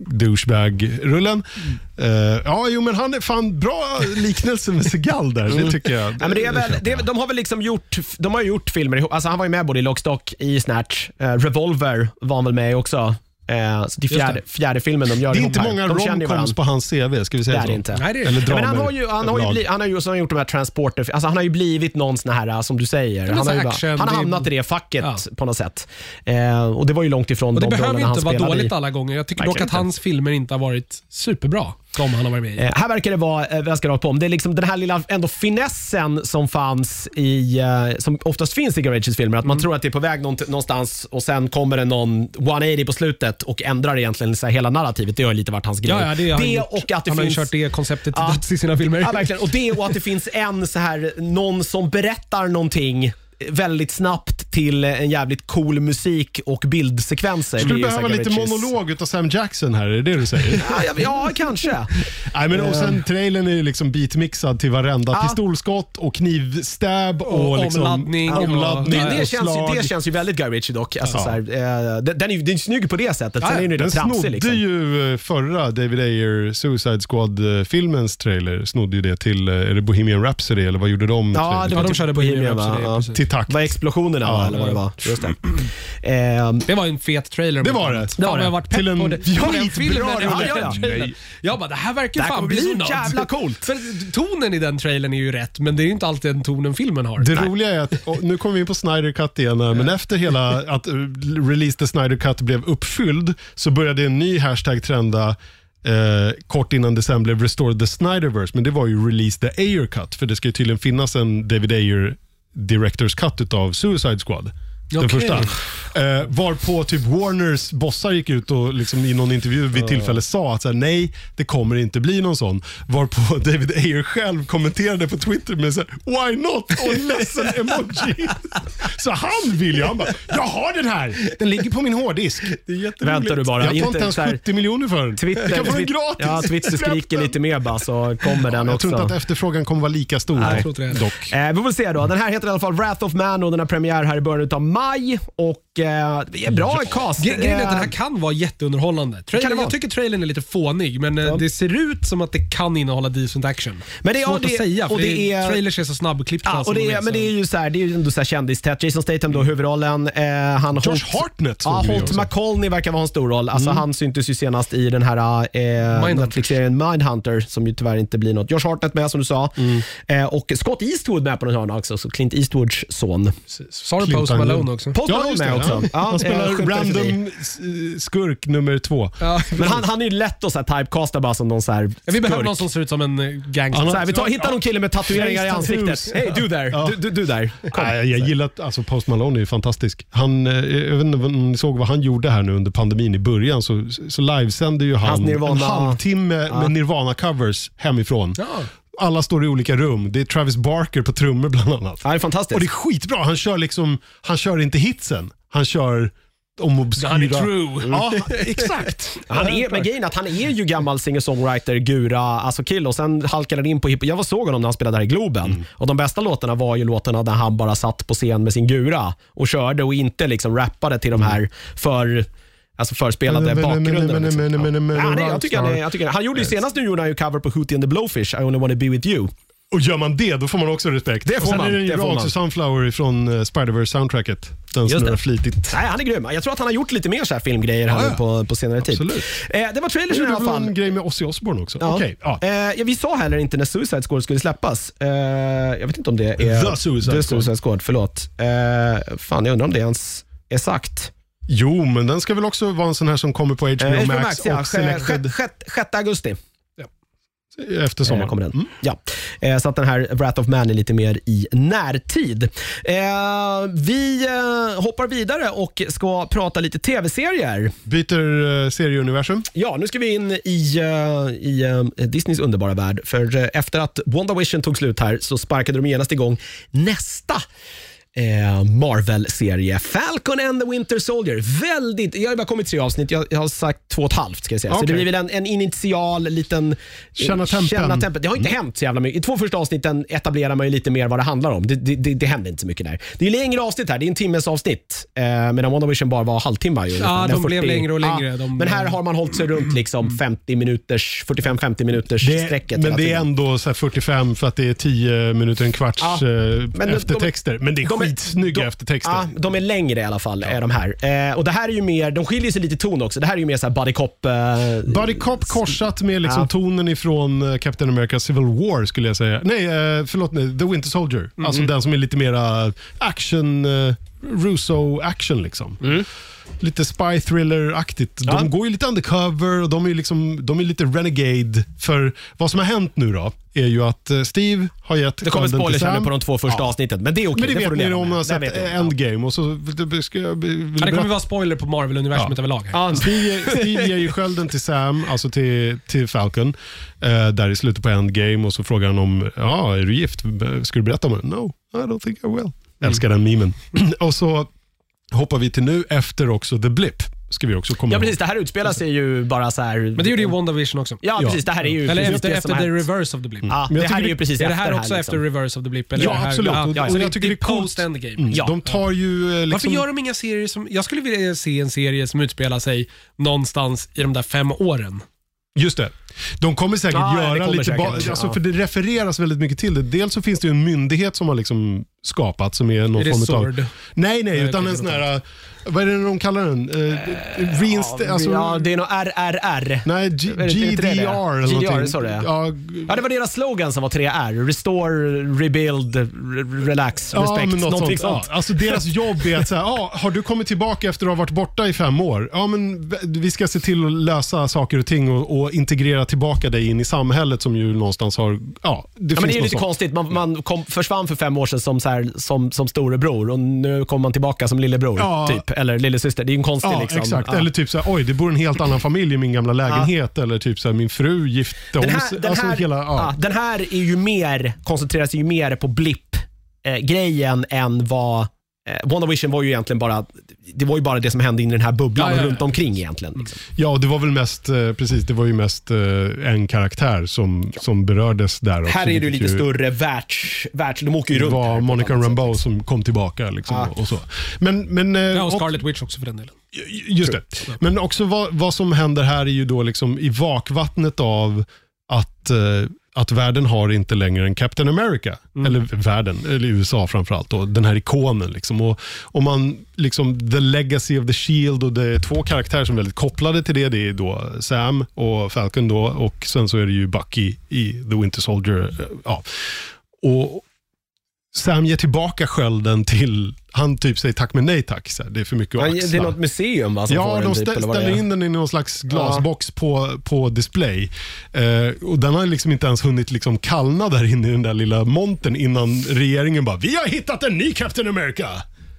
Speaker 3: douchebag-rullen.
Speaker 1: Mm.
Speaker 3: Eh, ja, jo, men han är fan bra liknelse med Segal där, det tycker jag.
Speaker 1: Ja, men det är väl,
Speaker 3: köper
Speaker 1: det,
Speaker 3: jag.
Speaker 1: de har väl liksom gjort, de har ju gjort filmer ihop. Alltså han var ju med både i Lockstock, i Snatch, eh, Revolver var han väl med i också. Eh, så det är fjärde, fjärde filmen de gör
Speaker 3: det är
Speaker 1: ihop
Speaker 3: inte
Speaker 1: här.
Speaker 3: många
Speaker 1: de känner ju
Speaker 3: romcoms
Speaker 1: varandra.
Speaker 3: på hans CV, ska vi
Speaker 1: Det
Speaker 3: säga
Speaker 1: är
Speaker 3: så?
Speaker 1: det inte.
Speaker 2: Nej, det är-
Speaker 3: Eller
Speaker 1: men han
Speaker 3: dramer
Speaker 1: har ju, han har ju,
Speaker 3: överlag.
Speaker 1: bli, han har ju också gjort de här transporter, alltså han har ju blivit någon sån här, eh, som du säger.
Speaker 2: men
Speaker 1: Han
Speaker 2: så
Speaker 1: har, ju
Speaker 2: action,
Speaker 1: bara, han har
Speaker 2: det-
Speaker 1: hamnat i det facket
Speaker 2: Ja.
Speaker 1: på något sätt. Eh, och det var ju långt ifrån
Speaker 2: och det
Speaker 1: de
Speaker 2: behöver
Speaker 1: rollerna
Speaker 2: ju
Speaker 1: han
Speaker 2: inte vara
Speaker 1: spelade
Speaker 2: dåligt
Speaker 1: i.
Speaker 2: alla gånger. Jag tycker dock
Speaker 1: Verkligen
Speaker 2: att hans filmer inte har varit superbra, de han har varit med i.
Speaker 1: Eh, här verkar det vara eh, ganska rakt på. om. Det är liksom den här lilla ändå finessen som fanns i, eh, som oftast finns i Garages filmer.
Speaker 2: Mm.
Speaker 1: Att man tror att det är på väg nånt- någonstans och sen kommer det någon 180 på slutet och ändrar egentligen så här hela narrativet. Det har ju lite varit hans grej.
Speaker 2: Ja, ja, det har han gjort.
Speaker 1: och att det
Speaker 2: han har ju
Speaker 1: finns...
Speaker 2: kört det konceptet till
Speaker 1: Ja.
Speaker 2: döds i sina filmer.
Speaker 1: Ja, verkligen. Och det och att det finns en så här, någon som berättar någonting väldigt snabbt till en jävligt cool musik och bildsekvenser.
Speaker 3: Skulle
Speaker 1: Det är ju
Speaker 3: behöva
Speaker 1: så här
Speaker 3: lite
Speaker 1: Garages.
Speaker 3: monolog av Sam Jackson här, är det det du säger?
Speaker 1: Ja, ja, ja, kanske.
Speaker 3: Nej, men och sen trailern är ju liksom bitmixad till varenda
Speaker 1: Ja.
Speaker 3: pistolskott och knivstab och,
Speaker 2: Och
Speaker 3: liksom,
Speaker 2: omladdning och-
Speaker 3: omladdning
Speaker 1: Det, det,
Speaker 3: och
Speaker 1: känns ju, det
Speaker 3: slag.
Speaker 1: känns ju väldigt Guy Ritchie dock. Alltså, så här, eh, den, den är ju den är ju snygg på det sättet. Sen
Speaker 2: Ja,
Speaker 1: är den ju
Speaker 3: Den
Speaker 1: lite
Speaker 3: snodde
Speaker 1: tramsig. Liksom.
Speaker 3: ju eh, förra David Ayer Suicide Squad-filmens trailer. Snodde ju det till, eh, är det Bohemian Rhapsody eller vad gjorde de?
Speaker 1: Ja, det var
Speaker 2: Ja, de
Speaker 1: typ
Speaker 2: körde Bohemian
Speaker 1: Bohemian,
Speaker 2: Rhapsody,
Speaker 1: va?
Speaker 2: precis.
Speaker 3: Till takt.
Speaker 1: Var explosionerna va, eller vad det var? Just det. Ehm,
Speaker 2: Det var en fet trailer.
Speaker 3: Det var det.
Speaker 2: Fan, jag har varit pepp
Speaker 3: Till en
Speaker 2: på det. På den
Speaker 3: skitbra
Speaker 2: filmen,
Speaker 3: rulle.
Speaker 2: ja, ja, ja.
Speaker 3: Nej.
Speaker 2: Jag bara, det här verkar
Speaker 1: Det här
Speaker 2: fan
Speaker 1: kommer bli
Speaker 2: bli
Speaker 1: så
Speaker 2: något.
Speaker 1: jävla coolt.
Speaker 2: För tonen i den trailern är ju rätt, men det är ju inte alltid den tonen filmen har.
Speaker 3: Det roliga är att, och nu kommer vi in på Snyder Cut igen, här, men efter hela att eh, release the Snyder Cut blev uppfylld så började en ny hashtag trenda Eh, kort innan det sen blev Restore the Snyderverse, men det var ju Release the Ayer Cut, för det ska ju tydligen finnas en David Ayer Directors Cut utav Suicide Squad. Den
Speaker 2: Okej.
Speaker 3: första. Eh, varpå typ Warners bossar gick ut och liksom i någon intervju vid tillfälle sa att så här, nej, det kommer inte bli någon sån. Varpå David Ayer själv kommenterade på Twitter med så här, “Why not?” och en ledsen emoji. Så han vill ju. Han bara, jag har den här. Den ligger på min hårddisk. Det är jätteroligt.
Speaker 1: Väntar du bara,
Speaker 3: Jag tar
Speaker 1: inte
Speaker 3: inte ens
Speaker 1: så här-
Speaker 3: 70 miljoner för den.
Speaker 1: Twitter,
Speaker 3: jag kan få den
Speaker 1: Twit-
Speaker 3: gratis.
Speaker 1: Ja, Twitter
Speaker 3: Släpp
Speaker 1: skriker
Speaker 3: den.
Speaker 1: lite mer bara så kommer den
Speaker 3: Jag
Speaker 1: också.
Speaker 3: tror inte att efterfrågan kommer vara lika stor.
Speaker 1: Nej.
Speaker 2: tror inte det.
Speaker 3: Dock.
Speaker 1: Eh, vi får väl se då. Den här heter i alla fall Wrath of Man och den har premiär här i början av maj. Och eh, det är bra cast.
Speaker 2: Gre- Grejen är att den
Speaker 1: Eh,
Speaker 2: här kan vara jätteunderhållande.
Speaker 1: Kan det
Speaker 2: Trailern,
Speaker 1: vara?
Speaker 2: jag tycker trailern är lite fånig, men eh, det ser ut som att det kan innehålla decent action.
Speaker 1: Men det är-
Speaker 2: Svårt
Speaker 1: ja, det-
Speaker 2: att säga, för
Speaker 1: och det är-
Speaker 2: trailers är så snabbklippta.
Speaker 1: Ja,
Speaker 2: som
Speaker 1: och det
Speaker 2: de
Speaker 1: är, men det är
Speaker 2: så-
Speaker 1: ju så här, det är ju ändå så här kändistätt. Jason Statham då, huvudrollen. Eh, han
Speaker 3: Josh
Speaker 1: Holt-
Speaker 3: Hartnett såg
Speaker 1: Ja,
Speaker 3: vi
Speaker 1: Holt
Speaker 3: också. Mm.
Speaker 1: McColney verkar vara en stor roll. Alltså, Han syntes ju senast i den här eh,
Speaker 2: Mindhunters.
Speaker 1: Netflix-serien Mindhunter som ju tyvärr inte blir något. Josh Hartnett med som du sa.
Speaker 3: Mm.
Speaker 1: Eh, och Scott Eastwood med på den hörna också, så Clint Eastwoods son.
Speaker 2: Sa du
Speaker 3: Clint
Speaker 2: Post
Speaker 3: Eastwood.
Speaker 2: Malone också?
Speaker 1: Post Malone
Speaker 3: just det,
Speaker 1: med också.
Speaker 3: Ja.
Speaker 1: Ja,
Speaker 3: Han
Speaker 1: eh,
Speaker 3: spelar
Speaker 1: skymtar förbi.
Speaker 3: random s- skurk nummer två.
Speaker 2: Ja,
Speaker 1: Men han, han är ju lätt att så här typecasta bara som någon så här
Speaker 2: vi behöver
Speaker 1: skurk.
Speaker 2: någon som ser ut som en eh, gangster.
Speaker 3: Han har-
Speaker 1: Så här, vi tar, hittar någon kille med tatueringar i
Speaker 3: Face tattoos.
Speaker 1: ansiktet. Hey, du där.
Speaker 3: Ja.
Speaker 1: Du, du, du där. Kom.
Speaker 3: Nej, jag gillar att alltså Post Malone är ju fantastisk. Han, eh, jag vet inte om ni såg vad han gjorde här nu under pandemin i början. Så, så livesände ju
Speaker 1: Hans
Speaker 3: han en
Speaker 1: Nirvana-
Speaker 3: halvtimme med Nirvana-covers hemifrån. Alla står i olika rum. Det är Travis Barker på trummor bland annat.
Speaker 1: Ja, det är fantastiskt.
Speaker 3: Och det är skitbra. Han kör liksom, han kör inte hitsen. Han kör om obskyra...
Speaker 2: Han är
Speaker 1: Mm.
Speaker 2: true.
Speaker 3: Ja, exakt.
Speaker 1: Han är, men grejen är att han är ju gammal singer-songwriter, gura, alltså kille och sen halkade han in på hiphop. Jag var såg honom när han spelade där i Globen
Speaker 3: Mm.
Speaker 1: och de bästa låtarna var ju låtarna där han bara satt på scen med sin gura och körde och inte liksom rappade till de
Speaker 3: Mm.
Speaker 1: här för Alltså förspelade
Speaker 3: Men, men, men,
Speaker 1: bakgrunden.
Speaker 3: men,
Speaker 1: liksom.
Speaker 3: men, men, men, men,
Speaker 1: Ja, nej, jag
Speaker 3: rockstar.
Speaker 1: tycker han är- jag tycker han- Han gjorde ju senast nu gjorde han ju cover på Hootie and the Blowfish, I only wanna be with you.
Speaker 3: Och gör man det, då får man också respekt.
Speaker 1: Det får
Speaker 3: och sen
Speaker 1: man,
Speaker 3: är den
Speaker 1: det
Speaker 3: ju
Speaker 1: får
Speaker 3: bra
Speaker 1: man.
Speaker 3: också, Sunflower från eh, Spider-Verse soundtracket. Den
Speaker 1: Just
Speaker 3: snurrar
Speaker 1: det.
Speaker 3: flitigt.
Speaker 1: Nej, han är grym. Jag tror att han har gjort lite mer så här filmgrejer här
Speaker 3: Ja, ja.
Speaker 1: nu på, på senare tid.
Speaker 3: Absolut.
Speaker 1: Eh, det var trailers i
Speaker 3: Gjorde
Speaker 1: alla
Speaker 3: du
Speaker 1: fall.
Speaker 3: en grej med Ozzy Osbourne också?
Speaker 1: Ja.
Speaker 3: Okej, ja.
Speaker 1: Eh, ja, vi sa heller inte när Suicide Squad skulle släppas. Eh, jag vet inte om det är...
Speaker 3: The Suicide
Speaker 1: The
Speaker 3: Squad.
Speaker 1: Suicide Squad, förlåt. Eh, fan, jag undrar om det ens är sagt.
Speaker 3: Jo, men den ska väl också vara en sån här som kommer på HBO,
Speaker 1: Eh, HBO
Speaker 3: Max,
Speaker 1: Max, ja.
Speaker 3: och Selected
Speaker 1: 6 augusti
Speaker 3: efter
Speaker 1: eh,
Speaker 3: sommaren. Mm.
Speaker 1: kommer den. Ja. Eh, så att den här Wrath of Man är lite mer i närtid. Eh, vi eh, hoppar vidare och ska prata lite tv-serier.
Speaker 3: Byter eh, serieuniversum.
Speaker 1: Ja, nu ska vi in i, eh, i eh, Disneys underbara värld. För eh, efter att WandaVision tog slut här så sparkade de genast igång nästa eh, Marvel-serie. Falcon and the Winter Soldier. Väldigt, jag har bara kommit tre avsnitt. Jag, jag har sagt två och ett halvt ska jag säga. Så det
Speaker 3: Okej.
Speaker 1: blir väl en, en initial liten... eh,
Speaker 3: Känna tempen.
Speaker 1: Känna tempen. Det har inte
Speaker 2: Mm.
Speaker 1: hänt så jävla mycket. I två första avsnitten etablerar man ju lite mer vad det handlar om. Det, det, det, det händer inte så mycket där. Det är längre avsnitt här. Det är en timmes avsnitt. Eh, medan WandaVision bara var halvtimmar. ju, ungefär. Den
Speaker 2: de blev längre och längre.
Speaker 1: Ja,
Speaker 2: De-
Speaker 1: men här har man hållit sig runt liksom 50 minuters, 45-50 minuters strecket
Speaker 3: men
Speaker 1: hela
Speaker 3: Mm. det är
Speaker 1: tiden.
Speaker 3: ändå så här 45 för att det är 10 minuter, en kvarts
Speaker 1: Ja,
Speaker 3: eh,
Speaker 1: men de-
Speaker 3: eftertexter. men det är
Speaker 1: de är-
Speaker 3: skitsnygga
Speaker 1: de-
Speaker 3: eftertexter.
Speaker 1: Ja, de är längre i alla fall, är de här. Eh, och det här är ju mer, de skiljer sig lite i ton också. Det här är ju mer så här buddy cop. Eh,
Speaker 3: Buddy Cop korsat med liksom tonen ifrån eh, Captain America Civil War skulle jag säga. Nej, eh, förlåt, nej, The Winter Soldier. Alltså den som är lite mera action, eh, Russo-action liksom. Lite spy thriller-aktigt. De
Speaker 1: Mm. Ja.
Speaker 3: går ju lite undercover och de är, ju liksom, de är lite renegade. För vad som har hänt nu då är ju att eh, Steve har gett
Speaker 1: det kommer
Speaker 3: skulden till
Speaker 1: spoilers här
Speaker 3: Sam.
Speaker 1: nu på de två första
Speaker 3: Ja.
Speaker 1: avsnitten, men det är okej.
Speaker 3: Men det,
Speaker 1: får
Speaker 3: vet
Speaker 1: du
Speaker 3: ni
Speaker 1: leva
Speaker 3: om
Speaker 1: med.
Speaker 3: man har
Speaker 1: Det vet
Speaker 3: sett
Speaker 1: jag.
Speaker 3: Endgame. Och så, ska jag, vill
Speaker 2: Ja, det
Speaker 3: berätta-
Speaker 2: kommer vara spoiler på Marvel-universumet överlag. här.
Speaker 1: Ja,
Speaker 3: Steve, Steve ger ju skölden till Sam, alltså till, till Falcon, eh, där i slutet på Endgame och så frågar han om, ja, är du gift? Ska du berätta om det? No, I don't think I will.
Speaker 1: Mm.
Speaker 3: Älskar den memen. och så hoppar vi till nu efter också The Blip. Ska vi också komma
Speaker 1: ja,
Speaker 3: ihåg.
Speaker 1: precis. Det här utspelar sig ju bara så här...
Speaker 2: Men det gjorde ju WandaVision också.
Speaker 1: Ja,
Speaker 3: Ja.
Speaker 1: precis. Det här är ju
Speaker 2: Eller
Speaker 1: precis
Speaker 2: efter,
Speaker 1: det
Speaker 2: efter
Speaker 1: som har
Speaker 2: the
Speaker 1: hänt.
Speaker 2: reverse of the blip.
Speaker 1: Ja,
Speaker 3: Men jag
Speaker 1: det här
Speaker 3: tycker
Speaker 1: är ju
Speaker 3: det-
Speaker 1: precis
Speaker 2: är
Speaker 1: efter
Speaker 2: det här också
Speaker 1: liksom.
Speaker 2: efter reverse of the blip? Eller
Speaker 3: Ja,
Speaker 2: det här,
Speaker 3: absolut.
Speaker 2: Ja,
Speaker 3: Och-
Speaker 2: ja,
Speaker 3: och
Speaker 2: så
Speaker 3: jag
Speaker 2: det-
Speaker 3: tycker
Speaker 2: det
Speaker 3: det
Speaker 2: är
Speaker 3: är coolt.
Speaker 2: post-endgame.
Speaker 3: Mm.
Speaker 1: Ja.
Speaker 3: De tar ju... eh,
Speaker 2: Varför
Speaker 3: Liksom,
Speaker 2: gör de inga serier som... Jag skulle vilja se en serie som utspelar sig någonstans i de där fem åren.
Speaker 3: Just det. De kommer säkert
Speaker 1: Ja, det
Speaker 3: göra
Speaker 1: kommer
Speaker 3: lite...
Speaker 1: säkert.
Speaker 3: ba- alltså,
Speaker 1: Ja.
Speaker 3: För det refereras väldigt mycket till det. Dels så finns det ju en myndighet som har liksom skapat som är någon
Speaker 2: Är det
Speaker 3: form av...
Speaker 2: Sword?
Speaker 3: Nej, nej,
Speaker 2: Nej,
Speaker 3: utan
Speaker 2: okej,
Speaker 3: en sån här... eh, Vad är det de kallar den? Uh, reinst- alltså,
Speaker 1: Eh, Ja, det är nog RRR.
Speaker 3: nej, G-
Speaker 1: det inte det det är?
Speaker 3: GDR eller
Speaker 1: GDR,
Speaker 3: någonting.
Speaker 1: sa du det?
Speaker 3: Ja,
Speaker 1: Ja, det var deras slogan som var 3R. Restore, rebuild, re- relax,
Speaker 3: Ja,
Speaker 1: respect.
Speaker 3: men något
Speaker 1: någonting
Speaker 3: sånt.
Speaker 1: sånt.
Speaker 3: Ja, alltså deras jobb är att säga, ja, har du kommit tillbaka efter att ha varit borta i fem år? Ja, men v- vi ska se till att lösa saker och ting och, och integrera tillbaka dig in i samhället som ju någonstans har, ja, det
Speaker 1: Ja, men
Speaker 3: finns
Speaker 1: det är ju
Speaker 3: något
Speaker 1: lite
Speaker 3: sånt.
Speaker 1: konstigt. Man, man kom, försvann för fem år sedan som, så här, som, som storebror och nu kommer man tillbaka som lillebror.
Speaker 3: Ja.
Speaker 1: Typ. Eller lillasyster. Det är ju en konstig...
Speaker 3: Ja,
Speaker 1: liksom.
Speaker 3: exakt.
Speaker 1: Ja.
Speaker 3: Eller typ så här, oj, det bor en helt annan familj i min gamla lägenhet. Eller typ så här, min fru gifte om
Speaker 1: den,
Speaker 3: sig.
Speaker 1: här, den,
Speaker 3: Alltså
Speaker 1: här,
Speaker 3: hela,
Speaker 1: ja,
Speaker 3: ja.
Speaker 1: den här är ju mer, koncentrerar sig ju mer på blipp-grejen eh, än vad eh, WandaVision var ju egentligen bara det var ju bara det som hände in i den här bubblan
Speaker 2: Ja, ja, ja.
Speaker 1: och runt omkring egentligen. Liksom.
Speaker 3: Ja, och det var väl mest, eh, precis, det var ju mest eh, en karaktär som, som berördes där. Också,
Speaker 1: Här är det ju
Speaker 3: vilket
Speaker 1: lite större världs... världs de åker ju
Speaker 3: Det
Speaker 1: runt.
Speaker 3: var
Speaker 1: här.
Speaker 3: Monica Rambeau som kom tillbaka. Liksom,
Speaker 1: Ah.
Speaker 3: och, och så. Men, men, eh,
Speaker 2: Ja, och
Speaker 3: och-
Speaker 2: Scarlet Witch också för den delen.
Speaker 3: Just det. Men också vad, vad som händer här är ju då liksom i vakvattnet av att, eh, att världen har inte längre en Captain America.
Speaker 1: Mm.
Speaker 3: Eller världen, eller USA framförallt. Då, den här ikonen. Liksom. Och, och man, liksom, the legacy of the shield och det är två karaktärer som är väldigt kopplade till det. Det är då Sam och Falcon då och sen så är det ju Bucky i The Winter Soldier. eh, Ja. Och, Sam ger tillbaka skölden till, han typ säger tack men nej tack. Så här, det är för mycket att
Speaker 1: Ja,
Speaker 3: axla.
Speaker 1: det är något museum va? Som får
Speaker 3: Ja,
Speaker 1: den
Speaker 3: de
Speaker 1: typ,
Speaker 3: stä-
Speaker 1: eller vad det
Speaker 3: ställer
Speaker 1: är.
Speaker 3: in den i någon slags glasbox på, på display. Eh, och Den har liksom inte ens hunnit liksom kallna där inne i den där lilla montern innan regeringen bara “Vi har hittat en ny Captain America!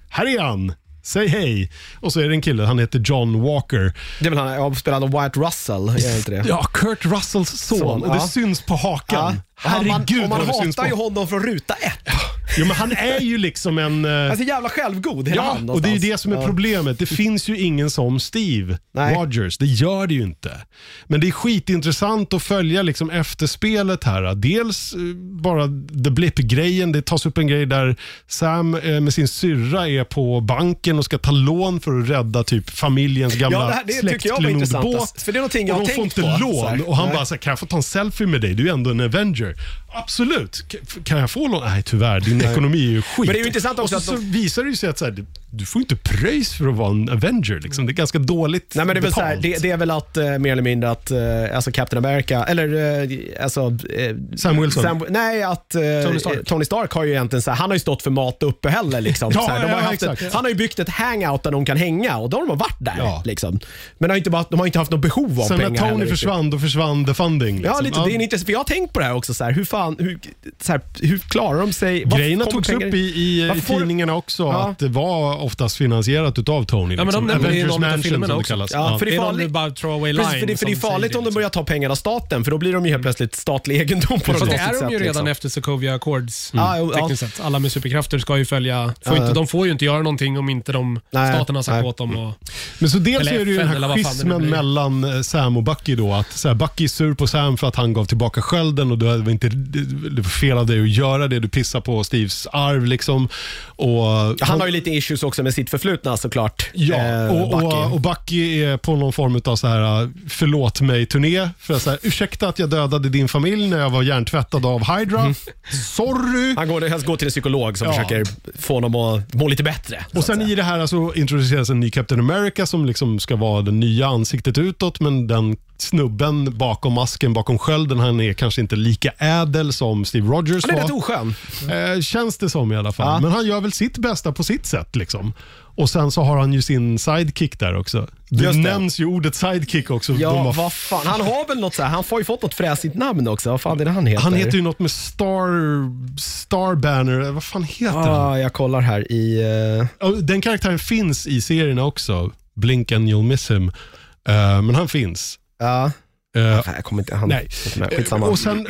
Speaker 3: Här är han! Säg hej!” Och så är det en kille, han heter John Walker.
Speaker 1: Det är väl han, ja, spelad av Wyatt Russell, är det inte det?
Speaker 3: Ja, Kurt Russells son.
Speaker 1: Son,
Speaker 3: och det
Speaker 1: ja.
Speaker 3: syns på
Speaker 1: Ja.
Speaker 3: hakan.
Speaker 1: Han- man,
Speaker 3: Herregud
Speaker 1: och man
Speaker 3: vad det syns
Speaker 1: hatar ju
Speaker 3: på.
Speaker 1: honom från ruta ett.
Speaker 3: Jo, men han är ju liksom en... eh,
Speaker 1: Han är så jävla självgod, hela
Speaker 3: Ja,
Speaker 1: han
Speaker 3: och det är ju
Speaker 1: någonstans.
Speaker 3: det som är
Speaker 1: Ja.
Speaker 3: problemet. Det finns ju ingen som Steve
Speaker 1: Nej.
Speaker 3: Rogers. Det gör det ju inte. Men det är skitintressant att följa liksom efterspelet här. Dels eh, bara the blip-grejen. Det tas upp en grej där Sam eh, med sin syrra är på banken och ska ta lån för att rädda typ familjens gamla
Speaker 1: Ja, det, här, det tycker jag var intressant. alltså.
Speaker 3: släktklonbåt.
Speaker 1: För det är någonting jag
Speaker 3: Och
Speaker 1: har
Speaker 3: de får
Speaker 1: tänkt
Speaker 3: inte
Speaker 1: på. så
Speaker 3: lån
Speaker 1: här.
Speaker 3: och han
Speaker 1: Nej.
Speaker 3: bara, så här, kan jag få ta en selfie med dig? Du är ändå en Avenger. Absolut. K- f- Kan jag få lån? Nej, tyvärr. Din ekonomi är ju skit.
Speaker 1: Men det är ju intressant också
Speaker 3: och så,
Speaker 1: att
Speaker 3: så visar det ju sig att så här, du- du får inte pröjs för att vara en Avenger. Liksom. Det är ganska dåligt
Speaker 1: Nej, men det, är väl så här,
Speaker 3: betalt.
Speaker 1: det, det är väl att eh, mer eller mindre att eh, alltså Captain America, eller eh, alltså... Eh,
Speaker 3: Sam Wilson.
Speaker 1: nej, att eh,
Speaker 2: Tony Stark.
Speaker 1: Tony Stark har ju egentligen så här, han har ju stått för mat och uppehälle. Liksom,
Speaker 3: Ja,
Speaker 1: så här, de har
Speaker 3: ja,
Speaker 1: ju haft ett,
Speaker 3: exakt.
Speaker 1: han har ju byggt ett hangout där de kan hänga och då har de varit där.
Speaker 3: Ja.
Speaker 1: Liksom. Men de har, inte bara, de har inte haft något behov av
Speaker 3: Sen
Speaker 1: pengar
Speaker 3: när Tony
Speaker 1: heller, riktigt.
Speaker 3: försvann, då försvann the funding. Liksom.
Speaker 1: Ja, lite, det är intressant, för jag har tänkt på det här också. Så här, hur, fan, hur, så här, hur klarar de sig? Varför
Speaker 3: Grejerna
Speaker 1: kommer
Speaker 3: togs
Speaker 1: pengar
Speaker 3: upp
Speaker 1: in?
Speaker 3: i, i, eh, i
Speaker 1: Varför får-
Speaker 3: tidningarna också,
Speaker 1: Ja.
Speaker 3: att det var oftast finansierat utav Tony.
Speaker 2: Ja, men de
Speaker 3: liksom.
Speaker 2: nämnde det i
Speaker 3: Avengers
Speaker 2: någon av
Speaker 3: Mansion
Speaker 2: filmerna
Speaker 3: som det
Speaker 2: också.
Speaker 3: kallas.
Speaker 1: Ja, för det är
Speaker 2: någon
Speaker 1: farligt.
Speaker 2: bara throwaway line.
Speaker 1: Precis, för det, för det är
Speaker 2: som säger
Speaker 1: farligt
Speaker 3: liksom.
Speaker 1: om de börjar ta pengar av staten, för då blir de ju helt plötsligt statlig egendom på något
Speaker 2: Fast det
Speaker 1: konstigt
Speaker 2: är de ju
Speaker 1: sätt,
Speaker 2: redan
Speaker 1: liksom.
Speaker 2: efter Sokovia Accords. mm,
Speaker 1: Ja, jo, ja.
Speaker 2: Tekniskt sett. Alla med superkrafter ska ju följa... Får
Speaker 1: Ja,
Speaker 2: inte,
Speaker 1: ja.
Speaker 2: de får ju inte göra någonting om inte de
Speaker 1: Nej,
Speaker 2: staten har sagt
Speaker 1: nej. Mm.
Speaker 2: åt dem. Och,
Speaker 3: Men så dels
Speaker 2: Eller
Speaker 3: är det ju
Speaker 2: FN,
Speaker 3: den
Speaker 2: eller vad fan
Speaker 3: här
Speaker 2: det nu
Speaker 3: schismen
Speaker 2: blir.
Speaker 3: mellan eh, Sam och Bucky då. Att så här, Bucky är sur på Sam för att han gav tillbaka skölden och du hade väl inte, det var fel av dig att göra det. Du pissar på Steves arv liksom. Och
Speaker 1: Han har ju lite issues också med sitt förflutna såklart.
Speaker 3: Ja,
Speaker 1: Eh,
Speaker 3: och,
Speaker 1: Bucky.
Speaker 3: och, och Bucky är på någon form av så här, eh, förlåt mig-turné. För att så här, Ursäkta att jag dödade din familj när jag var hjärntvättad av Hydra.
Speaker 1: Mm.
Speaker 3: Sorry.
Speaker 1: Han går, han går till en psykolog som
Speaker 3: Ja.
Speaker 1: försöker få honom att må lite bättre. så
Speaker 3: Och
Speaker 1: att
Speaker 3: sen
Speaker 1: säga.
Speaker 3: i det här så introduceras en ny Captain America som liksom ska vara det nya ansiktet utåt, men den snubben bakom masken, bakom skölden, han är kanske inte lika ädel som Steve Rogers
Speaker 1: han är rätt
Speaker 3: var.
Speaker 1: oskön.
Speaker 3: Eh, känns det som i alla fall.
Speaker 1: Mm. Ja.
Speaker 3: Men han gör väl sitt bästa på sitt sätt. liksom. Och sen så har han ju sin sidekick där också. Det,
Speaker 1: Just det.
Speaker 3: nämns ju ordet sidekick också. De
Speaker 1: Ja,
Speaker 3: bara,
Speaker 1: vad fan. Han har väl något så här, han har ju fått något fräsigt namn också. Vad fan är det han heter?
Speaker 3: han heter ju något med Star, Star Banner, Eh, vad fan heter han?
Speaker 1: Ah, jag kollar här i... eh,
Speaker 3: Och Den karaktären finns i serierna också. Blink and you'll miss him. Eh, men han finns.
Speaker 1: Ja,
Speaker 3: Eh,
Speaker 1: nej, jag kommer inte... Han,
Speaker 3: Nej.
Speaker 1: Eh,
Speaker 3: Eh,
Speaker 1: Skitsamma.
Speaker 3: Och sen,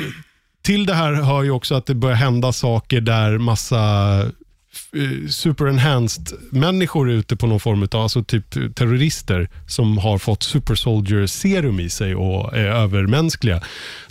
Speaker 3: till det här hör ju också att det börjar hända saker där massa eh, super enhanced människor är ute på någon form av, alltså typ terrorister som har fått super soldier serum i sig och är övermänskliga.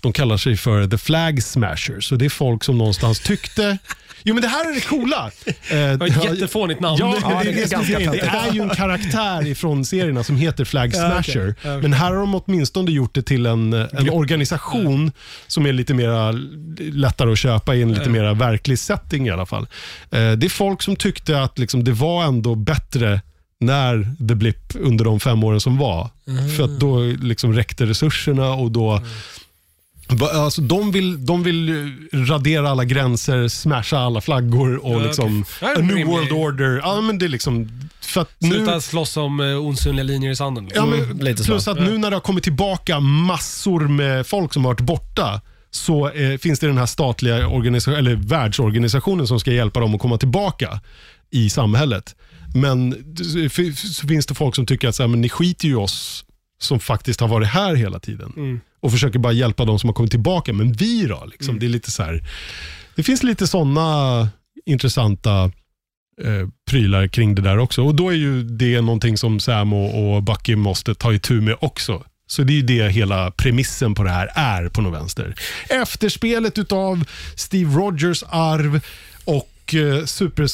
Speaker 3: De kallar sig för the flag smashers och det är folk som någonstans tyckte Jo men det här är det coola. Eh,
Speaker 2: var ett jättefånigt namn.
Speaker 3: Ja,
Speaker 2: Ja,
Speaker 3: men
Speaker 1: det
Speaker 3: det, är
Speaker 1: är
Speaker 3: det, som är
Speaker 1: ganska
Speaker 3: grejen. det
Speaker 1: töntigt.
Speaker 3: är ju en karaktär ifrån serierna som heter Flag
Speaker 2: Ja, okej.
Speaker 3: Smasher.
Speaker 2: Ja, okej.
Speaker 3: Men här har de åtminstone gjort det till en, en organisation som är lite mera lättare att köpa i en lite mera verklig setting i alla fall. Eh, Det är folk som tyckte att liksom det var ändå bättre när The Blip under de fem åren som var. För att då liksom räckte resurserna och då
Speaker 2: Mm.
Speaker 3: Va- Alltså, de, vill, de vill eh, radera alla gränser, smasha alla flaggor och
Speaker 2: Ja, okej.
Speaker 3: liksom
Speaker 2: Ja, det är
Speaker 3: a new
Speaker 2: rimligt.
Speaker 3: world order. Ja, men det är liksom, för att nu,
Speaker 2: Sluta slåss om eh, osynliga linjer i sanden.
Speaker 3: ja,
Speaker 2: Liksom.
Speaker 3: men,
Speaker 1: Mm, lite så.
Speaker 3: plus att nu när det har kommit tillbaka massor med folk som har varit borta så eh, finns det den här statliga organisa- eller världsorganisationen som ska hjälpa dem att komma tillbaka i samhället. Men d- f- f- så finns det folk som tycker att så här, men ni skiter ju i oss som faktiskt har varit här hela tiden
Speaker 2: Mm.
Speaker 3: och försöker bara hjälpa de som har kommit tillbaka. Men vi då? Liksom, Det, är lite så här, det finns lite sådana intressanta eh, prylar kring det där också. Och då är ju det någonting som Sam och, och Bucky måste ta itu med också. Så det är ju det hela premissen på det här är på något vänster. Efterspelet utav Steve Rogers arv och eh, Super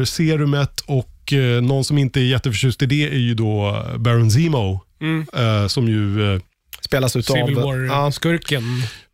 Speaker 3: Soldier-serumet och eh, någon som inte är jätteförtjust i det är ju då Baron Zemo. Eh, som ju eh,
Speaker 1: Spelas utav...
Speaker 2: Civil
Speaker 1: Ja,
Speaker 2: War-skurken.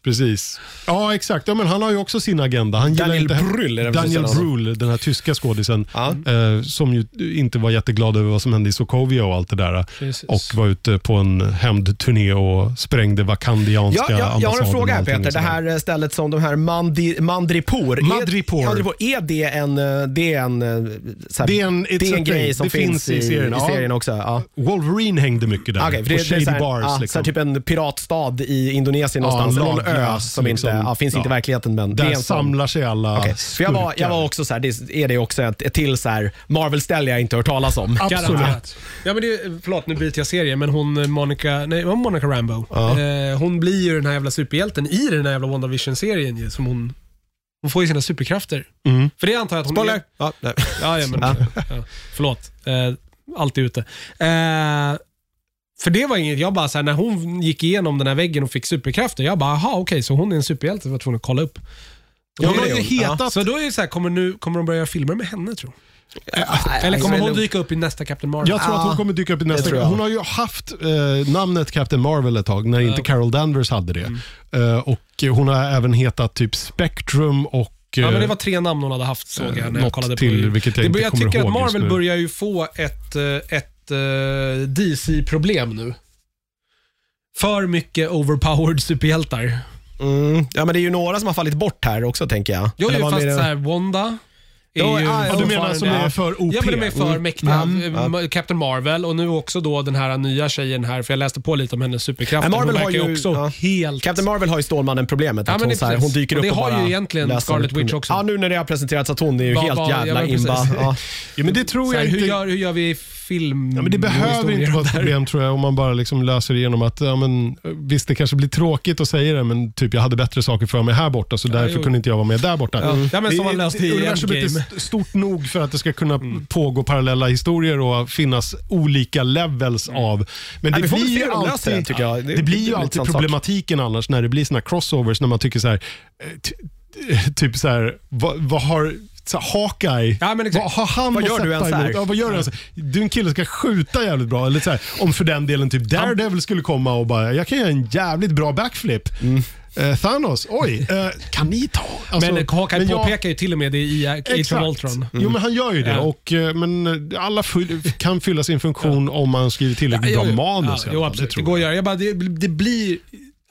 Speaker 3: Precis. Ja, exakt. Ja, men han har ju också sin agenda. Han gillar
Speaker 1: Daniel
Speaker 3: inte
Speaker 1: Brühl är det väl som
Speaker 3: Daniel
Speaker 1: kallas.
Speaker 3: Brühl, den här tyska skådisen,
Speaker 1: Ja.
Speaker 3: eh, som ju inte var jätteglad över vad som hände i Sokovia och allt det där.
Speaker 2: Precis.
Speaker 3: Och var ute på en hämndturné och sprängde
Speaker 1: Ja,
Speaker 3: vakandianska
Speaker 1: ja, jag har en
Speaker 3: ambassaden och
Speaker 1: fråga här
Speaker 3: allting
Speaker 1: Peter.
Speaker 3: och
Speaker 1: Det
Speaker 3: sådär.
Speaker 1: här eh, stället som de här Mandi, Mandripor. är-
Speaker 3: Madripor.
Speaker 1: Madripor. Är det en, eh, det är en, eh, så här,
Speaker 3: Det är en-
Speaker 1: det är
Speaker 3: it's a
Speaker 1: en grej
Speaker 3: thing.
Speaker 1: som
Speaker 3: Det
Speaker 1: finns i, i serien,
Speaker 3: ja.
Speaker 1: också? Ja. Ah,
Speaker 3: Wolverine hängde mycket där.
Speaker 1: Okej, för det,
Speaker 3: på
Speaker 1: det är
Speaker 3: shady
Speaker 1: så här,
Speaker 3: bars.
Speaker 1: ja, så
Speaker 3: liksom.
Speaker 1: här, typ en piratstad i Indonesien
Speaker 3: Ja,
Speaker 1: någonstans, eller någon ö
Speaker 3: laglös,
Speaker 1: som inte,
Speaker 3: liksom.
Speaker 1: ja, finns inte i
Speaker 3: Ja.
Speaker 1: verkligheten. Men det
Speaker 3: där
Speaker 1: är en sån.
Speaker 3: samlar sig alla
Speaker 1: Okej, För jag, var, jag var också så här, det är det också ett, ett till så här Marvel-ställe jag inte hört talas om.
Speaker 2: Garanterat. Ja, men det, är- förlåt, nu byter jag serie, men hon eh, Monica, nej, hon Monica Rambo. Eh, hon blir ju den här jävla superhjälten i den här jävla WandaVision-serien ju, som hon... Hon får ju sina superkrafter.
Speaker 3: Mm.
Speaker 2: För det antar jag att hon...
Speaker 1: Spoiler! Ja, nej.
Speaker 2: Ja, ja, men,
Speaker 1: Ja.
Speaker 2: ja. förlåt. Eh, alltid ute. Eh, för det var inget, jag bara så här, när hon gick igenom den här väggen och fick superkrafter, jag bara, aha okej, så hon är en superhjälte, var tvungen att kolla upp.
Speaker 1: Ja,
Speaker 2: Och då
Speaker 1: men
Speaker 2: är
Speaker 1: det är
Speaker 2: det-
Speaker 1: hon.
Speaker 2: Ja. Så då är det så här, kommer, nu, kommer de börja göra filmer med henne tror jag. Eller
Speaker 1: jag Äh,
Speaker 2: kommer
Speaker 1: är
Speaker 2: hon
Speaker 1: nog-
Speaker 2: dyka upp i nästa Captain Marvel?
Speaker 3: Jag tror att hon kommer dyka upp i
Speaker 1: det
Speaker 3: nästa.
Speaker 1: tror jag.
Speaker 3: Hon har ju haft eh, namnet Captain Marvel ett tag när inte
Speaker 2: okej.
Speaker 3: Carol Danvers hade
Speaker 2: Mm.
Speaker 3: det. Eh, och hon har även hetat typ Spectrum och
Speaker 2: Ja, men det
Speaker 3: eh,
Speaker 2: var tre namn hon hade haft såg jag när jag
Speaker 3: något
Speaker 2: kollade
Speaker 3: till,
Speaker 2: på
Speaker 3: vilket jag
Speaker 2: det,
Speaker 3: inte
Speaker 2: bör- Jag
Speaker 3: kommer
Speaker 2: tycker att
Speaker 3: ihåg just
Speaker 2: Marvel
Speaker 3: nu.
Speaker 2: börjar ju få ett, eh, ett eh, DC-problem nu. För mycket overpowered superhjältar.
Speaker 1: Mm. Ja, men det är ju några som har fallit bort här också tänker jag.
Speaker 2: Jo,
Speaker 1: Eller
Speaker 2: ju,
Speaker 1: vad
Speaker 2: fast
Speaker 1: menar du?
Speaker 2: såhär, Wanda är
Speaker 1: Ja,
Speaker 2: ju
Speaker 1: ja,
Speaker 3: Ja, du menar
Speaker 2: fortfarande-
Speaker 3: som är för OP?
Speaker 2: Ja, men de är för
Speaker 3: Mm.
Speaker 2: mäktiga.
Speaker 1: Mm.
Speaker 2: Eh, Ma- Captain Marvel och nu också då den här nya tjejen här, för jag läste på lite om hennes superkrafter.
Speaker 1: Nej, Marvel
Speaker 2: Hon
Speaker 1: har
Speaker 2: verkar
Speaker 1: ju-
Speaker 2: också
Speaker 1: ja.
Speaker 2: helt...
Speaker 1: Captain Marvel har ju Stålmannen-problemet.
Speaker 2: Ja,
Speaker 1: att
Speaker 2: men
Speaker 1: hon,
Speaker 2: det-
Speaker 1: så här, hon dyker
Speaker 2: och
Speaker 1: upp
Speaker 2: det
Speaker 1: och
Speaker 2: har
Speaker 1: bara
Speaker 2: ju egentligen
Speaker 1: löser
Speaker 2: Scarlet
Speaker 1: problem.
Speaker 2: Witch också.
Speaker 1: Ja, nu när det har presenterats att hon är ju
Speaker 2: Vad-
Speaker 1: helt
Speaker 2: vad- ja,
Speaker 1: jävla
Speaker 2: men precis.
Speaker 1: imba. Ja.
Speaker 3: Ja, men det
Speaker 2: så
Speaker 3: tror
Speaker 2: här,
Speaker 3: jag
Speaker 2: hur,
Speaker 3: inte.
Speaker 2: gör, hur gör vi film...
Speaker 3: Ja, men det behöver
Speaker 2: historier
Speaker 3: inte vara
Speaker 2: om det
Speaker 3: ett
Speaker 2: här?
Speaker 3: problem tror jag om man bara liksom löser det genom att, ja, men, visst det kanske blir tråkigt att säga det, men typ jag hade bättre saker för mig här borta så därför
Speaker 2: jo.
Speaker 3: kunde inte jag vara med där borta.
Speaker 2: Ja. Ja, men
Speaker 3: Det-
Speaker 2: som man löste
Speaker 3: det-
Speaker 2: i
Speaker 3: Universumet är
Speaker 2: Endgame. Mm.
Speaker 3: st- stort nog för att det ska kunna pågå parallella historier och finnas olika levels
Speaker 2: Mm.
Speaker 3: av. Men det
Speaker 1: vi får väl
Speaker 3: blir
Speaker 1: se
Speaker 3: ju
Speaker 1: hur de löser
Speaker 3: alltid,
Speaker 1: det, tycker jag. Det-
Speaker 3: det,
Speaker 1: det
Speaker 3: blir
Speaker 1: är
Speaker 3: ju
Speaker 1: en
Speaker 3: alltid
Speaker 1: intressant sak.
Speaker 3: problematiken annars när det blir såna crossovers när man tycker så här, eh, ty- eh, typ så här, vad, vad har så här, Hawkeye,
Speaker 2: Ja, men exakt.
Speaker 3: vad har han
Speaker 1: Vad
Speaker 3: att
Speaker 1: gör du
Speaker 3: sätta
Speaker 1: ens här?
Speaker 3: emot? Ja, vad gör du ens? Du är en kille som ska skjuta jävligt bra. Eller så här, om för den delen typ Daredevil skulle komma och bara, jag kan göra en jävligt bra backflip. Eh, Thanos, oj, eh, kan ni ta? Alltså,
Speaker 2: Mm. Men eh, Hawkeye
Speaker 3: men jag-
Speaker 2: påpekar Mm. ju till och med det i eh, Age of
Speaker 3: Exakt.
Speaker 2: Ultron.
Speaker 3: Jo, men han gör ju det.
Speaker 2: Ja.
Speaker 3: Och, eh, men eh, alla fyll- kan fylla sin funktion om man skriver tillräckligt
Speaker 2: Ja,
Speaker 3: bra
Speaker 2: jo, jo.
Speaker 3: manus. i
Speaker 2: Ja,
Speaker 3: alla
Speaker 2: jo,
Speaker 3: fall.
Speaker 2: absolut. Det,
Speaker 3: tror
Speaker 2: går att
Speaker 3: jag.
Speaker 2: göra. Jag bara, det, det blir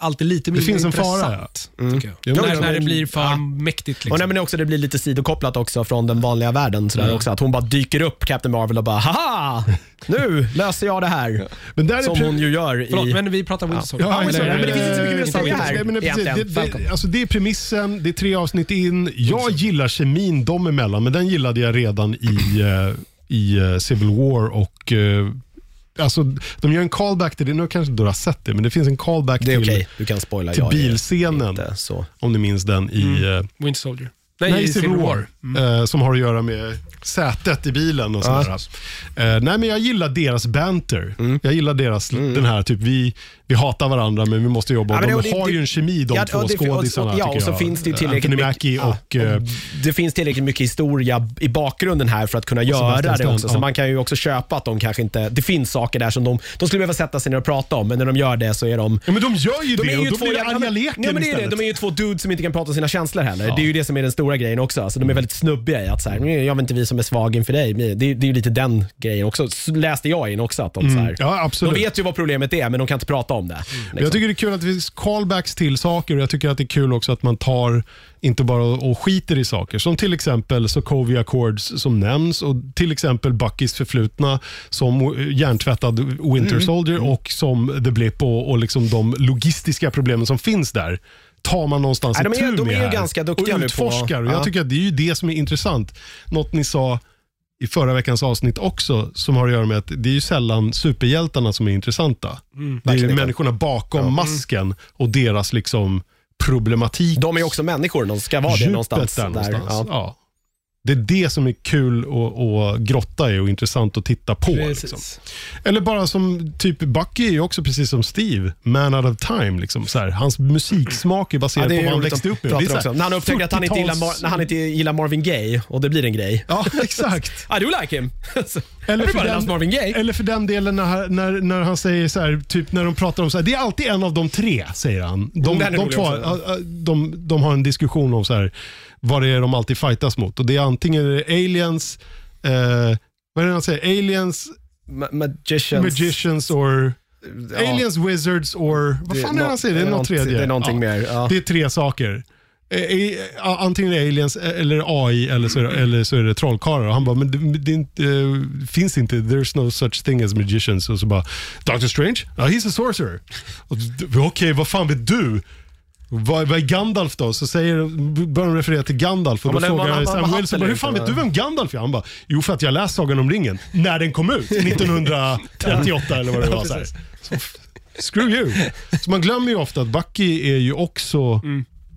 Speaker 2: alltid lite mindre
Speaker 3: finns en fara,
Speaker 2: intressant. Tycker jag.
Speaker 3: Jo,
Speaker 2: när,
Speaker 3: men-
Speaker 2: när det blir för
Speaker 1: Ja.
Speaker 2: mäktigt.
Speaker 1: Och
Speaker 2: Liksom.
Speaker 1: nej, men också, det blir lite sidokopplat också från den vanliga världen. Sådär också, att hon bara dyker upp, Captain Marvel, och bara haha! Nu löser jag det här.
Speaker 3: Men där är
Speaker 1: Som
Speaker 3: pre-
Speaker 1: hon ju gör i...
Speaker 2: Förlåt, men vi pratar Wilson.
Speaker 3: Ja,
Speaker 1: men
Speaker 3: exakt.
Speaker 1: det finns inte så mycket mer att
Speaker 3: Eh,
Speaker 1: säga här,
Speaker 3: nej, men precis.
Speaker 1: egentligen.
Speaker 3: Det,
Speaker 1: Falcon.
Speaker 3: det, alltså det är premissen, det är tre avsnitt in. Jag gillar kemin dem emellan, men den gillade jag redan i, eh, i eh, Civil War. och eh, Alltså, de gör en callback till det, nu kanske inte du har sett det, men det finns en callback
Speaker 1: Det är
Speaker 3: till,
Speaker 1: okej, du kan spoila.
Speaker 3: till
Speaker 1: jag är
Speaker 3: bilscenen,
Speaker 1: inte Mm. Så.
Speaker 3: om ni minns den, i, eh,
Speaker 2: Winter Soldier.
Speaker 3: Nej, Civil War.
Speaker 1: Mm.
Speaker 3: Eh, som har att göra med sätet i bilen och sådär. Eh, nej, men jag gillar deras banter.
Speaker 1: Mm.
Speaker 3: Jag gillar deras, den här typ, vi, vi hatar varandra men vi måste jobba.
Speaker 1: Ja, men
Speaker 3: de
Speaker 1: det-
Speaker 3: har
Speaker 1: det-
Speaker 3: ju en kemi de
Speaker 1: ja,
Speaker 3: två
Speaker 1: och det- och- och-
Speaker 3: skådisarna
Speaker 1: ja,
Speaker 3: tycker
Speaker 1: och så
Speaker 3: jag.
Speaker 1: finns det ju
Speaker 3: Eh,
Speaker 1: tillräckligt
Speaker 3: Anthony
Speaker 1: mycket-
Speaker 3: Mackie
Speaker 1: ja, Mm.
Speaker 3: och... eh,
Speaker 1: Det finns tillräckligt mycket historia i bakgrunden här för att kunna göra det
Speaker 3: Sebastian
Speaker 1: också. Så
Speaker 3: Stan, ja.
Speaker 1: man kan ju också köpa att de kanske inte... Det finns saker där som de, de skulle behöva sätta sig ner och prata om, men när de gör det så är de...
Speaker 3: ja, men de gör ju
Speaker 1: De
Speaker 3: det
Speaker 1: är ju
Speaker 3: och då
Speaker 1: två
Speaker 3: blir det
Speaker 1: jävla-
Speaker 3: arga
Speaker 1: nej,
Speaker 3: leken
Speaker 1: men det är det.
Speaker 3: istället.
Speaker 1: De är ju två dudes som inte kan prata om sina känslor heller. Det är ju det som är den stora grejen också. Alltså, de är väldigt snubbiga i att så här, "Nej, jag vet inte vi som är svagen för dig. Det är, det är ju lite den grejen också. Så läste jag in också att de så här,
Speaker 3: Mm. Ja,
Speaker 1: De
Speaker 3: absolut. Mm.
Speaker 1: vet ju vad problemet är, men de kan inte prata om det. liksom.
Speaker 3: Jag tycker det är kul att det finns callbacks till saker och jag tycker att det är kul också att man tar, inte bara och skiter i saker, som till exempel Sokovia Accords som nämns och till exempel Buckys förflutna som eh, hjärntvättad Winter
Speaker 1: Mm.
Speaker 3: Soldier och som The Blip och, och liksom de logistiska problemen som finns där tar man någonstans
Speaker 1: Nej, de är-
Speaker 3: itu
Speaker 1: de är
Speaker 3: med
Speaker 1: ju
Speaker 3: här
Speaker 1: ganska duktiga
Speaker 3: och
Speaker 1: nu på-
Speaker 3: utforskar. Och jag
Speaker 1: Ja.
Speaker 3: tycker att det är ju det som är intressant. Något ni sa i förra veckans avsnitt också som har att göra med att det är ju sällan superhjältarna som är intressanta. det är ju
Speaker 1: Mm, verkligen.
Speaker 3: människorna bakom
Speaker 1: Mm.
Speaker 3: masken och deras liksom problematik.
Speaker 1: De är också människor, de ska vara det
Speaker 3: djupet
Speaker 1: någonstans.
Speaker 3: där någonstans.
Speaker 1: Ja.
Speaker 3: Ja. Det är det som är kul och, och grotta i och intressant att titta på. Liksom.
Speaker 2: Precis.
Speaker 3: Eller bara som typ Bucky är ju också precis som Steve, man out of time. Liksom, så här. Hans musiksmak är
Speaker 1: Ja,
Speaker 3: baserad
Speaker 1: det är
Speaker 3: på vad han
Speaker 1: roligt
Speaker 3: växte
Speaker 1: att
Speaker 3: upp med.
Speaker 1: prata
Speaker 3: Det är så här
Speaker 1: också. När han upptäckte att han inte, gillar,
Speaker 3: 40-tals-
Speaker 1: Mar- när han inte gillar Marvin Gaye och det blir en grej.
Speaker 3: Ja, exakt.
Speaker 1: I do like him.
Speaker 3: Eller för,
Speaker 1: Everybody loves Marvin
Speaker 3: den, Eh,
Speaker 1: Gaye.
Speaker 3: eller för den delen när, när, när han säger så här, typ när de pratar om så här, det är alltid en av de tre, säger han. De,
Speaker 1: Den är
Speaker 3: de,
Speaker 1: rolig
Speaker 3: två,
Speaker 1: också.
Speaker 3: ja, ja, de, de har en diskussion om så här, vad det är de alltid fightas mot. Och det är antingen är det aliens, eh, vad är det han säger? Aliens,
Speaker 1: Ma- Magicians.
Speaker 3: magicians or...
Speaker 1: Ja.
Speaker 3: Aliens, wizards or... Vad
Speaker 1: Det är
Speaker 3: fan är det
Speaker 1: nå-
Speaker 3: han säger? Det är något tredje.
Speaker 1: Det är någonting mer. Ja.
Speaker 3: Det är tre saker. Eh, eh, Antingen är det aliens eh, eller AI eller så är det, eller så är det trollkarlar. Och Han bara, men det, det är inte, eh, finns inte, there's no such thing as magicians. Och så bara, Doctor Strange? Ja, he's a sorcerer. Och d- Okej, vad fan vet du? Vad, vad är Gandalf då? Så säger, börjar de referera till Gandalf och
Speaker 1: Ja,
Speaker 3: då
Speaker 1: men det-
Speaker 3: frågar
Speaker 1: man-
Speaker 3: han
Speaker 1: man-
Speaker 3: Sam
Speaker 1: man-
Speaker 3: Wilson,
Speaker 1: man-
Speaker 3: bara, hur fan
Speaker 1: man-
Speaker 3: vet du vem Gandalf är? Han bara, jo för att jag läst Sagan om ringen när den kom ut, 1938 eller vad det var. Så här. Screw you. Så man glömmer ju ofta att Bucky är ju också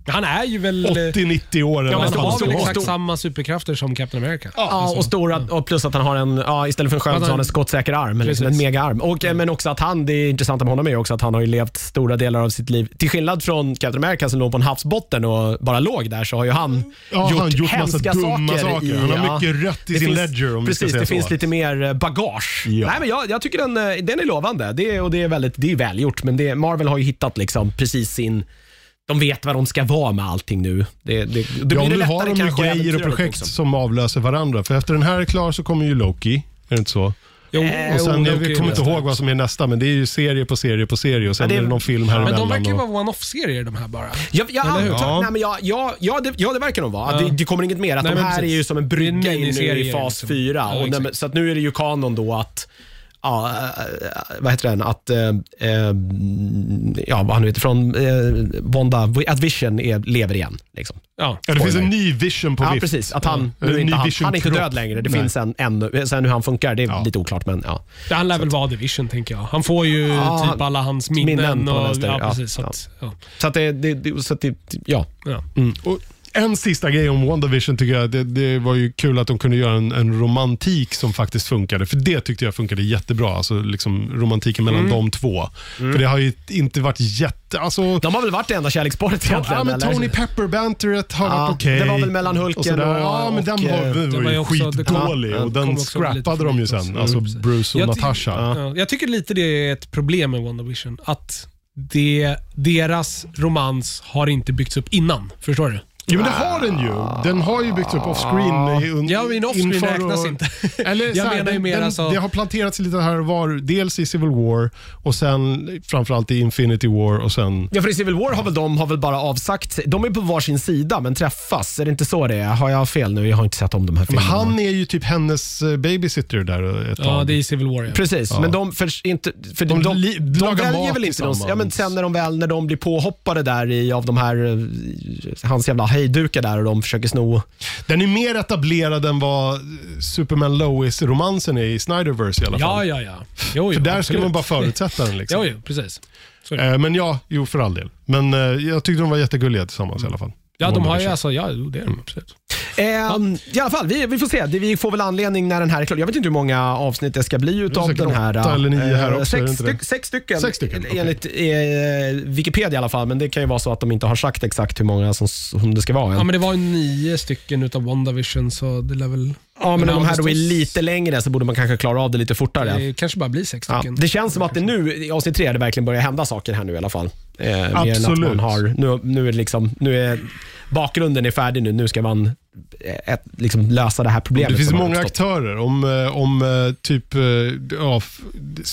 Speaker 2: Han är ju väl...
Speaker 3: 80-90 år. eller
Speaker 2: Ja,
Speaker 3: vad
Speaker 2: men
Speaker 3: fan
Speaker 2: han har
Speaker 3: ska
Speaker 2: väl
Speaker 3: vara.
Speaker 2: exakt samma superkrafter som Captain America.
Speaker 1: Ja, och stora, och plus att han har en, ja, istället för en sköld så har han en skottsäker arm, eller liksom en
Speaker 2: Precis.
Speaker 1: megaarm. Och, eh, men också att han, det är intressant med honom är ju också att han har ju levt stora delar av sitt liv, till skillnad från Captain America som låg på en havsbotten och bara låg där, så har ju han,
Speaker 3: Ja,
Speaker 1: gjort,
Speaker 3: han har gjort massa
Speaker 1: hemska
Speaker 3: dumma
Speaker 1: saker.
Speaker 3: saker. Han har mycket rött i
Speaker 1: Det
Speaker 3: sin
Speaker 1: finns-
Speaker 3: ledger, om vi ska
Speaker 1: Precis,
Speaker 3: säga
Speaker 1: det
Speaker 3: så.
Speaker 1: finns lite mer eh, bagage.
Speaker 3: Ja.
Speaker 1: Nej, men jag, jag tycker den, eh, den är lovande det, är- och det är, väldigt, det är välgjort, men det, Marvel har ju hittat liksom precis sin de vet vad de ska vara med allting nu. Det, det, det blir
Speaker 3: Ja,
Speaker 1: det
Speaker 3: nu
Speaker 1: lättare
Speaker 3: har de ju
Speaker 1: kanske
Speaker 3: grejer och
Speaker 1: äventyret
Speaker 3: projekt
Speaker 1: också.
Speaker 3: som avlöser varandra. För efter den här är klar så kommer ju Loki. Är det inte så?
Speaker 2: Jo,
Speaker 3: Och sen,
Speaker 2: jo,
Speaker 3: jag
Speaker 2: Loki
Speaker 3: kommer
Speaker 2: är
Speaker 3: inte
Speaker 2: det.
Speaker 3: ihåg vad som är nästa, men det är ju serie på serie på serie och sen
Speaker 1: Ja, det-
Speaker 3: är det någon film här
Speaker 2: Men
Speaker 3: emellan.
Speaker 2: de verkar ju
Speaker 3: och-
Speaker 2: vara one-off-serier de här bara.
Speaker 1: Jag, jag
Speaker 2: Eller hur?
Speaker 1: antar,
Speaker 3: Ja.
Speaker 1: nej, men jag, jag, ja, det, ja, det verkar de vara. Att Det, det kommer inget mer. Att de
Speaker 2: Nej, men
Speaker 1: här
Speaker 2: precis.
Speaker 1: är ju som en
Speaker 2: Det
Speaker 1: brygga
Speaker 2: är en
Speaker 1: in nu i
Speaker 2: miniserie,
Speaker 1: fas
Speaker 2: liksom.
Speaker 1: 4.
Speaker 2: Ja,
Speaker 1: och nej,
Speaker 2: exakt.
Speaker 1: men, så att nu är det ju kanon då att Ja, eh, vad heter den? Att, eh, eh, ja, vad han nu heter, från eh, Bonda, att Vision är, lever igen. Liksom.
Speaker 2: Ja.
Speaker 3: Ja, det finns en ny vision på
Speaker 1: Ja,
Speaker 3: vift.
Speaker 1: precis. Att han, nu
Speaker 3: Ja.
Speaker 1: är
Speaker 3: En ny
Speaker 1: inte han,
Speaker 3: vision
Speaker 1: han är inte
Speaker 3: kropp.
Speaker 1: död längre. Det
Speaker 3: Nej.
Speaker 1: finns en ännu. Sen hur han funkar, det är
Speaker 3: Ja.
Speaker 1: lite oklart. Men, ja.
Speaker 2: Det han lär väl vara The Vision, tänker jag. Han får ju
Speaker 1: Ja,
Speaker 2: typ alla hans minnen.
Speaker 1: minnen på
Speaker 2: och,
Speaker 1: vänster,
Speaker 2: ja,
Speaker 1: ja.
Speaker 2: precis. Så att, ja.
Speaker 1: Så att det, det, det, så att det ja.
Speaker 2: Ja.
Speaker 3: Mm. Och en sista grej om WandaVision tycker jag. Det, det var ju kul att de kunde göra en, en romantik som faktiskt funkade. För det tyckte jag funkade jättebra. Alltså liksom romantiken mellan de två. För det har ju inte varit jätte... Alltså,
Speaker 1: De har väl varit det enda kärleksparet egentligen?
Speaker 3: ja, men
Speaker 1: eller?
Speaker 3: Tony Pepper-banteret har
Speaker 1: Ja,
Speaker 3: varit okej.
Speaker 1: det var väl mellan Hulken
Speaker 3: sådär.
Speaker 1: och-
Speaker 3: Ja, men den
Speaker 1: och, eh,
Speaker 3: var, den
Speaker 2: det
Speaker 3: var
Speaker 2: var ju
Speaker 3: ju
Speaker 2: också-
Speaker 3: skitdålig.
Speaker 2: det kom-
Speaker 3: och
Speaker 2: kom
Speaker 3: den
Speaker 2: också lite
Speaker 3: scrappade
Speaker 2: för
Speaker 3: de ju
Speaker 2: mycket
Speaker 3: sen.
Speaker 2: också. Mm,
Speaker 3: Alltså
Speaker 2: precis.
Speaker 3: Bruce och
Speaker 2: Jag ty-
Speaker 3: Natasha.
Speaker 2: Ja. Jag tycker lite det är ett problem med WandaVision. Att det, deras romans har inte byggts upp innan. Förstår du?
Speaker 3: Jo, men det har den ju. Den har ju byggts upp off-screen. i- un-
Speaker 2: Ja, men off-screen
Speaker 3: inför
Speaker 2: räknas inte.
Speaker 3: Eller,
Speaker 2: Jag
Speaker 3: så här,
Speaker 2: menar ju
Speaker 3: den,
Speaker 2: mer
Speaker 3: den,
Speaker 2: alltså-
Speaker 3: Det har planterats lite här och var. Dels i Civil War och sen framförallt i Infinity War och sen...
Speaker 1: Ja, för i Civil War har väl de har väl bara avsagt sig. De är på varsin sida men träffas. Är det inte så det är? Har jag fel nu? Jag har inte sett om de här
Speaker 3: Men
Speaker 1: filmerna.
Speaker 3: han är ju typ hennes eh, babysitter där eh, ett
Speaker 2: Ja,
Speaker 3: tag.
Speaker 2: det är Civil War. Ja.
Speaker 1: Precis, men de, för, inte, för de,
Speaker 3: De
Speaker 1: de,
Speaker 3: li-
Speaker 1: de
Speaker 3: lagar
Speaker 1: väljer
Speaker 3: mat
Speaker 1: väl inte någon,
Speaker 3: tillsammans.
Speaker 1: ja, men sen när de väl när de blir påhoppade där i, av de här, eh, hans jävla hejdukar där och de försöker sno.
Speaker 3: Den är mer etablerad än vad eh, Superman Lois-romansen är i Snyderverse i alla fall.
Speaker 2: Ja, ja, ja. Jo, jo,
Speaker 3: För där ska
Speaker 2: absolut.
Speaker 3: man bara förutsätta den. Liksom.
Speaker 2: Jo, jo, precis. Så är det.
Speaker 3: Eh, Men ja, jo för all del. Men eh, jag tyckte de var jättegulliga tillsammans i alla fall.
Speaker 2: Ja, de har ju
Speaker 3: WandaVision.
Speaker 2: alltså, ja, jo, det är de absolut.
Speaker 1: Ehm, I alla fall, vi, vi får se. Det- Vi får väl anledning när den här är klar. Jag vet inte hur många avsnitt det ska bli utav
Speaker 3: säkert
Speaker 1: den här.
Speaker 3: åtta
Speaker 1: eh,
Speaker 3: eller nio här också, är
Speaker 1: sex,
Speaker 3: det inte det?
Speaker 1: styck- sex stycken,
Speaker 3: Sex stycken, okej.
Speaker 1: enligt eh, Wikipedia i alla fall. Men det kan ju vara så att de inte har sagt exakt hur många som, som det ska vara än.
Speaker 2: Ja, men det var ju nio stycken utav WandaVision, så det lär väl...
Speaker 1: Ja, men
Speaker 2: Men
Speaker 1: om de här då är
Speaker 2: Augustus-
Speaker 1: lite längre så borde man kanske klara av det lite fortare.
Speaker 2: Det kanske bara blir sex
Speaker 1: Ja,
Speaker 2: stycken.
Speaker 1: det känns som att det nu, i avsnitt tre, det verkligen börjar hända saker här nu i alla fall. Eh, mer än att
Speaker 3: Absolut.
Speaker 1: Man har, nu, nu, är det liksom, nu är bakgrunden är färdig nu. Nu ska man eh, ett, liksom lösa det här problemet.
Speaker 3: Det finns
Speaker 1: som har
Speaker 3: många
Speaker 1: uppstått.
Speaker 3: aktörer. Om, eh, om eh, typ, eh, ja, f-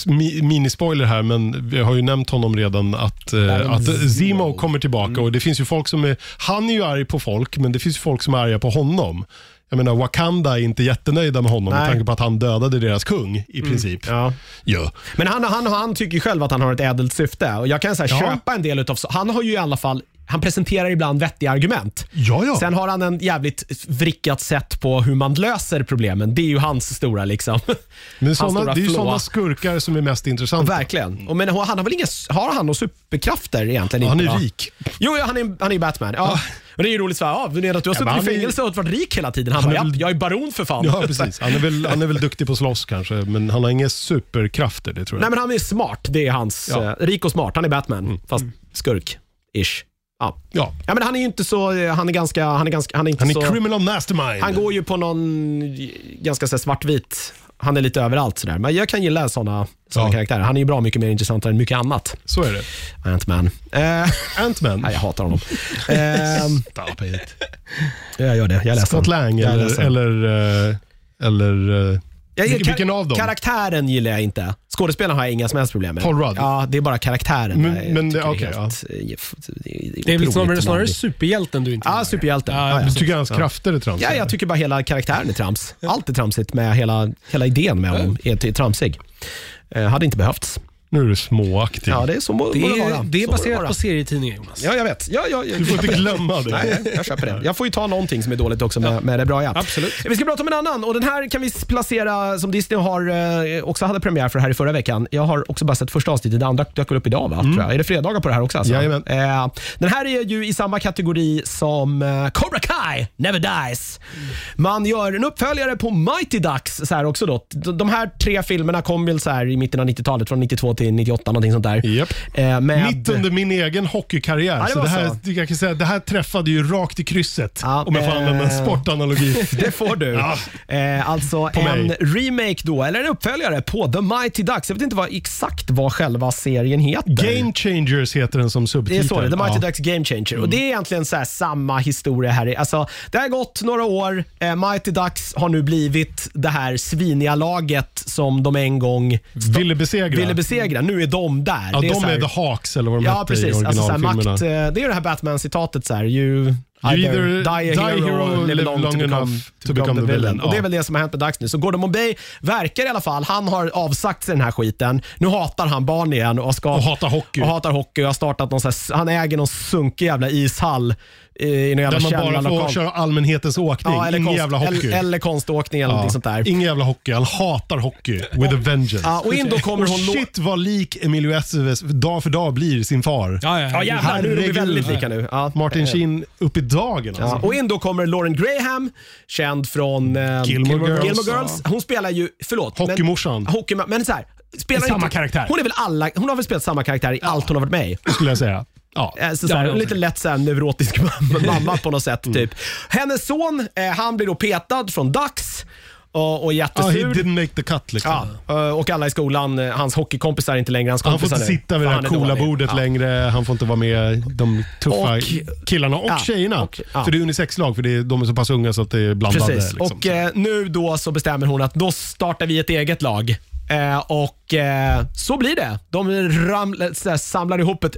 Speaker 3: mi- minispoiler här, men vi har ju nämnt honom redan, att,
Speaker 1: Baron
Speaker 3: eh, att
Speaker 1: Zemo.
Speaker 3: Zemo kommer tillbaka.
Speaker 2: Mm.
Speaker 3: Och det finns ju folk som är, han är ju arg på folk, men det finns ju folk som är arga på honom. Jag menar, Wakanda är inte jättenöjda med honom med
Speaker 1: Nej.
Speaker 3: tanke på att han dödade deras kung i
Speaker 2: Mm.
Speaker 3: princip.
Speaker 1: Ja.
Speaker 3: Ja.
Speaker 1: Men han, han, han tycker ju själv att han har ett ädelt syfte. Och jag kan så här,
Speaker 3: Ja.
Speaker 1: köpa en del utav... så- Han har ju i alla fall han presenterar ibland vettiga argument.
Speaker 3: Ja, ja.
Speaker 1: Sen har han en jävligt vrickat sätt på hur man löser problemen. Det är ju hans stora liksom.
Speaker 3: Men
Speaker 1: hans
Speaker 3: såna,
Speaker 1: stora
Speaker 3: det är ju
Speaker 1: flåa.
Speaker 3: sådana skurkar som är mest intressanta.
Speaker 1: Verkligen. Och men han har väl inga, har han några superkrafter egentligen?
Speaker 3: Mm. Han
Speaker 1: Inte,
Speaker 3: är
Speaker 1: va?
Speaker 3: rik.
Speaker 1: Jo, ja, han är, han är Batman. Ja. Och det är ju roligt så här, ja, du menar att du har
Speaker 3: Ja, men
Speaker 1: suttit i
Speaker 3: han är-
Speaker 1: fängelse och varit rik hela tiden? Han,
Speaker 3: Han är
Speaker 1: bara,
Speaker 3: väl-
Speaker 1: ja, jag är baron för fan.
Speaker 3: Ja, precis. Han är, väl, han är väl duktig på att slåss kanske, men han har inga superkrafter. Det tror jag.
Speaker 1: Nej, men han är smart. Det är hans,
Speaker 3: Ja. Mm.
Speaker 1: eh, rik och smart. Han är Batman, fast skurk. Ish. Ja.
Speaker 3: ja.
Speaker 1: ja, men han är ju inte så, eh, han är ganska, han är ganska, han är inte
Speaker 3: Han är
Speaker 1: så...
Speaker 3: criminal mastermind.
Speaker 1: Han går ju på någon ganska så här svartvit, han är lite överallt sådär. Men jag kan gilla sådana såna
Speaker 3: Ja.
Speaker 1: karaktärer. Han är ju bra mycket mer intressant än mycket annat.
Speaker 3: Så är det.
Speaker 1: Ant-Man. Eh,
Speaker 3: Ant-Man.
Speaker 1: nej, jag hatar honom. Eh,
Speaker 3: Stop it.
Speaker 1: jag gör det, jag är ledsen.
Speaker 3: Scott Lang
Speaker 1: Jag är
Speaker 3: eller...
Speaker 1: ledsen.
Speaker 3: eller, eh, eller eh,
Speaker 1: Jag,
Speaker 3: vilken-
Speaker 1: kar-
Speaker 3: vilken av dem?
Speaker 1: Karaktären gillar jag inte. Skådespelaren har jag inga som helst problem med.
Speaker 3: Paul Rudd?
Speaker 1: Ja, det är bara karaktären.
Speaker 3: Men-
Speaker 1: jag
Speaker 3: men det-
Speaker 1: tycker
Speaker 3: okej,
Speaker 1: helt- eh, f-
Speaker 2: Det är väl
Speaker 1: otroligt
Speaker 2: snarare, snarare
Speaker 1: larvigt.
Speaker 2: superhjälten du inte
Speaker 1: Ja,
Speaker 2: gillar.
Speaker 1: superhjälten.
Speaker 2: Ja,
Speaker 1: Ja, ja.
Speaker 3: du tycker hans krafter är tramsiga?
Speaker 1: Ja, jag tycker bara hela karaktären är trams. Allt är tramsigt med hela, hela idén med honom. Är, är tramsig. Eh, hade inte behövts.
Speaker 3: Nu är du småaktig.
Speaker 1: Ja, det är så må,
Speaker 2: Det
Speaker 1: må det vara.
Speaker 2: är, det är
Speaker 1: Så må
Speaker 2: baserat
Speaker 1: vara.
Speaker 2: på serietidningar Jonas.
Speaker 1: Ja, jag vet. Ja, ja, ja.
Speaker 3: Du får inte glömma det.
Speaker 1: Nej, jag köper det. Jag får ju ta någonting som är dåligt också med, med det bra ja.
Speaker 2: Absolut.
Speaker 1: Vi ska prata om en annan och den här kan vi placera som Disney har eh, också hade premiär för här i förra veckan. Jag har också bara sett första avsnittet, det andra dök väl upp idag va? Tror jag. Är det fredagar på det här också? Alltså?
Speaker 3: Jajamän.
Speaker 1: Eh, den här är ju i samma kategori som eh, Cobra Kai, Never Dies. Man gör en uppföljare på Mighty Ducks. Så här också då. De de här tre filmerna kom väl så här i mitten av 90-talet, från 92 till 98 någonting sånt där.
Speaker 3: Japp.
Speaker 1: Eh, med-
Speaker 3: Mitt under min egen hockeykarriär.
Speaker 1: det
Speaker 3: så
Speaker 1: var
Speaker 3: det, här,
Speaker 1: så.
Speaker 3: Jag kan säga, det här träffade ju rakt i krysset.
Speaker 1: Ja,
Speaker 3: om jag får
Speaker 1: eh.
Speaker 3: använda en sportanalogi.
Speaker 1: Det får du.
Speaker 3: Ja.
Speaker 1: Eh, alltså en
Speaker 3: mig.
Speaker 1: remake då, eller en uppföljare på The Mighty Ducks. Jag vet inte vad, exakt vad själva serien heter.
Speaker 3: Game Changers heter den som
Speaker 1: det är
Speaker 3: subtitel.
Speaker 1: så det är, The Mighty
Speaker 3: Ja.
Speaker 1: Ducks Game Changer. Och Det är egentligen så här samma historia här. i- Alltså, det har gått några år. Eh, Mighty Ducks har nu blivit det här sviniga laget som de en gång
Speaker 3: Ville besegra.
Speaker 1: ville besegra. Nu är de där.
Speaker 3: ja,
Speaker 1: det är
Speaker 3: de
Speaker 1: så här,
Speaker 3: är The Hawks eller vad de
Speaker 1: Ja,
Speaker 3: hette i
Speaker 1: precis. Alltså, så här,
Speaker 3: originalfilmerna.
Speaker 1: makt, eh, det är ju det här Batman-citatet. Så här, you, either die a hero, live long, to become, to become the villain. Och Det är väl det som har hänt med Dags nu. Så Gordon Bombay verkar i alla fall, han har avsagt sig den här skiten. Nu hatar han barn igen och, ska,
Speaker 3: Och hatar hockey.
Speaker 1: Och hatar hockey och har startat någon så här, han äger någon sunkig jävla ishall eh, i någon jävla
Speaker 3: Där man bara får
Speaker 1: källarlokal.
Speaker 3: köra allmänhetens åkning.
Speaker 1: Ja, eller,
Speaker 3: Ingen
Speaker 1: konst,
Speaker 3: jävla hockey.
Speaker 1: eller, eller konståkning eller
Speaker 3: Ja.
Speaker 1: någonting sånt där.
Speaker 3: Ingen jävla hockey. Han hatar hockey. With a vengeance.
Speaker 1: Ja, och in då kommer
Speaker 3: Och
Speaker 1: hon lå-
Speaker 3: shit vad lik Emilio Estevez dag för dag blir sin far.
Speaker 2: Ja, ja,
Speaker 1: Ja jävlar, nu är de
Speaker 3: Herregud.
Speaker 1: väldigt lika nu. Ja.
Speaker 3: Martin Sheen upp i dagen
Speaker 1: Ja.
Speaker 3: alltså.
Speaker 1: Och in då kommer Lauren Graham, känd från eh,
Speaker 3: Gilmore Girls.
Speaker 1: Gilmore Girls. Hon spelar ju, förlåt. men-
Speaker 3: Hockeymorsan.
Speaker 1: Hockey, men så här, spelar
Speaker 3: Samma
Speaker 1: inte,
Speaker 3: karaktär.
Speaker 1: Hon, är väl alla, hon har väl spelat samma karaktär i allt hon har varit med i.
Speaker 3: Skulle jag säga. Ja. Mm.
Speaker 1: Eh, Så, så här,
Speaker 2: men-
Speaker 1: lite lätt så här, neurotisk mamma, mamma på något sätt. Typ. Hennes son, eh, han blir då petad från Dax och, och
Speaker 3: Ja, he
Speaker 1: jättesur.
Speaker 3: didn't make the cut liksom.
Speaker 1: Ja, eh, och alla i skolan, eh, hans hockeykompisar är inte längre hans
Speaker 3: Han får
Speaker 1: kompisar
Speaker 3: inte
Speaker 1: nu,
Speaker 3: sitta vid
Speaker 1: för
Speaker 3: det
Speaker 1: han
Speaker 3: här
Speaker 1: är
Speaker 3: coola
Speaker 1: dålig.
Speaker 3: bordet längre. Han får inte vara med de tuffa
Speaker 1: Och-
Speaker 3: killarna och
Speaker 1: Ja,
Speaker 3: tjejerna.
Speaker 1: och- ja.
Speaker 3: För det är unisexlag, för det är, de är så pass unga så att det är blandade.
Speaker 1: Precis.
Speaker 3: Liksom.
Speaker 1: Och eh, nu då så bestämmer hon att då startar vi ett eget lag. Eh, och eh, så blir det. De ramlar, så här, samlar ihop ett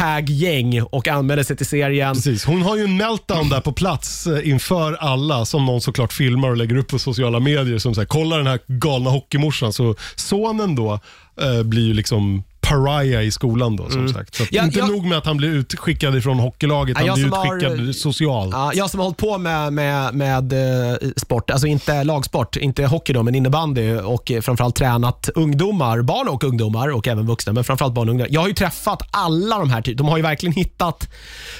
Speaker 1: ragtag-gäng och anmäler sig till serien.
Speaker 3: Precis. Hon har ju en meltdown där på plats eh, inför alla som någon såklart filmar och lägger upp på sociala medier. Som säger, kolla den här galna hockeymorsan. Så sonen då eh, blir ju liksom paria i skolan då som sagt. Så att
Speaker 1: Mm. Ja,
Speaker 3: inte
Speaker 1: jag-
Speaker 3: nog med att han blir utskickad ifrån hockeylaget,
Speaker 1: Ja,
Speaker 3: han
Speaker 1: jag
Speaker 3: blir
Speaker 1: som har-
Speaker 3: utskickad socialt.
Speaker 1: Ja, jag som har hållit på med, med, med eh, sport, alltså inte lagsport, inte hockey då, men innebandy och eh, framförallt tränat ungdomar, barn och ungdomar och även vuxna, men framförallt barn och ungdomar. Jag har ju träffat alla de här, ty- de har ju verkligen hittat,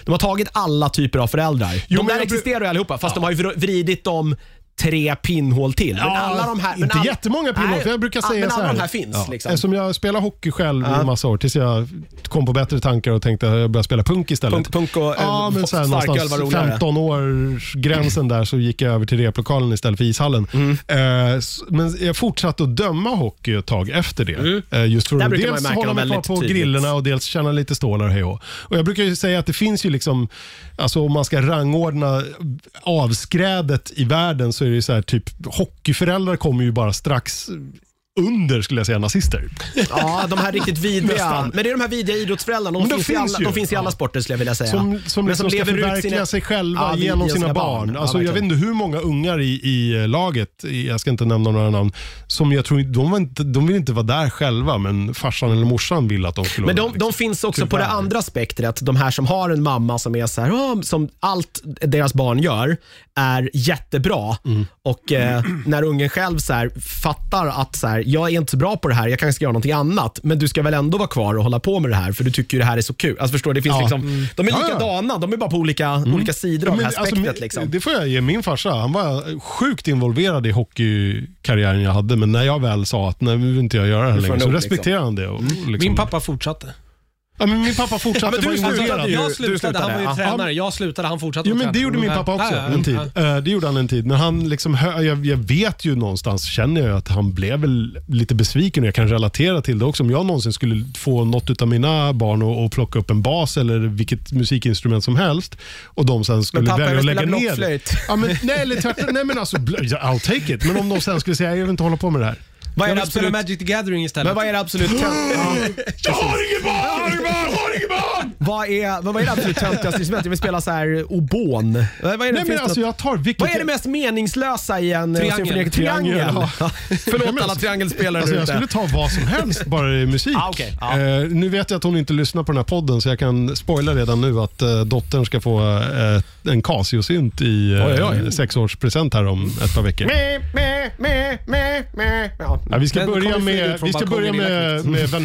Speaker 1: de har tagit alla typer av föräldrar.
Speaker 3: Jo,
Speaker 1: de
Speaker 3: men
Speaker 1: där
Speaker 3: jag-
Speaker 1: existerar ju allihopa, fast de har ju vr- vridit dem tre pinnhål till. men
Speaker 3: Ja,
Speaker 1: alla de här, men
Speaker 3: inte
Speaker 1: alla-
Speaker 3: jättemånga pinnhål,
Speaker 1: Nej,
Speaker 3: för jag brukar
Speaker 1: ja,
Speaker 3: säga
Speaker 1: men
Speaker 3: så
Speaker 1: alla
Speaker 3: här.
Speaker 1: de här finns.
Speaker 3: Ja.
Speaker 1: Liksom.
Speaker 3: Eftersom jag spelar hockey själv i en massa år, tills jag kom på bättre tankar och tänkte att jag började spela punk istället.
Speaker 1: Punk- punk och, eh,
Speaker 3: ja, men så här,
Speaker 1: starköl var
Speaker 3: någonstans
Speaker 1: roligare.
Speaker 3: 15 års gränsen där så gick jag över till replokalen istället för ishallen.
Speaker 1: Mm.
Speaker 3: Eh, s- men jag fortsatte att döma hockey ett tag efter det. Eh, just för
Speaker 1: Mm. Där
Speaker 3: att
Speaker 1: brukar man
Speaker 3: dels
Speaker 1: märka
Speaker 3: hålla
Speaker 1: dem
Speaker 3: mig kvar
Speaker 1: väldigt
Speaker 3: på
Speaker 1: tydligt.
Speaker 3: grillorna och dels tjäna lite stålar hej och. och Jag brukar ju säga att det finns ju liksom, alltså om man ska rangordna avskrädet i världen så är det ju så här typ hockeyföräldrar kommer ju bara strax under, skulle jag säga, nazister.
Speaker 1: Ja, de här riktigt vidriga.
Speaker 3: Nästan.
Speaker 1: Men det är de här vidriga idrottsföräldrarna. De,
Speaker 3: Men de
Speaker 1: finns, i
Speaker 3: finns
Speaker 1: alla,
Speaker 3: ju.
Speaker 1: de finns i alla sporter skulle jag vilja säga.
Speaker 3: Som, som,
Speaker 1: Men
Speaker 3: liksom ska förverkliga sig själva
Speaker 1: Ja,
Speaker 3: genom sina, barn. Alltså,
Speaker 1: Ja,
Speaker 3: jag vet
Speaker 1: verkligen.
Speaker 3: inte hur många ungar i, i laget, i- jag ska inte nämna några namn, som jag tror de, var inte, de vill inte vara där själva, men farsan eller morsan vill att de skulle
Speaker 1: Men
Speaker 3: vara
Speaker 1: de,
Speaker 3: där,
Speaker 1: de
Speaker 3: liksom.
Speaker 1: finns också på
Speaker 3: Tyvärr.
Speaker 1: det andra spektrat. De här som har en mamma som är så här, "Ah", som allt deras barn gör är jättebra.
Speaker 3: Mm.
Speaker 1: Och eh, när ungen själv så här, fattar att så här, jag är inte så bra på det här, jag kanske ska göra någonting annat. Men du ska väl ändå vara kvar och hålla på med det här för du tycker ju det här är så kul. Alltså förstår du, det finns
Speaker 3: Ja. Mm.
Speaker 1: liksom, de är
Speaker 3: Ja, ja.
Speaker 1: likadana, de är bara på olika, olika sidor av
Speaker 3: Men
Speaker 1: det här
Speaker 3: alltså,
Speaker 1: spektrat.
Speaker 3: min-
Speaker 1: liksom.
Speaker 3: Det får jag ge min farsa. Han var sjukt involverad i hockeykarriären jag hade, men när jag väl sa att nej, nu vill inte jag göra det här
Speaker 1: får
Speaker 3: längre, så
Speaker 1: nog, Mm.
Speaker 3: respekterade han det. Och, liksom.
Speaker 2: Min pappa fortsatte.
Speaker 3: ja, men min pappa fortsatte
Speaker 1: men du
Speaker 3: vara
Speaker 1: slutade
Speaker 3: involverad.
Speaker 1: ju.
Speaker 2: Jag
Speaker 1: du
Speaker 2: slutade, han var ju
Speaker 1: slutade.
Speaker 2: tränare. Jag slutade, han fortsatte
Speaker 3: Jo,
Speaker 2: vara
Speaker 3: men det
Speaker 2: tränare.
Speaker 3: gjorde min
Speaker 2: Men-
Speaker 3: pappa också
Speaker 2: Ja, ja,
Speaker 3: en tid.
Speaker 2: ja.
Speaker 3: Eh, Det gjorde han en tid. Men han liksom, hö- jag, jag vet ju någonstans, känner jag, att han blev väl lite besviken och jag kan relatera till det också. Om jag någonsin skulle få något av mina barn att, att plocka upp en bas eller vilket musikinstrument som helst och de sen skulle
Speaker 1: pappa, jag
Speaker 3: välja att
Speaker 1: vill spela
Speaker 3: lägga ner det.
Speaker 1: blockflöjt.
Speaker 3: Ja, men, nej, eller tvärtom. Nej, men alltså, bl- ja, I'll take it. Men om de sen skulle säga, jag vill inte hålla på med det här.
Speaker 1: vad, är
Speaker 2: Jag
Speaker 1: det
Speaker 2: vill spela
Speaker 1: absolut,
Speaker 2: Magic the Gathering istället.
Speaker 1: men vad är det absolut
Speaker 4: Jag har inget barn! Jag har inget barn! Jag har inget barn!
Speaker 1: Vad är, vad vad är det absolut töntigaste instrumentet? Jag vill spela så här eh, obon. Vad vad är det,
Speaker 3: Nej, men
Speaker 1: finns
Speaker 3: alltså,
Speaker 1: något-
Speaker 3: jag tar vilket...
Speaker 1: vad är det mest meningslösa i en
Speaker 2: Triangel.
Speaker 1: symfoniker? Triangel.
Speaker 3: Triangel, ja.
Speaker 1: Ja.
Speaker 3: Ja,
Speaker 1: Förlåt
Speaker 3: men
Speaker 1: alla
Speaker 3: alltså-
Speaker 1: triangelspelare
Speaker 3: Alltså,
Speaker 1: där
Speaker 3: jag
Speaker 1: ute.
Speaker 3: skulle ta vad som helst, bara det är musik.
Speaker 1: Ah, okej. Ja.
Speaker 3: Eh, nu vet jag att hon inte lyssnar på den här podden, så jag kan spoila redan nu att eh, dottern ska få eh, en Casio-synt i eh,
Speaker 1: Oj, oj, oj.
Speaker 3: sexårspresent här om ett par veckor.
Speaker 1: Meh, meh, meh, meh, meh. Ja.
Speaker 3: Ja, vi ska
Speaker 2: Den
Speaker 3: börja,
Speaker 2: kommer flyga
Speaker 3: med,
Speaker 2: ut från
Speaker 3: vi ska
Speaker 2: balkongen
Speaker 3: börja med, med Van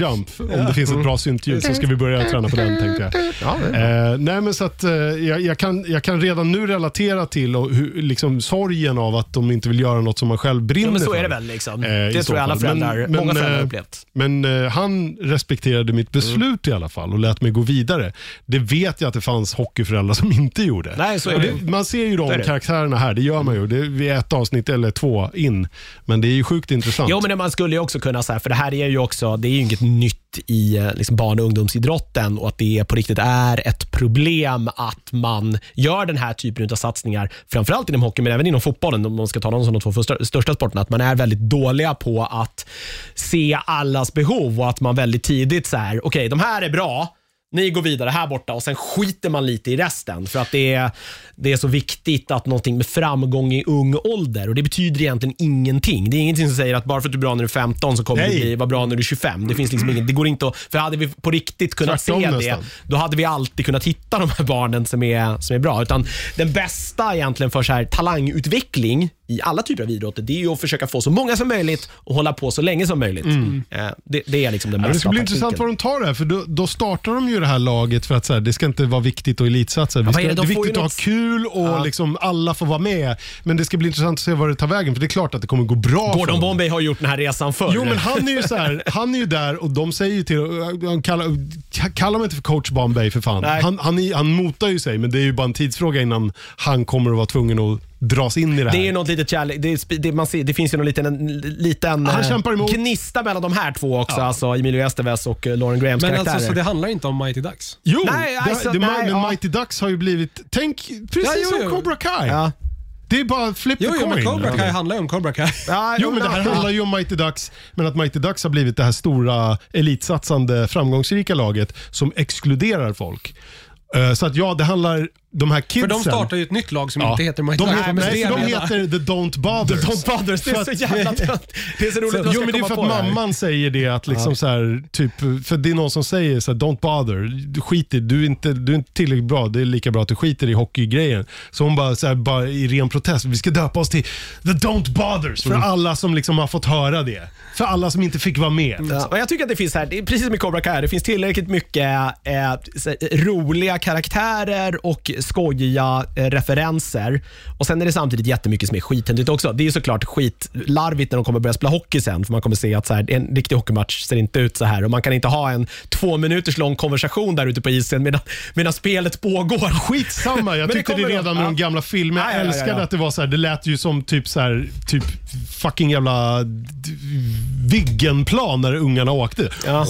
Speaker 3: Jump. Om det finns ett bra syntljud så ska vi börja träna på den tänkte jag. Eh, nej, men så att, eh, jag, jag, kan, jag kan redan nu relatera till och hur, liksom, sorgen av att de inte vill göra något som man själv brinner
Speaker 1: Ja, men så
Speaker 3: för.
Speaker 1: är det väl. Liksom.
Speaker 3: Eh, i
Speaker 1: det
Speaker 3: så
Speaker 1: tror jag alla
Speaker 3: fall.
Speaker 1: föräldrar,
Speaker 3: Men- men,
Speaker 1: många föräldrar har
Speaker 3: eh,
Speaker 1: upplevt.
Speaker 3: Men eh, han respekterade mitt
Speaker 1: Mm.
Speaker 3: beslut i alla fall och lät mig gå vidare. Det vet jag att det fanns hockeyföräldrar som inte gjorde.
Speaker 1: Nej, så är
Speaker 3: Och
Speaker 1: det.
Speaker 3: Man ser ju
Speaker 1: Så är
Speaker 3: de
Speaker 1: det.
Speaker 3: karaktärerna här, det gör man ju. Det är vid ett avsnitt eller två in. Men det är ju sjukt intressant.
Speaker 1: Jo, men man skulle ju också kunna, så här, för det här är ju också, det är ju inget nytt i eh, liksom barn och ungdomsidrotten och att det på riktigt är ett problem att man gör den här typen av satsningar, framförallt inom hockey, men även inom fotbollen, om man ska ta dem som de två första, största sporterna, att man är väldigt dåliga på att se allas behov och att man väldigt tidigt så här, okej, de här är bra, ni går vidare här borta och sen skiter man lite i resten för att det är, det är så viktigt att någonting med framgång i ung ålder och det betyder egentligen ingenting. Det är ingenting som säger att bara för att du är bra när du är 15 så kommer du
Speaker 3: Nej.
Speaker 1: bli vara bra när du är 25. Det finns liksom ingen, det går inte att, för hade vi på riktigt kunnat
Speaker 3: Tvärtom
Speaker 1: se
Speaker 3: nästan.
Speaker 1: det, då hade vi alltid kunnat hitta de här barnen som är, som är bra. Utan den bästa egentligen för så här talangutveckling i alla typer av idrotter, det är ju att försöka få så många som möjligt och hålla på så länge som möjligt. Eh, Det, det är liksom den
Speaker 3: Mm.
Speaker 1: bästa
Speaker 3: Ja, det ska bli
Speaker 1: taktiken.
Speaker 3: intressant var de tar det här, för då, då startar de ju det här laget för att så här, det ska inte vara viktigt och elitsatsa. Vi
Speaker 1: vad
Speaker 3: ska,
Speaker 1: är det?
Speaker 3: det,
Speaker 1: De får
Speaker 3: är
Speaker 1: ju
Speaker 3: viktigt att ha
Speaker 1: något-
Speaker 3: kul och liksom alla får vara med. Men det ska bli intressant att se vad det tar vägen, för det är klart att det kommer gå bra för
Speaker 1: Gordon
Speaker 3: dem.
Speaker 1: Bombay har gjort den här resan förr.
Speaker 3: Jo, men han är ju så här, han är ju där och de säger ju till han kallar, kallar mig inte för coach Bombay för fan.
Speaker 1: Nej.
Speaker 3: Han, han, är, han motar ju sig, men det är ju bara en tidsfråga innan han kommer att vara tvungen att dras in i det här.
Speaker 1: Det är ju något litet kärlek. Det, är sp- det, man ser, det finns ju någon liten, en, liten
Speaker 3: Han
Speaker 1: eh,
Speaker 3: kämpar emot.
Speaker 1: gnista mellan de här två också. Alltså Emilio Estevez och eh, Lauren Grahams
Speaker 2: Men
Speaker 1: karaktärer.
Speaker 2: alltså, så det handlar inte om Mighty Ducks.
Speaker 3: Jo,
Speaker 1: Nej,
Speaker 3: det,
Speaker 1: alltså,
Speaker 3: det,
Speaker 1: nej,
Speaker 3: men
Speaker 1: ja.
Speaker 3: Mighty Ducks har ju blivit, tänk precis
Speaker 2: Ja, jo,
Speaker 3: som
Speaker 2: jo.
Speaker 3: Cobra Kai.
Speaker 1: ja.
Speaker 3: Det är bara flip
Speaker 2: Jo,
Speaker 3: the
Speaker 2: jo
Speaker 3: coin.
Speaker 2: men Cobra Kai handlar ju om Cobra Kai.
Speaker 1: Ja,
Speaker 3: Jo, men det här
Speaker 1: ja.
Speaker 3: handlar ju om Mighty Ducks, men att Mighty Ducks har blivit det här stora elitsatsande framgångsrika laget som exkluderar folk. Eh, Så att ja, det handlar, de här kidsen.
Speaker 2: För de startar ju ett nytt lag som
Speaker 3: Ja.
Speaker 2: inte heter Mighty
Speaker 3: de
Speaker 2: Ducks.
Speaker 3: heter,
Speaker 2: Men det
Speaker 3: nej,
Speaker 2: är
Speaker 3: för
Speaker 2: det
Speaker 3: de
Speaker 2: jag menar.
Speaker 3: heter The Don't Bothers.
Speaker 1: Don't Bothers, det är så jävla tönt. Det är så roligt att de
Speaker 3: Jo
Speaker 1: ska
Speaker 3: men det är
Speaker 1: komma
Speaker 3: för
Speaker 1: på
Speaker 3: att
Speaker 1: här.
Speaker 3: mamman säger det att liksom så här, typ, för det är någon som säger så här, don't bother, Du skit i, du är, inte, du är inte tillräckligt bra, det är lika bra att du skiter i hockeygrejen. Så hon bara, så här, bara i ren protest, vi ska döpa oss till the don't bothers
Speaker 2: Mm.
Speaker 3: för alla som liksom har fått höra det. För alla som inte fick vara med.
Speaker 1: Ja, och jag tycker att det finns här, det är precis som i Cobra Kai, det finns tillräckligt mycket eh, så här, roliga karaktärer och skojiga eh, referenser. Och Sen är det samtidigt jättemycket som är skithändigt också. Det är ju såklart skitlarvigt när de kommer börja spela hockey sen, för man kommer se att så här, en riktig hockeymatch ser inte ut så här och man kan inte ha en två minuters lång konversation där ute på isen medan, medan spelet pågår.
Speaker 3: Skitsamma, jag
Speaker 1: Men det
Speaker 3: tyckte det,
Speaker 1: kommer
Speaker 3: redan
Speaker 1: då.
Speaker 3: med de
Speaker 1: Ja.
Speaker 3: gamla filmerna.
Speaker 1: Ja,
Speaker 3: Jag
Speaker 1: ja, ja, ja.
Speaker 3: älskade att det var så här, det lät ju som typ så här, typ fucking jävla Viggenplan när ungarna åkte.
Speaker 1: Ja. Och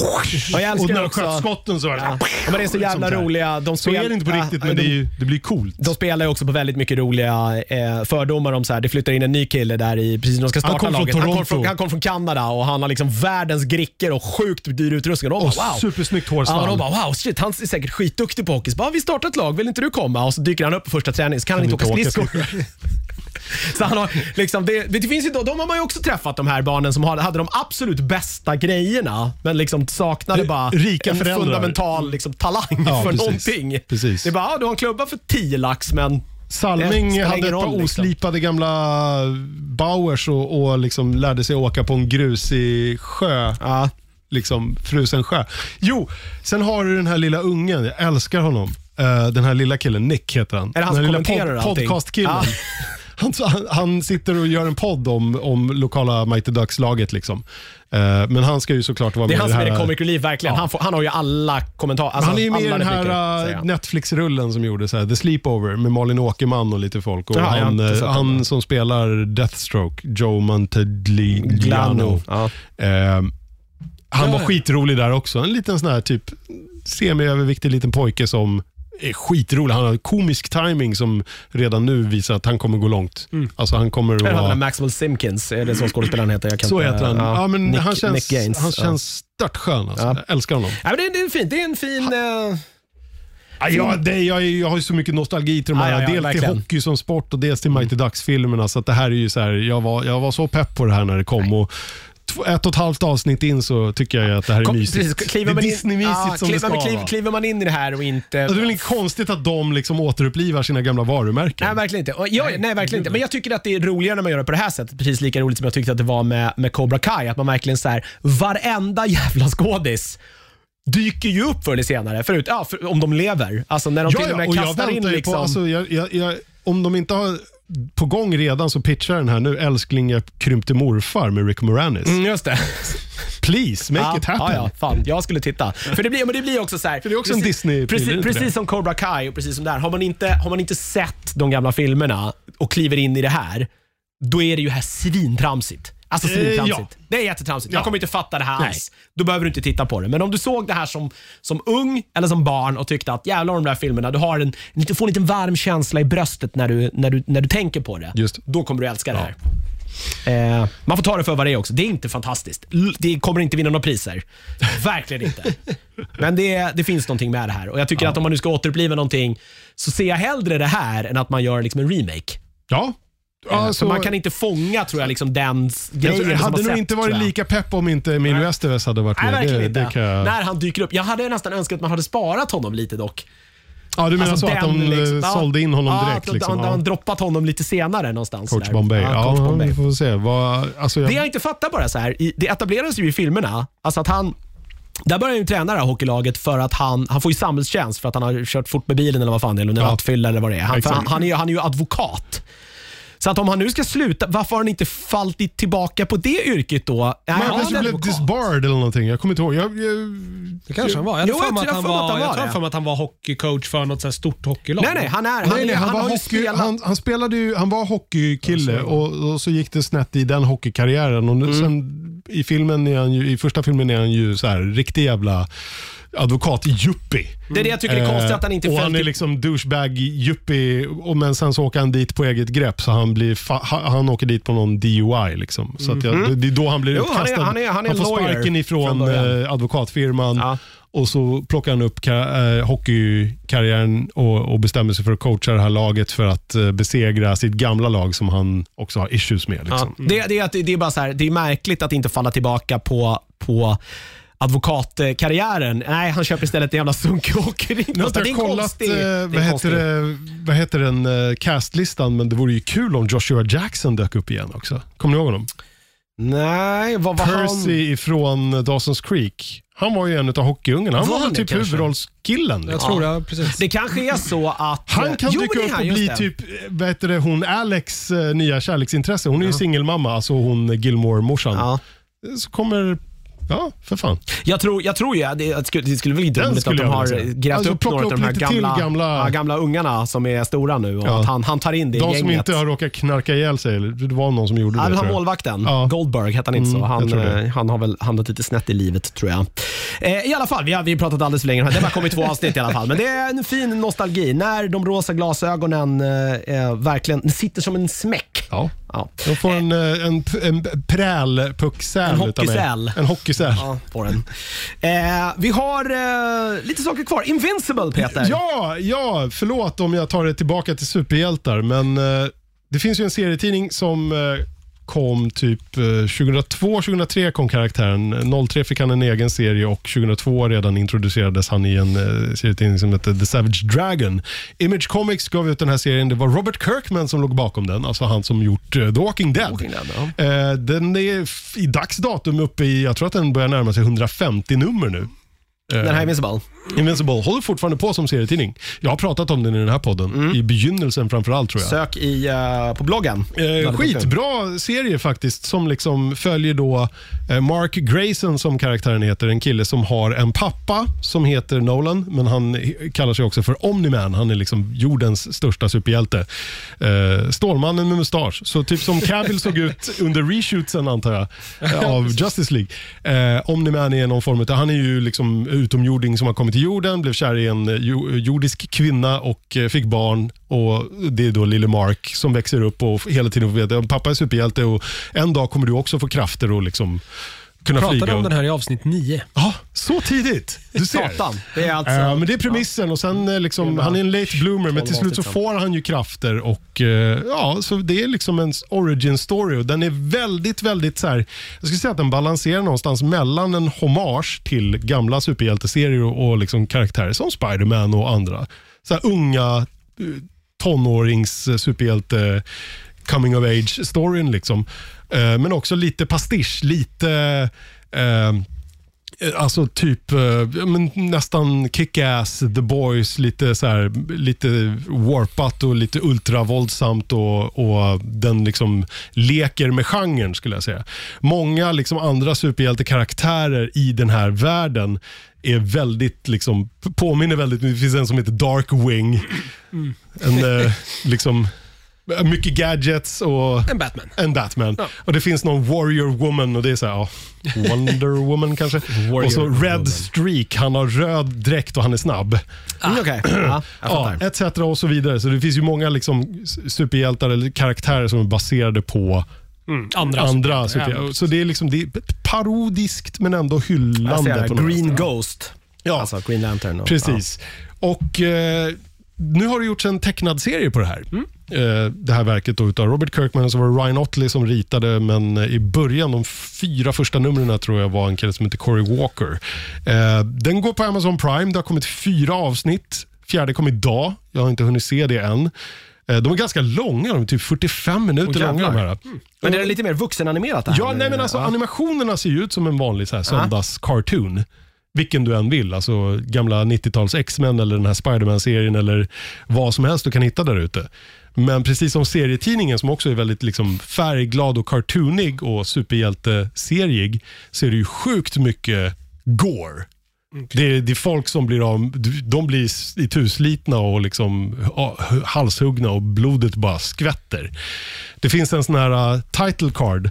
Speaker 1: jag älskar
Speaker 3: Och när de
Speaker 1: också-
Speaker 3: sköt skotten så var det...
Speaker 1: Ja. Men det är så jävla
Speaker 3: Sånt här.
Speaker 1: roliga. De
Speaker 3: Så är det inte på
Speaker 1: Ja,
Speaker 3: riktigt, men det, är ju, det blir coolt.
Speaker 1: De spelar ju också på väldigt mycket roliga eh, fördomar om så här, det flyttar in en ny kille där i, precis när de ska starta
Speaker 3: Han kom från
Speaker 1: laget. han, kom
Speaker 3: Toronto.
Speaker 1: från, han kom från Kanada och han har liksom världens gricker och sjukt dyr utrustning. Och de
Speaker 3: Och
Speaker 1: bara, wow.
Speaker 3: supersnyggt
Speaker 1: Ja,
Speaker 3: hårsvall.
Speaker 1: och de bara wow, shit, han är säkert skitduktig på hockey. Så bara, vi startar ett lag, vill inte du komma? Och så dyker han upp på första träningen, så kan han inte åka skridskor. Så han har, liksom, det, det finns ju, de de har man ju också träffat, de här barnen som har- hade de absolut bästa grejerna, men liksom saknade
Speaker 3: R-
Speaker 1: bara
Speaker 3: rika
Speaker 1: en
Speaker 3: föräldrar.
Speaker 1: fundamental liksom, talang
Speaker 3: Ja,
Speaker 1: för
Speaker 3: precis.
Speaker 1: någonting.
Speaker 3: Precis.
Speaker 1: Det är bara, ja, du har en klubba för 10 lax, men Det
Speaker 3: Salming
Speaker 1: spelar
Speaker 3: hade
Speaker 1: ingen
Speaker 3: ett par
Speaker 1: roll, liksom.
Speaker 3: oslipade gamla Bauers och, och liksom lärde sig åka på en grusig sjö.
Speaker 1: ja,
Speaker 3: liksom frusen sjö. Jo, sen har du den här lilla ungen. Jag älskar honom. Eh, den här lilla killen, Nick heter han.
Speaker 1: det han
Speaker 3: den
Speaker 1: som
Speaker 3: här lilla
Speaker 1: kommenterar allting? Ah.
Speaker 3: Podcastkillen.
Speaker 1: Ja.
Speaker 3: Han, han, han sitter och gör en podd om, om lokala Mighty Ducks-laget. Liksom. Eh, men han ska ju såklart vara
Speaker 1: det är
Speaker 3: med
Speaker 1: han
Speaker 3: i det
Speaker 1: som är
Speaker 3: här.
Speaker 1: det comic relief, verkligen. Han, får, han har ju alla kommentarer. Alltså,
Speaker 3: han är ju med i
Speaker 1: alla
Speaker 3: den här
Speaker 1: repliker, säger
Speaker 3: eh,
Speaker 1: jag.
Speaker 3: Netflix-rullen som gjordes, här, The Sleepover, med Malin Åkerman och lite folk. Och
Speaker 1: Jaha, jag har
Speaker 3: han
Speaker 1: inte
Speaker 3: eh,
Speaker 1: sett den.
Speaker 3: han som spelar Deathstroke, Joe Mantegliano.
Speaker 1: Glano. Ja.
Speaker 3: Eh, han var
Speaker 2: Ja.
Speaker 3: skitrolig där också. En liten sån här typ semiöverviktig liten pojke som är skitrolig. Han har komisk timing som redan nu visar att han kommer gå långt. Alltså han kommer
Speaker 1: Eller han
Speaker 3: att
Speaker 1: den här
Speaker 3: vara...
Speaker 1: Maximal Simkins, är det så skådespelaren heter? Jag kan
Speaker 3: Så
Speaker 1: inte-
Speaker 3: heter han. Ja, men
Speaker 1: Nick,
Speaker 3: han känns,
Speaker 1: Nick Gaines.
Speaker 3: han
Speaker 1: ja.
Speaker 3: känns störtskön. Alltså.
Speaker 1: Ja.
Speaker 3: Jag älskar honom.
Speaker 1: Ja, men det, är- det är fint. Det är en fin... eh,
Speaker 3: Ah, Ja, jag, det, jag, är- jag har ju så mycket nostalgi till de här.
Speaker 1: Ja, ja, ja,
Speaker 3: dels
Speaker 1: verkligen.
Speaker 3: till hockey som sport och dels till Mighty Ducks-filmerna. Så att det här är ju så här, jag, var, jag var så pepp på det här när det kom. Och tw- ett och ett halvt avsnitt in så tycker jag ju att det här är
Speaker 1: kom-
Speaker 3: mysigt.
Speaker 1: precis, kliver
Speaker 3: det är
Speaker 1: man in-
Speaker 3: Disney-mysigt
Speaker 1: ja,
Speaker 3: som det
Speaker 1: kliver,
Speaker 3: ska
Speaker 1: man-
Speaker 3: vara.
Speaker 1: kliver, kliver man in i det här och inte...
Speaker 3: Ja, Det är väl inte konstigt att de liksom återupplivar sina gamla varumärken.
Speaker 1: Nej, verkligen inte. Och Jag, nej, verkligen inte. Men jag tycker att det är roligare när man gör det på det här sättet. Precis lika roligt som jag tyckte att det var med, med Cobra Kai. Att man verkligen så här, varenda jävla skådis dyker ju upp förr eller senare. Förut, ja, för, om de lever. Alltså när de till och med
Speaker 3: och jag
Speaker 1: kastar in
Speaker 3: väntar ju
Speaker 1: liksom...
Speaker 3: På, alltså, jag, jag, jag, om de inte har på gång redan så pitchar jag den här nu. Älskling, jag krympte morfar med Rick Moranis.
Speaker 1: Mm, just det.
Speaker 3: Please, make it happen.
Speaker 1: Ja, ja, fan. Jag skulle titta. För det blir, men det blir också så här, För
Speaker 3: det är också en Disney-film, är det
Speaker 1: Precis,
Speaker 3: inte det?
Speaker 1: precis som Cobra Kai och precis som där. Har man, inte, har man inte sett de gamla filmerna och kliver in i det här, då är det ju här svintramsigt. Alltså
Speaker 3: Eh,
Speaker 1: svintramsigt.
Speaker 3: ja.
Speaker 1: Det är jättetramsigt. Jag
Speaker 3: Ja.
Speaker 1: kommer inte fatta det här
Speaker 3: Nej.
Speaker 1: alls. Då behöver du inte titta på det. Men om du såg det här som, som ung eller som barn och tyckte att jävlar de där filmerna, du har en, du får en liten varm känsla i bröstet när du, när du, när du tänker på det.
Speaker 3: Just.
Speaker 1: Då kommer du älska det här. Eh, man får ta det för vad det är också. Det är inte fantastiskt. L- Det kommer inte vinna några priser. Verkligen inte. Men det, det finns någonting med det här. Och Jag tycker att om man nu ska återuppliva någonting så ser jag hellre det här än att man gör liksom en remake.
Speaker 3: Ja.
Speaker 1: Eh,
Speaker 3: Alltså,
Speaker 1: för man kan inte fånga tror jag, liksom den s-
Speaker 3: jag,
Speaker 1: grejen som
Speaker 3: hade
Speaker 1: man
Speaker 3: nog
Speaker 1: sett,
Speaker 3: inte
Speaker 1: tror
Speaker 3: varit
Speaker 1: jag.
Speaker 3: lika pepp om inte Emilio Estevez hade varit
Speaker 1: Nej,
Speaker 3: med.
Speaker 1: verkligen
Speaker 3: det,
Speaker 1: inte.
Speaker 3: det kan jag...
Speaker 1: När han dyker upp. Jag hade nästan önskat att man hade sparat honom lite dock.
Speaker 3: Ja, du menar
Speaker 1: Alltså,
Speaker 3: så att
Speaker 1: den
Speaker 3: de
Speaker 1: liksom-
Speaker 3: eh,
Speaker 1: ja.
Speaker 3: sålde in honom
Speaker 1: ja,
Speaker 3: direkt?
Speaker 1: att de-
Speaker 3: liksom.
Speaker 1: de,
Speaker 3: ja.
Speaker 1: de, droppat honom lite senare någonstans.
Speaker 3: Coach
Speaker 1: där.
Speaker 3: Bombay. Ja,
Speaker 1: Coach Bombay.
Speaker 3: vi får se. Vad, alltså, jag,
Speaker 1: Det jag inte fattar bara så här, i- det etableras ju i filmerna, alltså att han där börjar ju träna det här hockeylaget för att han, han får ju samhällstjänst för att han har kört fort med bilen eller vad fan det är, eller under
Speaker 3: Ja.
Speaker 1: rattfylla eller vad det är. Han, för
Speaker 3: Exakt.
Speaker 1: han, han, är ju, han är ju advokat. Så att om han nu ska sluta, varför har han inte fallit tillbaka på det yrket då? Nej,
Speaker 3: Men
Speaker 1: han
Speaker 3: han
Speaker 1: är
Speaker 3: kanske blev
Speaker 1: advokat.
Speaker 3: disbarred eller någonting. Jag kommer inte ihåg. Jag, jag,
Speaker 2: Det kanske han var. Jag
Speaker 1: Jo,
Speaker 2: tror för
Speaker 1: jag
Speaker 2: mig
Speaker 1: tror jag
Speaker 2: att han
Speaker 1: för mig att
Speaker 2: var-
Speaker 1: han var
Speaker 2: jag tror
Speaker 1: det.
Speaker 2: för mig att han var hockeycoach för något så här stort hockeylag.
Speaker 1: Nej, nej, han är, han,
Speaker 3: nej, nej, han,
Speaker 1: han
Speaker 3: var
Speaker 1: har ju
Speaker 3: hockey,
Speaker 1: spelat.
Speaker 3: han, han, spelade ju, han var hockeykille och, och så gick det snett i den hockeykarriären. Och nu,
Speaker 1: Mm.
Speaker 3: sen, i, filmen är han ju, I första filmen är han ju så här, riktig jävla advokat juppie
Speaker 1: det är det jag tycker är konstigt att han inte
Speaker 3: Eh, Och
Speaker 1: föll
Speaker 3: han är
Speaker 1: till-
Speaker 3: liksom douchebag yuppie, och men sen så åker han dit på eget grepp. Så han, blir fa- ha- han åker dit på någon DUI. Liksom. Så att jag, det är då han blir
Speaker 1: Mhm. Jo, han är-
Speaker 3: utkastad.
Speaker 1: han är- han är
Speaker 3: får
Speaker 1: lawyer
Speaker 3: sparken
Speaker 1: från
Speaker 3: ifrån
Speaker 1: början.
Speaker 3: eh, advokatfirman.
Speaker 1: Ja.
Speaker 3: Och så plockar han upp ka- eh, hockeykarriären och, och bestämmer sig för att coacha det här laget för att eh, besegra sitt gamla lag som han också har issues med. Liksom.
Speaker 1: Ja, det, det, är att det, det är bara så här, det är märkligt att inte falla tillbaka på, på advokatkarriären. Nej, han köper istället en jävla sunkig åkering.
Speaker 3: Nu har inte
Speaker 1: Det är
Speaker 3: jag
Speaker 1: en
Speaker 3: kollat
Speaker 1: konstig-
Speaker 3: eh,
Speaker 1: det är en
Speaker 3: vad, heter
Speaker 1: konstig-
Speaker 3: det, vad heter den eh, castlistan, men det vore ju kul om Joshua Jackson dök upp igen också. Kommer ni ihåg honom?
Speaker 1: Nej, vad var
Speaker 3: Percy ifrån Dawson's Creek. Han var ju en av hockeyungarna. Han
Speaker 1: Var
Speaker 3: var,
Speaker 1: han
Speaker 3: väl
Speaker 1: det
Speaker 3: typ
Speaker 1: kanske?
Speaker 3: huvudrollskillen.
Speaker 2: Jag
Speaker 3: Liksom.
Speaker 2: tror det, precis.
Speaker 1: Det kanske är så att...
Speaker 3: Han kan
Speaker 1: Jo, men
Speaker 3: dyka
Speaker 1: det är
Speaker 3: upp
Speaker 1: han,
Speaker 3: och
Speaker 1: just
Speaker 3: bli
Speaker 1: det.
Speaker 3: typ, eh, vad heter det, hon Alex eh, nya kärleksintresse. Hon är ju singelmamma, alltså hon Gilmore-morsan.
Speaker 1: Ja.
Speaker 3: eh, Så kommer Ja, för fan.
Speaker 1: Jag tror, jag tror ju, att det, jag skulle- det skulle bli
Speaker 3: Den
Speaker 1: dumt att
Speaker 3: skulle
Speaker 1: de
Speaker 3: jag
Speaker 1: har
Speaker 3: vilja se.
Speaker 1: grävt
Speaker 3: Alltså,
Speaker 1: upp
Speaker 3: plocka
Speaker 1: några av
Speaker 3: upp
Speaker 1: de här
Speaker 3: lite till
Speaker 1: gamla,
Speaker 3: gamla-
Speaker 1: ja, gamla ungarna som är stora nu och
Speaker 3: Ja.
Speaker 1: att han, han tar in det i
Speaker 3: De
Speaker 1: gänget.
Speaker 3: som inte har råkat knarka ihjäl sig, eller det var någon som gjorde
Speaker 1: Ja,
Speaker 3: det.
Speaker 1: men han
Speaker 3: tror jag.
Speaker 1: målvakten,
Speaker 3: Ja.
Speaker 1: Goldberg hette han inte så.
Speaker 3: Mm, jag
Speaker 1: Han,
Speaker 3: tror det.
Speaker 1: eh, han har väl hamnat lite snett i livet tror jag. Eh, I alla fall, vi har, vi har pratat alldeles för länge. om Det här. Det har bara kommit två avsnitt i alla fall. Men det är en fin nostalgi när de rosa glasögonen eh, eh, verkligen sitter som en smäck.
Speaker 3: Ja.
Speaker 1: Ja.
Speaker 3: De får en, eh, en, p- en p- prälpucksäl
Speaker 1: En
Speaker 3: utav mig.
Speaker 1: hockeysäl.
Speaker 3: En hockeysäl.
Speaker 1: Ja, på den. Eh, vi har eh, lite saker kvar. Invincible Peter.
Speaker 3: Ja, ja, förlåt om jag tar det tillbaka till superhjältar, men eh, det finns ju en serietidning som eh, kom typ eh, 2002, 2003 kom karaktären. 03 fick han en egen serie och 2002 redan introducerades han i en eh, serietidning som hette The Savage Dragon. Image Comics gav ut den här serien. Det var Robert Kirkman som låg bakom den, alltså han som gjort eh, The Walking Dead.
Speaker 1: Walking Dead, ja.
Speaker 3: Eh, Den är f- i dags datum uppe i, jag tror att den börjar närma sig 150 nummer nu. Eh,
Speaker 1: Den här Invincible.
Speaker 3: Invincible håller fortfarande på som serietidning. Jag har pratat om den i den här podden, i begynnelsen framförallt tror jag.
Speaker 1: Sök i, eh, på bloggen.
Speaker 3: Eh,
Speaker 1: Väldigt kul.
Speaker 3: skitbra serie faktiskt som liksom följer då eh, Mark Grayson som karaktären heter. En kille som har en pappa som heter Nolan men han he- kallar sig också för Omni-Man. Han är liksom jordens största superhjälte. Eh, Stålmannen med mustasch. Så typ som Cavill såg ut under reshootsen antar jag eh, av Justice League. Eh, Omni-Man är någon form av, han är ju liksom utomjording som har kommit till jorden, blev kär i en eh, jo- jordisk kvinna och eh, fick barn och det är då lille Mark som växer upp och hela tiden får veta att pappa är superhjälte och en dag kommer du också få krafter och liksom kunna
Speaker 2: Pratade
Speaker 3: flyga.
Speaker 2: om
Speaker 3: och-
Speaker 2: den här i avsnitt 9.
Speaker 3: Ja, så tidigt! Du ser.
Speaker 1: Satan. Det är alltså...
Speaker 3: Ja, Eh, men det är premissen och sen eh, liksom, han är en late bloomer men till slut så får han ju krafter och eh, ja, så det är liksom en origin story och den är väldigt, väldigt så här, jag skulle säga att den balanserar någonstans mellan en hommage till gamla superhjälteserier och, och liksom karaktärer som Spiderman och andra. Så här unga eh, tonårings eh, superhjälte coming of age-storyn liksom. Eh, Men också lite pastisch, lite eh, Eh, Alltså typ eh, ja, men nästan kick-ass, the boys, lite, så här, lite warpat och lite ultravåldsamt och, och den liksom leker med genren skulle jag säga. Många liksom andra superhjältekaraktärer i den här världen är väldigt, liksom, påminner väldigt, det finns en som heter Darkwing. En, eh, liksom, mycket gadgets och
Speaker 2: En Batman.
Speaker 3: en Batman. Och det finns någon Warrior Woman och det är så här, ja, Wonder Woman kanske. och så Red Streak, han har röd dräkt och han är snabb.
Speaker 1: Mm, Okej, ja, jag
Speaker 3: Ja,
Speaker 1: fattar.
Speaker 3: etc. och så vidare. Så det finns ju många liksom, s- superhjältar eller karaktärer som är baserade på
Speaker 1: Mm.
Speaker 2: Andra.
Speaker 3: andra
Speaker 2: Ja,
Speaker 3: superhjältar. Så det är liksom det är parodiskt men ändå
Speaker 1: jag ser
Speaker 3: hyllande.
Speaker 1: det.
Speaker 3: på något sätt.
Speaker 1: Green Ghost.
Speaker 3: Ja.
Speaker 1: Alltså Green Lantern. Och,
Speaker 3: Precis. Och eh, nu har det gjorts en tecknad serie på det här.
Speaker 1: Mm.
Speaker 3: Eh, det här verket då utav Robert Kirkman och så var det Ryan Otley som ritade, men eh, i början, de fyra första numren tror jag var en kille som heter Corey Walker. Eh, den går på Amazon Prime, det har kommit fyra avsnitt. Fjärde kom idag, jag har inte hunnit se det än. Eh, de är ganska långa, de är typ 45 minuter
Speaker 1: Åh,
Speaker 3: långa. De
Speaker 1: jävlar. Mm.
Speaker 3: här.
Speaker 1: Ja. Men det är lite mer vuxenanimerat det här?
Speaker 3: Ja,
Speaker 1: nu.
Speaker 3: nej, men alltså,
Speaker 1: Ja.
Speaker 3: animationerna ser ju ut som en vanlig så här, söndagscartoon. Vilken du än vill. Alltså gamla 90-tals X-Men eller den här Spiderman-serien eller vad som helst du kan hitta där ute. Men precis som serietidningen som också är väldigt liksom, färgglad och cartoonig och superhjälteserig så är det ju sjukt mycket gore. Det är, det är folk som blir av, de blir ituslitna och liksom ja, halshuggna och blodet bara skvätter. Det finns en sån här uh, title card.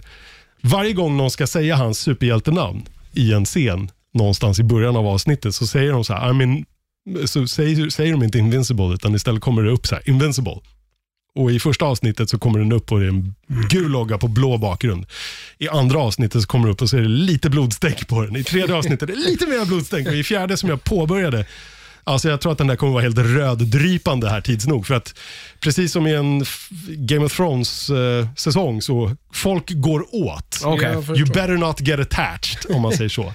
Speaker 3: Varje gång någon ska säga hans superhjältenamn i en scen någonstans i början av avsnittet så säger de så här, I mean, så säger, säger de inte invincible utan istället kommer det upp så här, invincible. Och i första avsnittet så kommer den upp och det är en gul logga på blå bakgrund. I andra avsnittet så kommer det upp och så är det lite blodstänk på den. I tredje avsnittet är det lite mer blodstänk och i fjärde som jag påbörjade Alltså jag tror att den där kommer vara helt röddrypande här tids nog. För att precis som i en f- Game of Thrones-säsong så folk går åt.
Speaker 1: Okej.
Speaker 2: Ja, för-
Speaker 3: You better not get attached, om man säger så.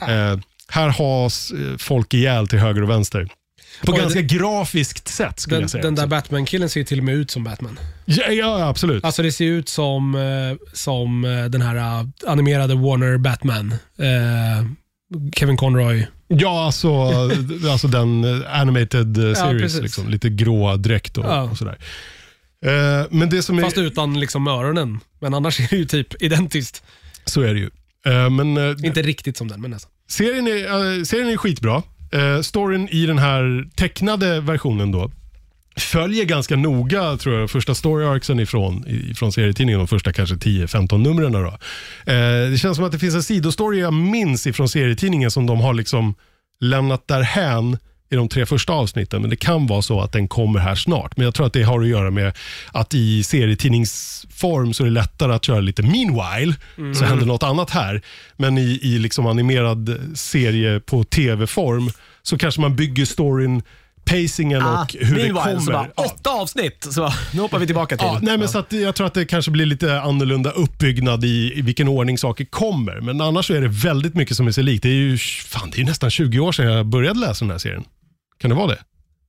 Speaker 3: Eh, här has eh, folk ihjäl till höger och vänster. På
Speaker 2: Oj,
Speaker 3: ganska grafiskt sätt skulle
Speaker 2: Den,
Speaker 3: jag säga.
Speaker 2: den där Batman-killen ser ju till och med ut som Batman.
Speaker 3: ja, ja, absolut.
Speaker 2: Alltså det ser ju ut som, eh, som eh, den här eh, animerade Warner Batman. Eh, Kevin Conroy.
Speaker 3: Ja, alltså, alltså den eh, animated eh, series.
Speaker 2: precis.
Speaker 3: liksom. Lite grå dräkt och,
Speaker 2: Ja.
Speaker 3: och sådär. Eh, men det som är...
Speaker 2: Fast utan liksom öronen. Men annars är det ju typ identiskt.
Speaker 3: Så är det ju. Eh, Men eh,
Speaker 2: Inte riktigt som den, men alltså. nästan.
Speaker 3: Serien är, eh, serien är skitbra. Eh, storyn i den här tecknade versionen då följer ganska noga tror jag, första story arcsen ifrån, ifrån serietidningen, de första kanske 10-15 numren. Då. Eh, det känns som att det finns en sidostory jag minns ifrån serietidningen som de har liksom lämnat därhän i de tre första avsnitten, men det kan vara så att den kommer här snart. Men jag tror att det har att göra med att i serietidningsform så är det lättare att köra lite meanwhile, så händer något annat här. Men i, i liksom animerad serie på tv-form så kanske man bygger storyn, pacingen
Speaker 1: Ah,
Speaker 3: och hur det
Speaker 1: meanwhile
Speaker 3: kommer.
Speaker 1: Så bara,
Speaker 3: Ja.
Speaker 1: åtta avsnitt! Så bara, nu hoppar vi tillbaka till.
Speaker 3: Ja, nej, men så att jag tror att det kanske blir lite annorlunda uppbyggnad i, i vilken ordning saker kommer. Men annars så är det väldigt mycket som är sig likt. Det är ju fan, det är ju nästan 20 år sedan jag började läsa den här serien. Kan det vara det?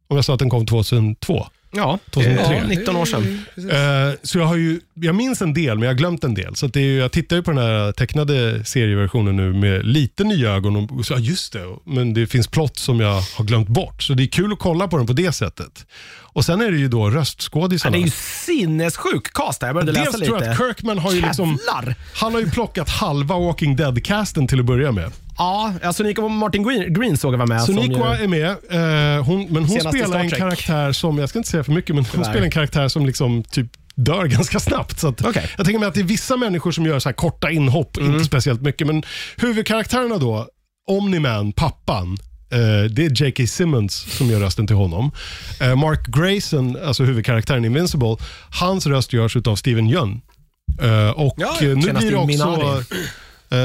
Speaker 3: Om jag sa att den kom 2002.
Speaker 1: ja,
Speaker 3: 2003.
Speaker 1: ja, 19 år sedan.
Speaker 3: Eh, så jag, har ju, jag minns en del, men jag har glömt en del. Så att det är, ju- jag tittar ju på den här tecknade serieversionen nu med lite nya ögon. Och, och så, ja, just det, men det finns plott som jag har glömt bort. Så det är kul att kolla på den på det sättet. Och sen är det ju då
Speaker 1: Ja,
Speaker 3: röstskådisarna.
Speaker 1: det är ju sinnessjuk cast här. Jag började läsa
Speaker 3: Dels
Speaker 1: lite.
Speaker 3: tror jag att Kirkman har ju liksom...
Speaker 1: Jävlar!
Speaker 3: Han har ju plockat halva Walking Dead-casten till att börja med.
Speaker 1: Ja, alltså Nico Martin Green, Green såg jag var med.
Speaker 3: Så
Speaker 1: som ju-
Speaker 3: Nikwa är med, eh, hon, men hon
Speaker 1: Senaste
Speaker 3: spelar
Speaker 1: Star
Speaker 3: en
Speaker 1: Trek.
Speaker 3: karaktär som, jag ska inte säga för mycket, men hon
Speaker 1: Tyvärr.
Speaker 3: spelar en karaktär som liksom typ dör ganska snabbt. Så att
Speaker 1: Okej. Mm.
Speaker 3: Jag tänker mig att det är vissa människor som gör så här korta inhopp, inte speciellt mycket. Men huvudkaraktärerna då, Omni-Man, pappan, eh, det är J.K. Simmons som gör rösten till honom. Eh, Mark Grayson, alltså huvudkaraktären i Invincible, hans röst görs av Steven Yeun. Eh, och
Speaker 1: Ja,
Speaker 3: eh, nu
Speaker 1: senast
Speaker 3: blir
Speaker 1: i
Speaker 3: det också,
Speaker 1: Minari.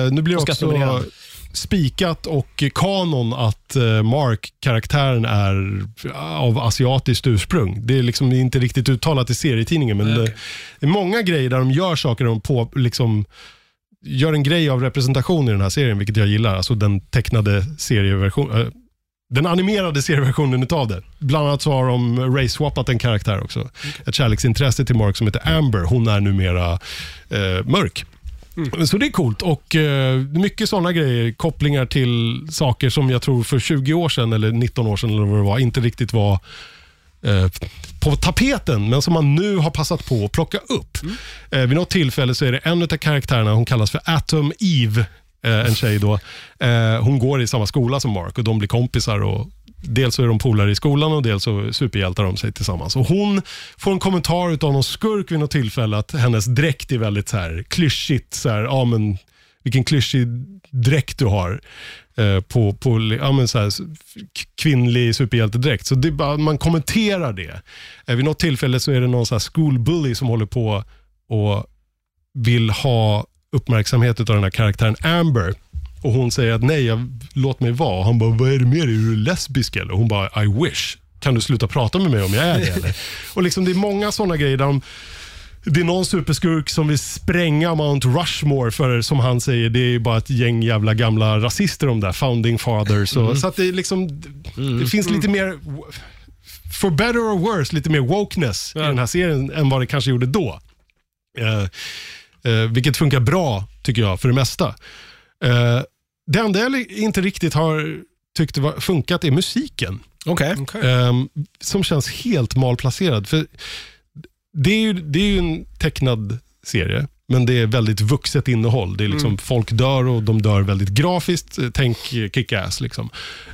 Speaker 3: eh, nu blir det också
Speaker 1: Oscarsnominerad.
Speaker 3: spikat och kanon att eh, Mark-karaktären är eh, av asiatiskt ursprung. Det är liksom inte riktigt uttalat i serietidningen, men det, det är många grejer där de gör saker, de på, liksom, gör en grej av representation i den här serien, vilket jag gillar. Alltså den tecknade serieversionen. Den animerade serieversionen utav det. Bland annat så har de race-swappat en karaktär också. Ett kärleksintresse till Mark som heter Amber. Hon är numera eh, mörk. Så det är coolt och eh, mycket sådana grejer, kopplingar till saker som jag tror för 20 år sedan eller 19 år sedan eller vad det var, inte riktigt var eh, på tapeten, men som man nu har passat på att plocka upp. Eh, vid något tillfälle så är det en av karaktärerna, hon kallas för Atom Eve, eh, en tjej då. Eh, hon går i samma skola som Mark och de blir kompisar. Och dels så är de polare i skolan och dels så superhjältar de sig tillsammans. Och hon får en kommentar av någon skurk vid något tillfälle att hennes dräkt är väldigt så här klyschigt. Så här, ja, men, vilken klyschig dräkt du har. eh, På, på ja, men så här, s- k- kvinnlig superhjältedräkt. Så det, är bara- man kommenterar det. Eh, Vid något tillfälle så är det någon så här school bully som håller på och vill ha uppmärksamhet av den här karaktären Amber. Och hon säger att nej, jag, låt mig vara. Och Han bara, vad är det med dig? Är du lesbisk eller? Och Hon bara, I wish. Kan du sluta prata med mig om jag är det eller? och liksom, det är många sådana grejer där de det är någon superskurk som vill spränga Mount Rushmore för som han säger, det är ju bara ett gäng jävla gamla rasister de där, founding fathers. Och, Så att det är liksom, det finns lite mer, for better or worse, lite mer wokeness i den här serien än vad det kanske gjorde då. Eh, eh, vilket funkar bra, tycker jag, för det mesta. Eh, det enda jag li- inte riktigt har tyckt var, funkat är musiken.
Speaker 1: Okej.
Speaker 3: Ehm, som känns helt malplacerad. För det, är ju, det är ju en tecknad serie, men det är väldigt vuxet innehåll. Det är liksom Folk dör och de dör väldigt grafiskt. Eh, Tänk kick-ass. Liksom.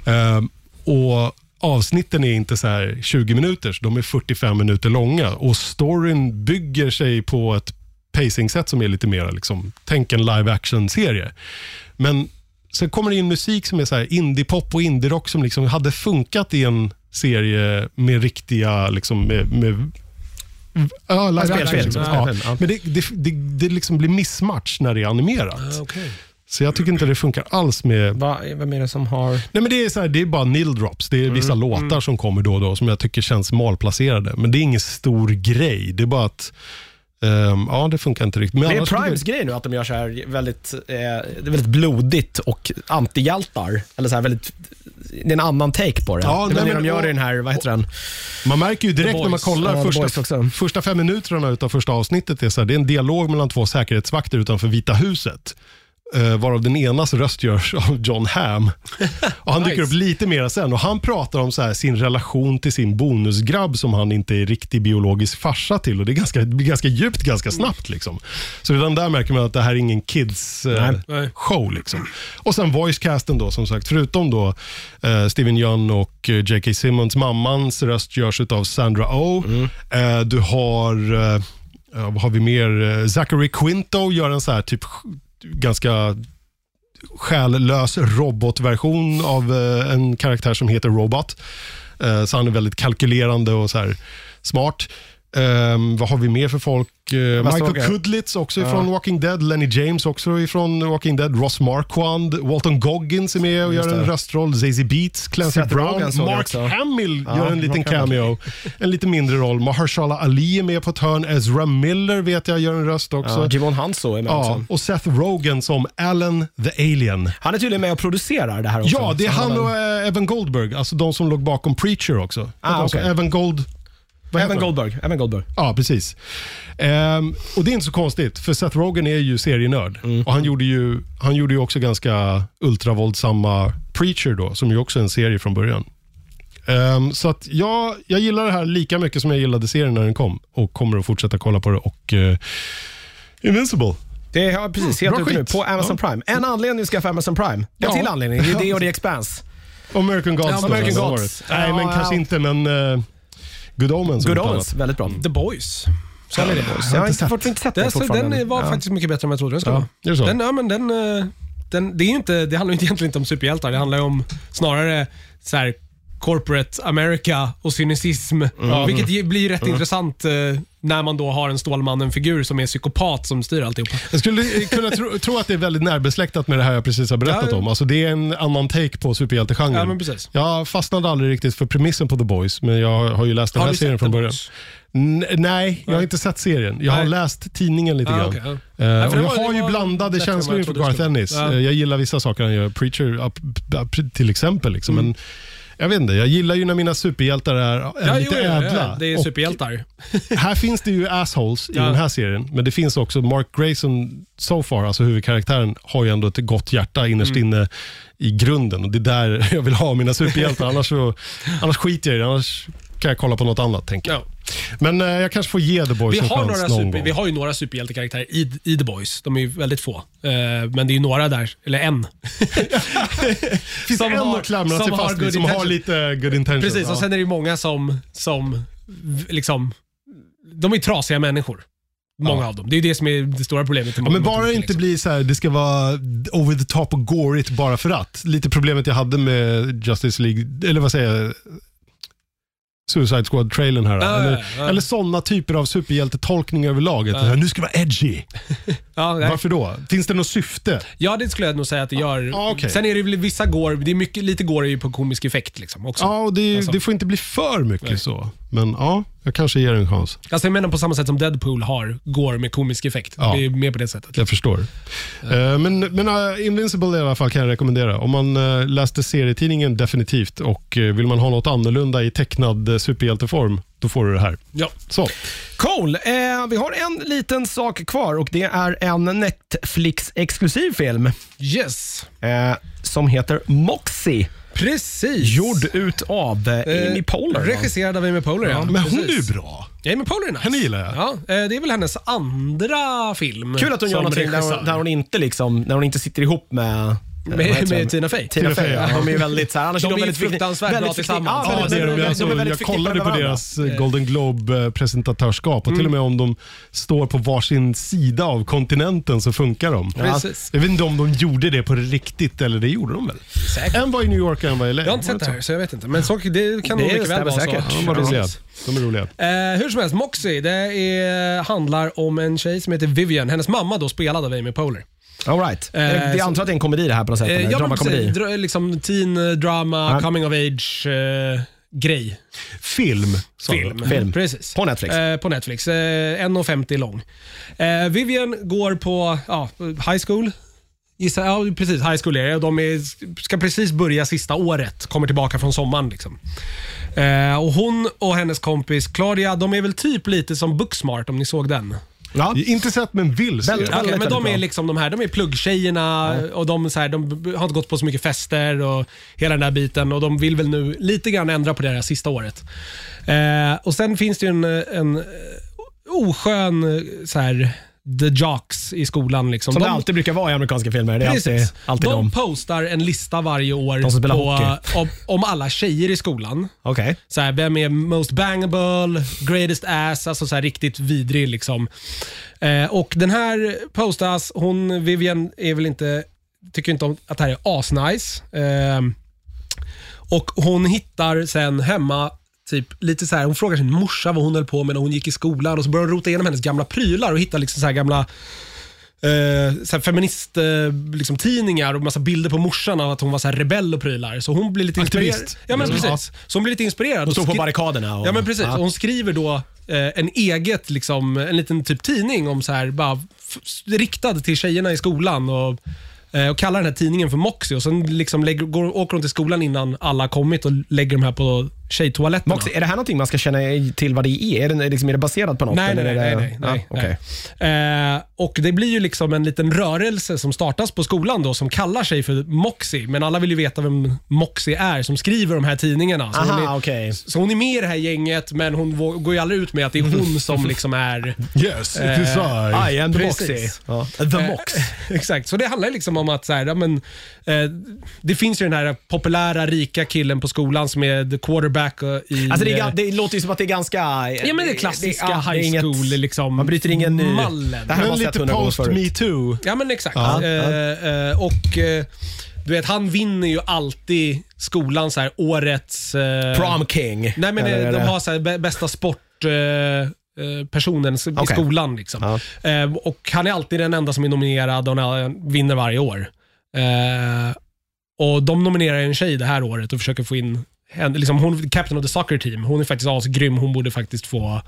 Speaker 3: Ehm, och avsnitten är inte så här 20 minuter, så de är 45 minuter långa. Och storyn bygger sig på ett pacing-sätt som är lite mer, liksom, tänk en live action-serie. Men sen kommer det in musik som är så här indie-pop och indie-rock som liksom hade funkat i en serie med riktiga, liksom med, med Ja, live
Speaker 1: Spel,
Speaker 3: action.
Speaker 1: spel, som
Speaker 3: ja.
Speaker 1: spelfilm, liksom. ja.
Speaker 3: Men det, det, det, det liksom blir missmatch när det är animerat. Så jag tycker inte det funkar alls med...
Speaker 1: Va, vem är det som har...
Speaker 3: Nej, men det, är så här, det är bara nil drops. Det är
Speaker 1: Mm.
Speaker 3: vissa låtar som kommer då och då som jag tycker känns malplacerade. Men det är ingen stor grej. Det är bara att... ehm, ja, det funkar inte riktigt. Men
Speaker 1: Det är
Speaker 3: annars skulle
Speaker 1: Primes grej nu att de gör så här väldigt, eh, det är väldigt blodigt och antihjältar. Eller så här väldigt, det är en annan take på det.
Speaker 3: Ja,
Speaker 1: det är
Speaker 3: nej,
Speaker 1: väl det
Speaker 3: men-
Speaker 1: de gör i den här, vad heter den?
Speaker 3: Man märker ju direkt
Speaker 1: The
Speaker 3: när man
Speaker 1: Boys.
Speaker 3: kollar
Speaker 1: Ja, The Boys
Speaker 3: första,
Speaker 1: också.
Speaker 3: första fem minuterna av första avsnittet. Är så här, det är en dialog mellan två säkerhetsvakter utanför Vita huset. eh, varav den enas röst görs av John Hamm. Och han dyker upp lite mer sen och han pratar om så här, sin relation till sin bonusgrabb som han inte är riktig biologisk farsa till. Och det, är ganska, det blir ganska djupt ganska snabbt. Liksom. Så redan där märker man att det här är ingen kids eh,
Speaker 2: Nej.
Speaker 3: show. Liksom. Och sen voicecasten då, som sagt, förutom då eh, Steven Yeun och eh, J.K. Simmons, mammans röst görs av Sandra Oh. Eh, du har, eh, ja, vad har vi mer? Eh, Zachary Quinto gör en så här typ sj- ganska själlös robotversion av eh, en karaktär som heter Robot. Eh, så han är väldigt kalkylerande och så här smart. Ehm, vad har vi mer för folk? Eh,
Speaker 1: såg
Speaker 3: Michael
Speaker 1: jag?
Speaker 3: Kudlitz också ifrån Walking Dead. Lenny James också ifrån Walking Dead. Ross Marquand. Walton Goggins är med och gör en röstroll. Zazie Beetz. Clancy
Speaker 1: Seth Rogen
Speaker 3: Brown.
Speaker 1: såg jag
Speaker 3: Mark
Speaker 1: också.
Speaker 3: Hamill
Speaker 1: Ja,
Speaker 3: gör en liten
Speaker 1: Mark Hamill.
Speaker 3: cameo. En lite mindre roll. Mahershala Ali är med på ett hörn. Ezra Miller vet jag gör en röst också.
Speaker 1: Ja, Jimon Hanso är med
Speaker 3: Ja,
Speaker 1: också.
Speaker 3: och Seth Rogen som Alan the Alien.
Speaker 1: Han är tydligen med och producerar det här också.
Speaker 3: Ja, det är
Speaker 1: Så
Speaker 3: han
Speaker 1: har
Speaker 3: och eh, Evan Goldberg, alltså de som låg bakom Preacher också.
Speaker 1: Ah,
Speaker 3: de som-
Speaker 1: okej.
Speaker 3: Evan Gold... vad heter
Speaker 1: Evan
Speaker 3: han?
Speaker 1: Goldberg. Evan Goldberg.
Speaker 3: Ja, precis. Ehm, och det är inte så konstigt, för Seth Rogen är ju serienörd.
Speaker 1: Mm.
Speaker 3: Och han gjorde ju, han gjorde ju också ganska ultravåldsamma Preacher då, som ju också är en serie från början. Ehm, så att jag, jag gillar det här lika mycket som jag gillade serien när den kom och kommer att fortsätta kolla på det. Och eh, Invincible.
Speaker 1: Det är ja, precis, helt
Speaker 3: bra
Speaker 1: ute nu
Speaker 3: skit.
Speaker 1: på Amazon Prime. En anledning ska jag få Amazon Prime. En
Speaker 3: Ja.
Speaker 1: till anledning, det är det och The Expanse.
Speaker 3: Och American Gods.
Speaker 2: Ja,
Speaker 3: då,
Speaker 2: American
Speaker 3: eller vad
Speaker 1: Gods.
Speaker 3: var det? Nej,
Speaker 1: Ja,
Speaker 3: men
Speaker 1: ja.
Speaker 3: kanske inte, men eh, Good Omens. om
Speaker 1: Good
Speaker 3: inte
Speaker 1: Omens,
Speaker 3: annat.
Speaker 1: väldigt bra.
Speaker 2: The Boys. Så är det.
Speaker 1: Mm. Jag har inte, fått, inte sett den
Speaker 2: Den, så,
Speaker 1: fortfarande.
Speaker 2: den var
Speaker 1: Ja.
Speaker 2: faktiskt mycket bättre än vad jag trodde den skulle vara.
Speaker 3: är det så?
Speaker 2: Den, ja, men den, eh, den, det, är ju inte, det handlar ju inte egentligen inte om superhjältar. Det handlar ju om snarare så här, corporate America och cynism.
Speaker 3: Mm.
Speaker 2: Vilket ju blir rätt intressant eh, när man då har en Stålmannen-figur som är psykopat som styr alltihop.
Speaker 3: Jag skulle eh, kunna tro, tro att det är väldigt närbesläktat med det här jag precis har berättat
Speaker 2: Ja.
Speaker 3: om. Alltså, det är en annan take på superhjältegenren.
Speaker 2: Ja, men precis.
Speaker 3: Jag fastnade aldrig riktigt för premissen på The Boys, men jag har ju läst den
Speaker 2: Har
Speaker 3: här
Speaker 2: du
Speaker 3: serien
Speaker 2: sett
Speaker 3: från
Speaker 2: The
Speaker 3: början.
Speaker 2: Boys?
Speaker 3: N- nej, jag har inte sett serien. Jag har
Speaker 2: Nej.
Speaker 3: läst tidningen lite
Speaker 2: Ah,
Speaker 3: grann.
Speaker 2: okej, ja.
Speaker 3: Eh,
Speaker 2: för
Speaker 3: och
Speaker 2: det
Speaker 3: jag
Speaker 2: var- det
Speaker 3: har ju
Speaker 2: var
Speaker 3: blandade
Speaker 2: bättre än vad
Speaker 3: känslor
Speaker 2: jag
Speaker 3: inför
Speaker 2: trodde det
Speaker 3: Garth Ennis.
Speaker 2: skulle vara. Ja.
Speaker 3: Eh, Jag gillar vissa saker han gör, Preacher up, up, till exempel. Liksom. Men, jag vet inte, jag gillar ju när mina superhjältar är, är
Speaker 2: Mm. Ja,
Speaker 3: lite
Speaker 2: jo, ja,
Speaker 3: ädla.
Speaker 2: ja, det är
Speaker 3: Och
Speaker 2: superhjältar.
Speaker 3: här finns det ju assholes i
Speaker 2: Ja.
Speaker 3: den här serien, men det finns också Mark Grayson so far, alltså huvudkaraktären, har ju ändå ett gott hjärta innerst
Speaker 2: Mm.
Speaker 3: inne i grunden. Och det är där jag vill ha mina superhjältar, annars, så, annars skiter jag i det. Annars kan jag kolla på något annat, tänker jag.
Speaker 2: Ja.
Speaker 3: Men eh, jag kanske får ge The Boys
Speaker 2: Vi
Speaker 3: en
Speaker 2: har,
Speaker 3: chans
Speaker 2: några
Speaker 3: någon
Speaker 2: super,
Speaker 3: gång.
Speaker 2: vi har ju några superhjältekaraktärer i, i The Boys. De är ju väldigt få. Eh, men det är ju några där, eller en.
Speaker 3: finns
Speaker 2: som
Speaker 3: en
Speaker 2: har-
Speaker 3: att klamra sig
Speaker 2: som har
Speaker 3: fast vid,
Speaker 2: good
Speaker 3: som har
Speaker 2: intention.
Speaker 3: lite good intentions.
Speaker 2: Precis, och
Speaker 3: Ja.
Speaker 2: sen är det ju många som, som v- liksom, de är ju trasiga människor. Många av dem. Det är ju det som är det stora problemet.
Speaker 3: Ja, men bara det inte
Speaker 2: liksom.
Speaker 3: blir så här, det ska vara over the top och gorigt bara för att. Lite problemet jag hade med Justice League, eller vad säger jag? Suicide Squad-trailern här.
Speaker 2: Ja,
Speaker 3: eller
Speaker 2: ja, ja.
Speaker 3: eller sådana typer av superhjältetolkning överlag. Att det här, Nu ska det vara edgy.
Speaker 2: Ja, nej.
Speaker 3: Varför då? Finns det något syfte?
Speaker 2: ja, det skulle jag nog säga att det gör.
Speaker 3: Ja, Ah, okej.
Speaker 2: Sen är det väl vissa går, det är mycket, lite går är ju på komisk effekt liksom också.
Speaker 3: Ja, och det,
Speaker 2: Alltså.
Speaker 3: det får inte bli för mycket så. Men ja, jag kanske ger en chans.
Speaker 2: Alltså jag menar på samma sätt som Deadpool har, går med komisk effekt.
Speaker 3: Ja.
Speaker 2: Det är mer på det sättet.
Speaker 3: Jag förstår. Eh, men men eh, Invincible i alla fall kan jag rekommendera. Om man eh, läste serietidningen definitivt och eh, vill man ha något annorlunda i tecknad uh, superhjälteform, då får du det här.
Speaker 2: Ja.
Speaker 3: Så.
Speaker 1: Cool. Eh, vi har en liten sak kvar och det är en Netflix-exklusiv film
Speaker 2: Yes.
Speaker 1: eh, som heter Moxie.
Speaker 2: Precis.
Speaker 1: Gjord ut av eh, Amy Poehler. va?
Speaker 2: Regisserad av Amy Poehler, ja.
Speaker 3: Men hon
Speaker 2: Precis.
Speaker 3: är ju bra.
Speaker 2: Ja, Amy Poehler är nice.
Speaker 3: Henne gillar jag.
Speaker 2: Ja, eh, det är väl hennes andra film.
Speaker 1: Kul att hon gör
Speaker 2: som
Speaker 1: någonting där
Speaker 2: regissör.
Speaker 1: hon, där hon inte liksom, när hon inte sitter ihop med eh, vad
Speaker 2: med,
Speaker 1: heter
Speaker 2: med
Speaker 1: de?
Speaker 2: Tina Fey.
Speaker 1: Tina Fey, ja. de är ju väldigt så här, annars
Speaker 2: De
Speaker 1: de
Speaker 2: är ju
Speaker 1: väldigt förknipp-
Speaker 2: fruktansvärt bra
Speaker 1: väldigt förknipp-
Speaker 2: tillsammans.
Speaker 1: Ja,
Speaker 3: Ja,
Speaker 1: väldigt-
Speaker 3: det är
Speaker 1: väldigt-
Speaker 3: de. Alltså,
Speaker 1: väldigt
Speaker 3: jag
Speaker 1: förknippade
Speaker 3: kollade
Speaker 1: med
Speaker 3: på
Speaker 1: varandra.
Speaker 3: deras eh, Golden Globe-presentatörskap och till och med om de står på varsin sida av kontinenten så funkar de.
Speaker 2: Precis.
Speaker 3: Jag vet inte om de gjorde det på riktigt, eller det gjorde de väl?
Speaker 2: Säkert.
Speaker 3: En var i New York och en var i LA.
Speaker 2: Jag har inte sett det här, så jag vet inte. Men så, det kan
Speaker 1: Det
Speaker 2: nog mycket väl
Speaker 1: stämmer
Speaker 2: vara så.
Speaker 1: säkert.
Speaker 3: De var roliga.
Speaker 2: precis.
Speaker 3: De är roliga.
Speaker 2: Eh, hur som helst, Moxie, det är, handlar om en tjej som heter Vivian. Hennes mamma då spelad av Amy Poehler.
Speaker 1: All right. Eh, det- jag
Speaker 2: så-
Speaker 1: antar att det är en komedi det här på något sätt.
Speaker 2: Eh,
Speaker 1: eller?
Speaker 2: ja, men
Speaker 1: Dramakomedi.
Speaker 2: precis. Dra- liksom teen eh, drama,
Speaker 1: Ja.
Speaker 2: coming of age eh, grej.
Speaker 3: Film. sa du.
Speaker 2: Film.
Speaker 1: Film.
Speaker 2: Precis.
Speaker 1: På Netflix.
Speaker 2: Eh, på Netflix. Eh, 1,50 lång. Eh, Vivian går på ja, high school. Gissa, ja, precis. High school är det. De är, ska precis börja sista året. Kommer tillbaka från sommaren. Liksom. Eh, och hon och hennes kompis Claudia, de är väl typ lite som Booksmart om ni såg den.
Speaker 1: Ja.
Speaker 3: Inte sett, men vill se.
Speaker 1: Väldigt-
Speaker 2: Ja, okej, men
Speaker 1: väldigt
Speaker 2: de
Speaker 1: bra.
Speaker 2: är liksom de här, de är pluggtjejerna och de, så här, de b- har inte gått på så mycket fester och hela den där biten och de vill väl nu lite grann ändra på det här sista året. Eh, och sen finns det ju en, en eh, oskön eh, så här, the jocks i skolan. Liksom.
Speaker 1: Som
Speaker 2: de,
Speaker 1: det alltid brukar vara i amerikanska filmer. Det är alltid,
Speaker 2: Precis.
Speaker 1: alltid de.
Speaker 2: de postar en lista varje år
Speaker 1: De som spelar
Speaker 2: på,
Speaker 1: hockey.
Speaker 2: om, om alla tjejer i skolan.
Speaker 1: Okej.
Speaker 2: Så här, vem är most bangable, greatest ass, alltså så här riktigt vidrig liksom. Eh, och den här postas, hon, Vivian är väl inte, tycker inte om att det här är asnice. Eh, och hon hittar sen hemma Typ lite så här, hon frågar sin morsa vad hon höll på med när hon gick i skolan och så börjar hon rota igenom hennes gamla prylar och hittar liksom så här gamla eh, så här feminist, eh, liksom, tidningar och massa bilder på morsan av att hon var så här rebell och prylar. Så hon blir lite
Speaker 3: Aktivist.
Speaker 2: inspirerad. Ja, men precis. Så hon blir lite inspirerad.
Speaker 1: De stod
Speaker 2: och
Speaker 1: på
Speaker 2: skri-
Speaker 1: barrikaderna. Och,
Speaker 2: Ja, men precis. Och Hon skriver då eh, en eget, liksom, en liten typ tidning om så här, bara f- riktad till tjejerna i skolan. Och, eh, och kallar den här tidningen för Moxie och sen liksom lägger, går, åker hon till skolan innan alla har kommit och lägger de här på tjejtoaletterna.
Speaker 1: Moxie, är det här någonting man ska känna till vad det är? Är det, liksom, är det baserat på något?
Speaker 2: Nej, nej,
Speaker 1: eller
Speaker 2: nej.
Speaker 1: är
Speaker 2: nej,
Speaker 1: det-
Speaker 2: nej, nej,
Speaker 1: Ja, okej.
Speaker 2: nej. Eh, och det blir ju liksom en liten rörelse som startas på skolan då som kallar sig för Moxie. Men alla vill ju veta vem Moxie är som skriver de här tidningarna. Så, hon
Speaker 1: Aha,
Speaker 2: är,
Speaker 1: okej.
Speaker 2: så hon är med i det här gänget men hon vå- går ju aldrig ut med att det är hon som liksom är...
Speaker 3: Yes, it is I.
Speaker 1: I am the
Speaker 2: Precis.
Speaker 1: Moxie. Ja. The
Speaker 2: Eh,
Speaker 1: Mox.
Speaker 2: Exakt, så det handlar liksom om att så här, ja, men, eh, det finns ju den här populära rika killen på skolan som är the quarterback eh, i...
Speaker 1: Alltså det, är,
Speaker 2: eh,
Speaker 1: ga- det låter ju som att det är ganska...
Speaker 2: Ja men det är klassiska
Speaker 1: det- ja, det är
Speaker 2: high
Speaker 1: inget-
Speaker 2: school liksom.
Speaker 1: Man bryter ingen ny...
Speaker 2: Mallen.
Speaker 1: Det här har
Speaker 3: Men
Speaker 1: man sett
Speaker 3: lite
Speaker 1: hundra gånger
Speaker 3: post
Speaker 1: förut.
Speaker 3: metoo.
Speaker 2: Ja men exakt.
Speaker 3: Ja,
Speaker 2: Eh, eh, och eh, du vet han vinner ju alltid skolan så här årets... eh,
Speaker 1: Prom King.
Speaker 2: Nej men
Speaker 1: Eller
Speaker 2: eh,
Speaker 1: är
Speaker 2: de
Speaker 1: det-
Speaker 2: har så här, bä- bästa sport... eh, eh, personen s- i
Speaker 1: Okej.
Speaker 2: skolan. Liksom. Eh, och Han är alltid den enda som är nominerad och han vinner varje år. Eh, och De nominerar en tjej det här året och försöker få in henne. Liksom, hon är captain of the soccer team. Hon är faktiskt asgrym. Hon borde faktiskt få,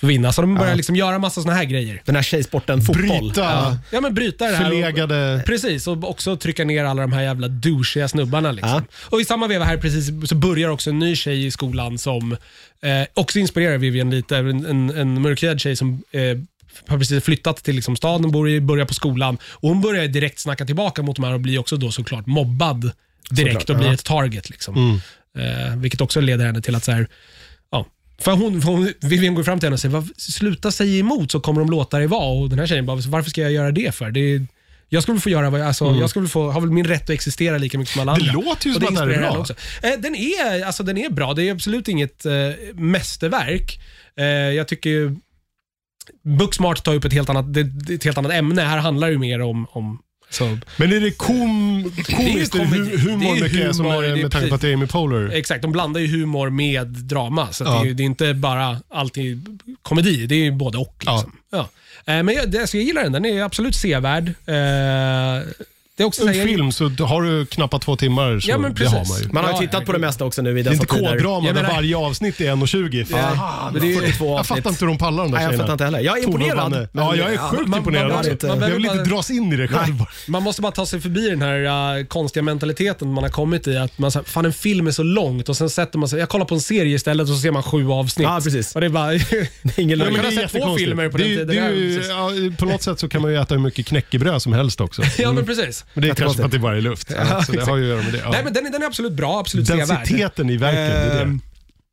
Speaker 2: få vinna. Så de börjar liksom göra massa såna här grejer.
Speaker 1: Den här tjejsporten fotboll.
Speaker 3: Bryta
Speaker 2: Ja, men bryta det här. och-
Speaker 3: förlegade...
Speaker 2: Precis, och också trycka ner alla de här jävla douchiga snubbarna. Liksom. Och i samma veva här precis så börjar också en ny tjej i skolan som eh, också inspirerar Vivian lite. En, en, en mörkhyad tjej som eh, har precis flyttat till liksom, staden och bor i- börjar på skolan. Och hon börjar direkt snacka tillbaka mot de här och blir också då såklart mobbad direkt och blir ett target. Liksom. Eh, vilket också leder henne till att så här, ja. För hon, för hon, Vivian går fram till henne och säger "Vad- sluta säga emot så kommer de låta dig vara. Och den här tjejen bara, varför ska jag göra det för? Det är, jag skulle få göra vad jag, alltså, jag skulle få, har väl min rätt att existera lika mycket som alla
Speaker 3: Mm. Det
Speaker 2: andra.
Speaker 3: låter ju
Speaker 2: Och
Speaker 3: som att det här är
Speaker 2: inspirerar
Speaker 3: bra.
Speaker 2: henne Eh, den, är, alltså, den är bra, det är absolut inget eh, mästerverk. Eh, jag tycker ju- Booksmart tar upp ett helt annat, det, det är ett helt annat ämne. Här handlar det ju mer om, om alltså, så,
Speaker 3: Men är det kom, komiskt? Är det
Speaker 2: komedi.
Speaker 3: hu- humor
Speaker 2: Det är
Speaker 3: mycket som
Speaker 2: humor,
Speaker 3: är,
Speaker 2: det är Eh,
Speaker 3: med tanke på att det är Amy Poehler?
Speaker 2: Exakt, de blandar ju humor med drama. Så att
Speaker 3: Ja.
Speaker 2: det, är, ju- det är inte bara alltid komedi, det är ju både och. Liksom. Ja. Eh, Men jag, det- alltså, jag gillar den, den är absolut sevärd. Eh, Det är också så
Speaker 3: En
Speaker 2: här- jag-
Speaker 3: film så har du knappt två timmar så
Speaker 2: Ja, men
Speaker 3: det har
Speaker 2: precis.
Speaker 3: man ju.
Speaker 1: Man har ju
Speaker 2: Ja,
Speaker 1: tittat på det
Speaker 2: herregud.
Speaker 1: mesta också nu i
Speaker 3: Det är
Speaker 1: dessa
Speaker 3: inte
Speaker 1: tider.
Speaker 3: K-drama
Speaker 2: Jag
Speaker 3: där
Speaker 2: menar-
Speaker 3: varje avsnitt är 1.20. Fan.
Speaker 1: men det är 42
Speaker 3: Jag fattar inte hur de pallar de där
Speaker 1: Nej, jag
Speaker 3: tjejerna.
Speaker 1: fattar inte heller. Jag är
Speaker 3: Tornvall,
Speaker 1: imponerad,
Speaker 3: Vanne.
Speaker 1: men-
Speaker 3: Ja, jag är
Speaker 1: Ja,
Speaker 3: sjukt
Speaker 2: man-
Speaker 3: imponerad
Speaker 2: man
Speaker 3: också.
Speaker 2: behöver
Speaker 1: inte-
Speaker 3: jag vill
Speaker 2: behöver
Speaker 3: inte
Speaker 2: bara-
Speaker 3: dras in i det själv.
Speaker 2: Man måste bara ta sig förbi den här eh, konstiga mentaliteten man har kommit i. Att man säger, fan en film är så långt och sen sätter man sig, jag kollar på en serie istället och så ser man sju avsnitt.
Speaker 1: Ja, precis.
Speaker 2: Och det är bara...
Speaker 1: Ingen
Speaker 2: Jag
Speaker 1: lögn.
Speaker 2: kunde
Speaker 3: Men
Speaker 2: ha
Speaker 3: det är
Speaker 2: sett två
Speaker 3: jättekonstigt.
Speaker 2: filmer på
Speaker 3: det,
Speaker 2: den
Speaker 3: är-
Speaker 2: tiden.
Speaker 3: Det är
Speaker 2: Det
Speaker 3: ju,
Speaker 2: här-
Speaker 3: ja, på något sätt så kan man ju äta hur mycket knäckebröd som helst också.
Speaker 2: Ja, men precis.
Speaker 3: Men det är kanske för att det bara är luft. Ja, så det har ju att göra med det. Ja.
Speaker 2: Nej, men den, är- den är absolut bra, absolut sevärd.
Speaker 3: Densiteten i verken. det är det.
Speaker 2: Ehm,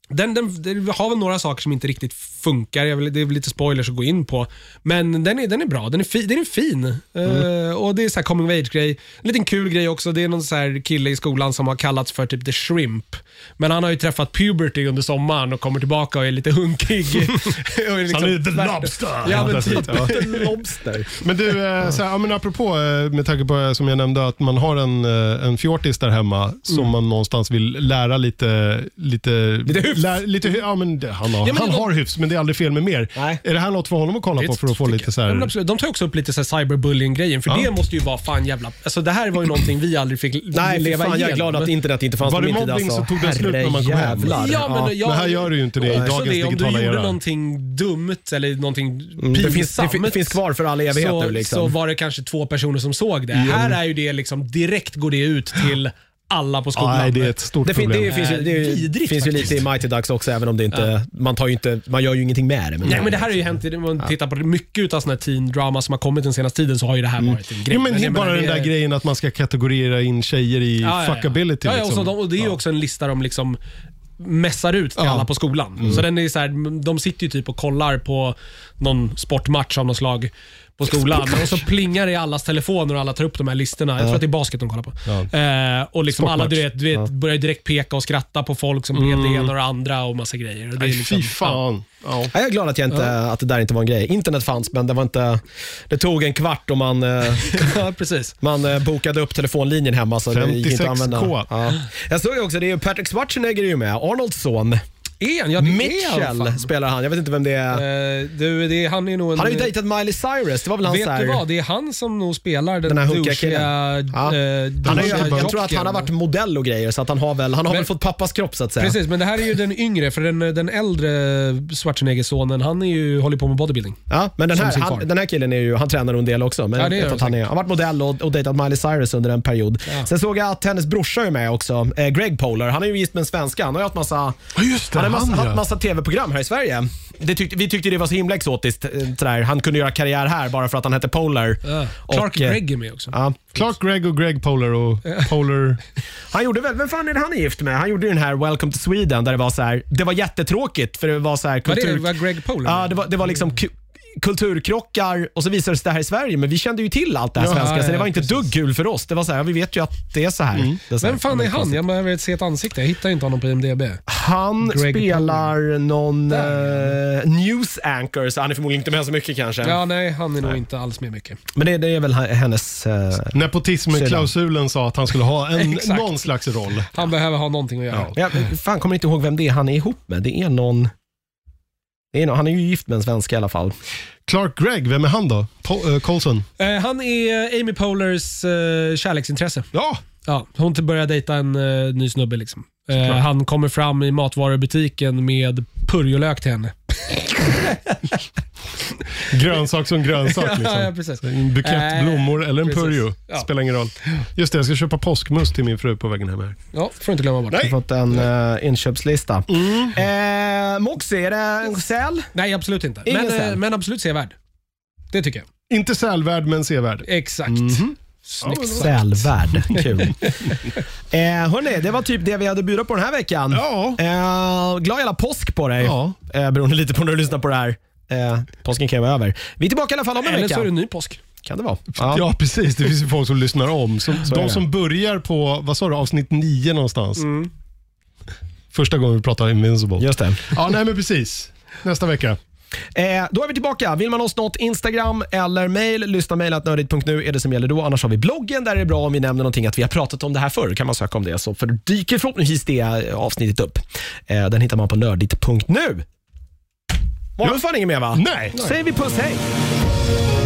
Speaker 2: Den, den, den har väl några saker som inte riktigt funkar. Jag vill, det är väl lite spoilers att gå in på. Men den är, den är bra. Den är, fi, den är fin. Ehm, och Det är så här coming of age-grej. En liten kul grej också. Det är någon så här kille i skolan som har kallats för typ the shrimp. Men han har ju träffat puberty under sommaren och kommer tillbaka och är lite hunkig. och är liksom,
Speaker 3: Han är the lobster.
Speaker 2: Ja, men typ.
Speaker 3: Ja.
Speaker 1: Lobster.
Speaker 3: Men du, eh, så här, ja, men apropå eh, med tanke på eh, som jag nämnde att man har en, eh, en fjortis där hemma
Speaker 2: Mm.
Speaker 3: som man någonstans vill lära lite... Lite, lite
Speaker 1: hyfs.
Speaker 3: lite, hy- ja, men det, han har,
Speaker 2: Ja, men
Speaker 3: han
Speaker 2: de-
Speaker 3: har hyfs, men det är aldrig fel med mer.
Speaker 1: Nej.
Speaker 3: Är det här något för honom att kolla på för att få
Speaker 2: tycker
Speaker 3: lite
Speaker 2: jag.
Speaker 3: så
Speaker 2: Ja,
Speaker 3: här...
Speaker 2: men absolut. De tar också upp lite så här cyberbullying-grejen, för det måste ju vara fan jävla... Alltså, det här var ju någonting vi aldrig fick
Speaker 1: Nej, fy
Speaker 2: leva
Speaker 1: fan, jag är glad att internet inte fanns
Speaker 3: Var
Speaker 1: på
Speaker 3: det
Speaker 1: min tid.
Speaker 3: mobbing
Speaker 1: Alltså.
Speaker 3: så tog den slut när man kom hem?
Speaker 1: Herrejävlar.
Speaker 2: Ja, men, jag,
Speaker 3: Men här gör du ju inte det i
Speaker 2: Och också
Speaker 3: dagens digitala
Speaker 2: Om du gjorde
Speaker 3: era. Mm.
Speaker 2: någonting dumt eller någonting
Speaker 1: det, finns, det
Speaker 2: pinsamt.
Speaker 1: fin- finns kvar för all evighet
Speaker 2: så,
Speaker 1: nu. Liksom.
Speaker 2: så var det kanske två personer som såg det. Här är ju det liksom, direkt går det ut till alla på skolan.
Speaker 3: Nej, det är ett stort
Speaker 1: Det, fin,
Speaker 3: problem.
Speaker 1: det, finns, ju, det är ju-
Speaker 2: Eh, Vidrigt
Speaker 1: finns ju
Speaker 2: faktiskt.
Speaker 1: lite i Mighty Ducks också, även om det inte, man, tar ju inte, man gör ju ingenting med det. Men
Speaker 2: Nej, men det här har ju hänt, i- om man tittar på mycket av såna här teen drama som har kommit den senaste tiden så har ju det här varit en grej.
Speaker 3: Mm. Jo, men
Speaker 2: jag
Speaker 3: bara
Speaker 2: menar,
Speaker 3: den
Speaker 2: det
Speaker 3: där
Speaker 2: är-
Speaker 3: grejen att man ska kategorera in tjejer i fuckability.
Speaker 2: Ja, ja,
Speaker 3: liksom.
Speaker 2: och, så de, och det är ju också en lista de liksom mässar ut till alla på skolan. Så den är så här, de sitter ju typ och kollar på någon sportmatch av något slag på skolan och så plingar det i allas telefoner och alla tar upp de här listorna. Jag tror att det är basket de kollar på. Eh, och liksom alla du vet, du vet, börjar direkt peka och skratta på folk som mm. det ena och det andra och massa grejer. Och det är liksom,
Speaker 3: Fy fan. Ja.
Speaker 1: Ja, Jag är glad att, jag inte, att det där inte var en grej. Internet fanns, men det, var inte, det tog en kvart och man, eh,
Speaker 2: Ja, precis.
Speaker 1: man eh, bokade upp telefonlinjen hemma. Så det gick inte att använda.
Speaker 3: 56K.
Speaker 1: Ja. Jag såg ju också, det är ju Patrick Schwarzenegger är ju med, Arnolds son.
Speaker 2: En, ja, det är han, fan.
Speaker 1: Mitchell spelar han, jag vet inte vem det är.
Speaker 2: Eh, du, det, är- han är nog en...
Speaker 1: Han har ju dejtat Miley Cyrus, det var väl hans så
Speaker 2: Vet
Speaker 1: här-
Speaker 2: du vad? Det är han som nog spelar den,
Speaker 1: Den här hookiga
Speaker 2: douchiga...
Speaker 1: killen. Ja.
Speaker 2: eh,
Speaker 1: Han är, ju-
Speaker 2: douchiga
Speaker 1: jag, jag tror att
Speaker 2: jocken.
Speaker 1: han har varit modell och grejer, så att han har väl, han har
Speaker 2: Men-
Speaker 1: väl fått pappas kropp så att säga.
Speaker 2: Precis, men det här är ju den yngre, för den, den äldre Schwarzenegger-sonen, han är ju, håller på med bodybuilding.
Speaker 1: Ja, men den
Speaker 2: Som
Speaker 1: här,
Speaker 2: sin far.
Speaker 1: han, den här killen är ju, han tränar nog en del också. Men
Speaker 2: Ja,
Speaker 1: jag
Speaker 2: det gör
Speaker 1: vet
Speaker 2: han
Speaker 1: att han, är, han har varit modell och, och dejtat Miley Cyrus under en period. Sen såg jag att hennes brorsa är med också, eh, Greg Polar. Han är ju gift med en svenska. Han har ju haft massa,
Speaker 3: Ja, just det,
Speaker 1: han har
Speaker 3: han,
Speaker 1: massa,
Speaker 3: ja.
Speaker 1: haft massa tv-program här i Sverige. Det tyckte, vi tyckte det var så himla exotiskt. eh, Sådär. Han kunde göra karriär här bara för att han hette Polar.
Speaker 2: Clark
Speaker 1: Och, eh,
Speaker 2: Gregg är med också.
Speaker 1: Ja.
Speaker 3: Clark Gregg och Greg Polar och Polar...
Speaker 1: Han gjorde väl, vem fan är det han är gift med? Han gjorde ju den här Welcome to Sweden där det var så här, det var jättetråkigt för det var så här
Speaker 2: Vad är
Speaker 1: kultur...
Speaker 2: det? Var Greg Poland?
Speaker 1: Ja, det var, det var liksom ku- kulturkrockar och så visades det här i Sverige, men vi kände ju till allt det här
Speaker 2: Ja,
Speaker 1: svenska,
Speaker 2: ja,
Speaker 1: så det var
Speaker 2: ja,
Speaker 1: inte
Speaker 2: precis. Mm.
Speaker 1: dugg kul för oss. Det var så här, vi vet ju att det är så här. Det är så här.
Speaker 2: Vem fan är han? Jag behöver se ett ansikte. Jag hittar inte honom på IMDB.
Speaker 1: Han
Speaker 2: Greg
Speaker 1: spelar någon eh, news anchor, så han är förmodligen inte med så mycket kanske.
Speaker 2: Ja, nej, han är nog inte alls med mycket.
Speaker 1: Men det, det är väl h- hennes... eh,
Speaker 3: Nepotismklausulen sa att han skulle ha en,
Speaker 2: Exakt.
Speaker 3: någon slags roll.
Speaker 2: Han behöver ha någonting att göra.
Speaker 1: jag fan, kommer inte ihåg vem det är han är ihop med. Det är någon... Det är någon han är ju gift med en svenska i alla fall.
Speaker 3: Clark Gregg, vem är han då? Po- eh, Colson?
Speaker 2: Eh, han är Amy Polars eh, kärleksintresse.
Speaker 3: Ja,
Speaker 2: Ja, hon t- börjar dejta en eh, ny snubbe. Liksom. Eh, han kommer fram i matvarubutiken med purjolök till henne.
Speaker 3: grönsak som grönsak. Liksom.
Speaker 2: ja, precis.
Speaker 3: En bukett
Speaker 2: Eh,
Speaker 3: blommor eller en
Speaker 2: precis.
Speaker 3: purjo.
Speaker 2: Ja.
Speaker 3: Spelar ingen roll. Just det, jag ska köpa påskmust till min fru på vägen hem. Här.
Speaker 2: Ja, får inte glömma bort.
Speaker 1: Jag
Speaker 2: Nej,
Speaker 1: har fått en eh, inköpslista.
Speaker 3: Mm.
Speaker 1: Eh, Moxie, är det en säl?
Speaker 2: absolut inte.
Speaker 1: Ingen
Speaker 2: Men, eh,
Speaker 1: säl.
Speaker 2: men absolut sevärd. Det tycker jag.
Speaker 3: Inte sälvärd, men sevärd.
Speaker 2: Exakt. Snyggt.
Speaker 1: Sälvärd. Kul. eh, hörni, det var typ det vi hade att bjuda på den här veckan.
Speaker 3: Ja.
Speaker 1: Eh, glad jävla påsk på dig.
Speaker 3: Ja.
Speaker 1: Eh, beroende lite på när du lyssnar på det här. Eh, påsken kan ju vara över. Vi är tillbaka i alla fall om en
Speaker 2: Eller
Speaker 1: vecka.
Speaker 2: så är det en ny påsk.
Speaker 1: Kan det vara.
Speaker 3: Ja.
Speaker 1: Ja.
Speaker 3: precis. Det finns ju folk som lyssnar om. Som,
Speaker 1: är
Speaker 3: de
Speaker 1: det.
Speaker 3: som börjar på, vad sa du, avsnitt nio någonstans.
Speaker 1: Mm.
Speaker 3: Första gången vi pratade Invincible.
Speaker 1: Just det.
Speaker 3: Ja, nej men precis. Nästa vecka.
Speaker 1: Eh, då är vi tillbaka. Vill man oss något, Instagram eller mail, lyssna mejlatnördigt.nu är det som gäller då. Annars har vi bloggen där det är bra om vi nämner någonting att vi har pratat om det här förr. kan man söka om det, så för dyker förhoppningsvis det eh, avsnittet upp. Eh, den hittar man på nördigt.nu. Var det fan inget mer va?
Speaker 3: Nej.
Speaker 1: säger vi puss, hej!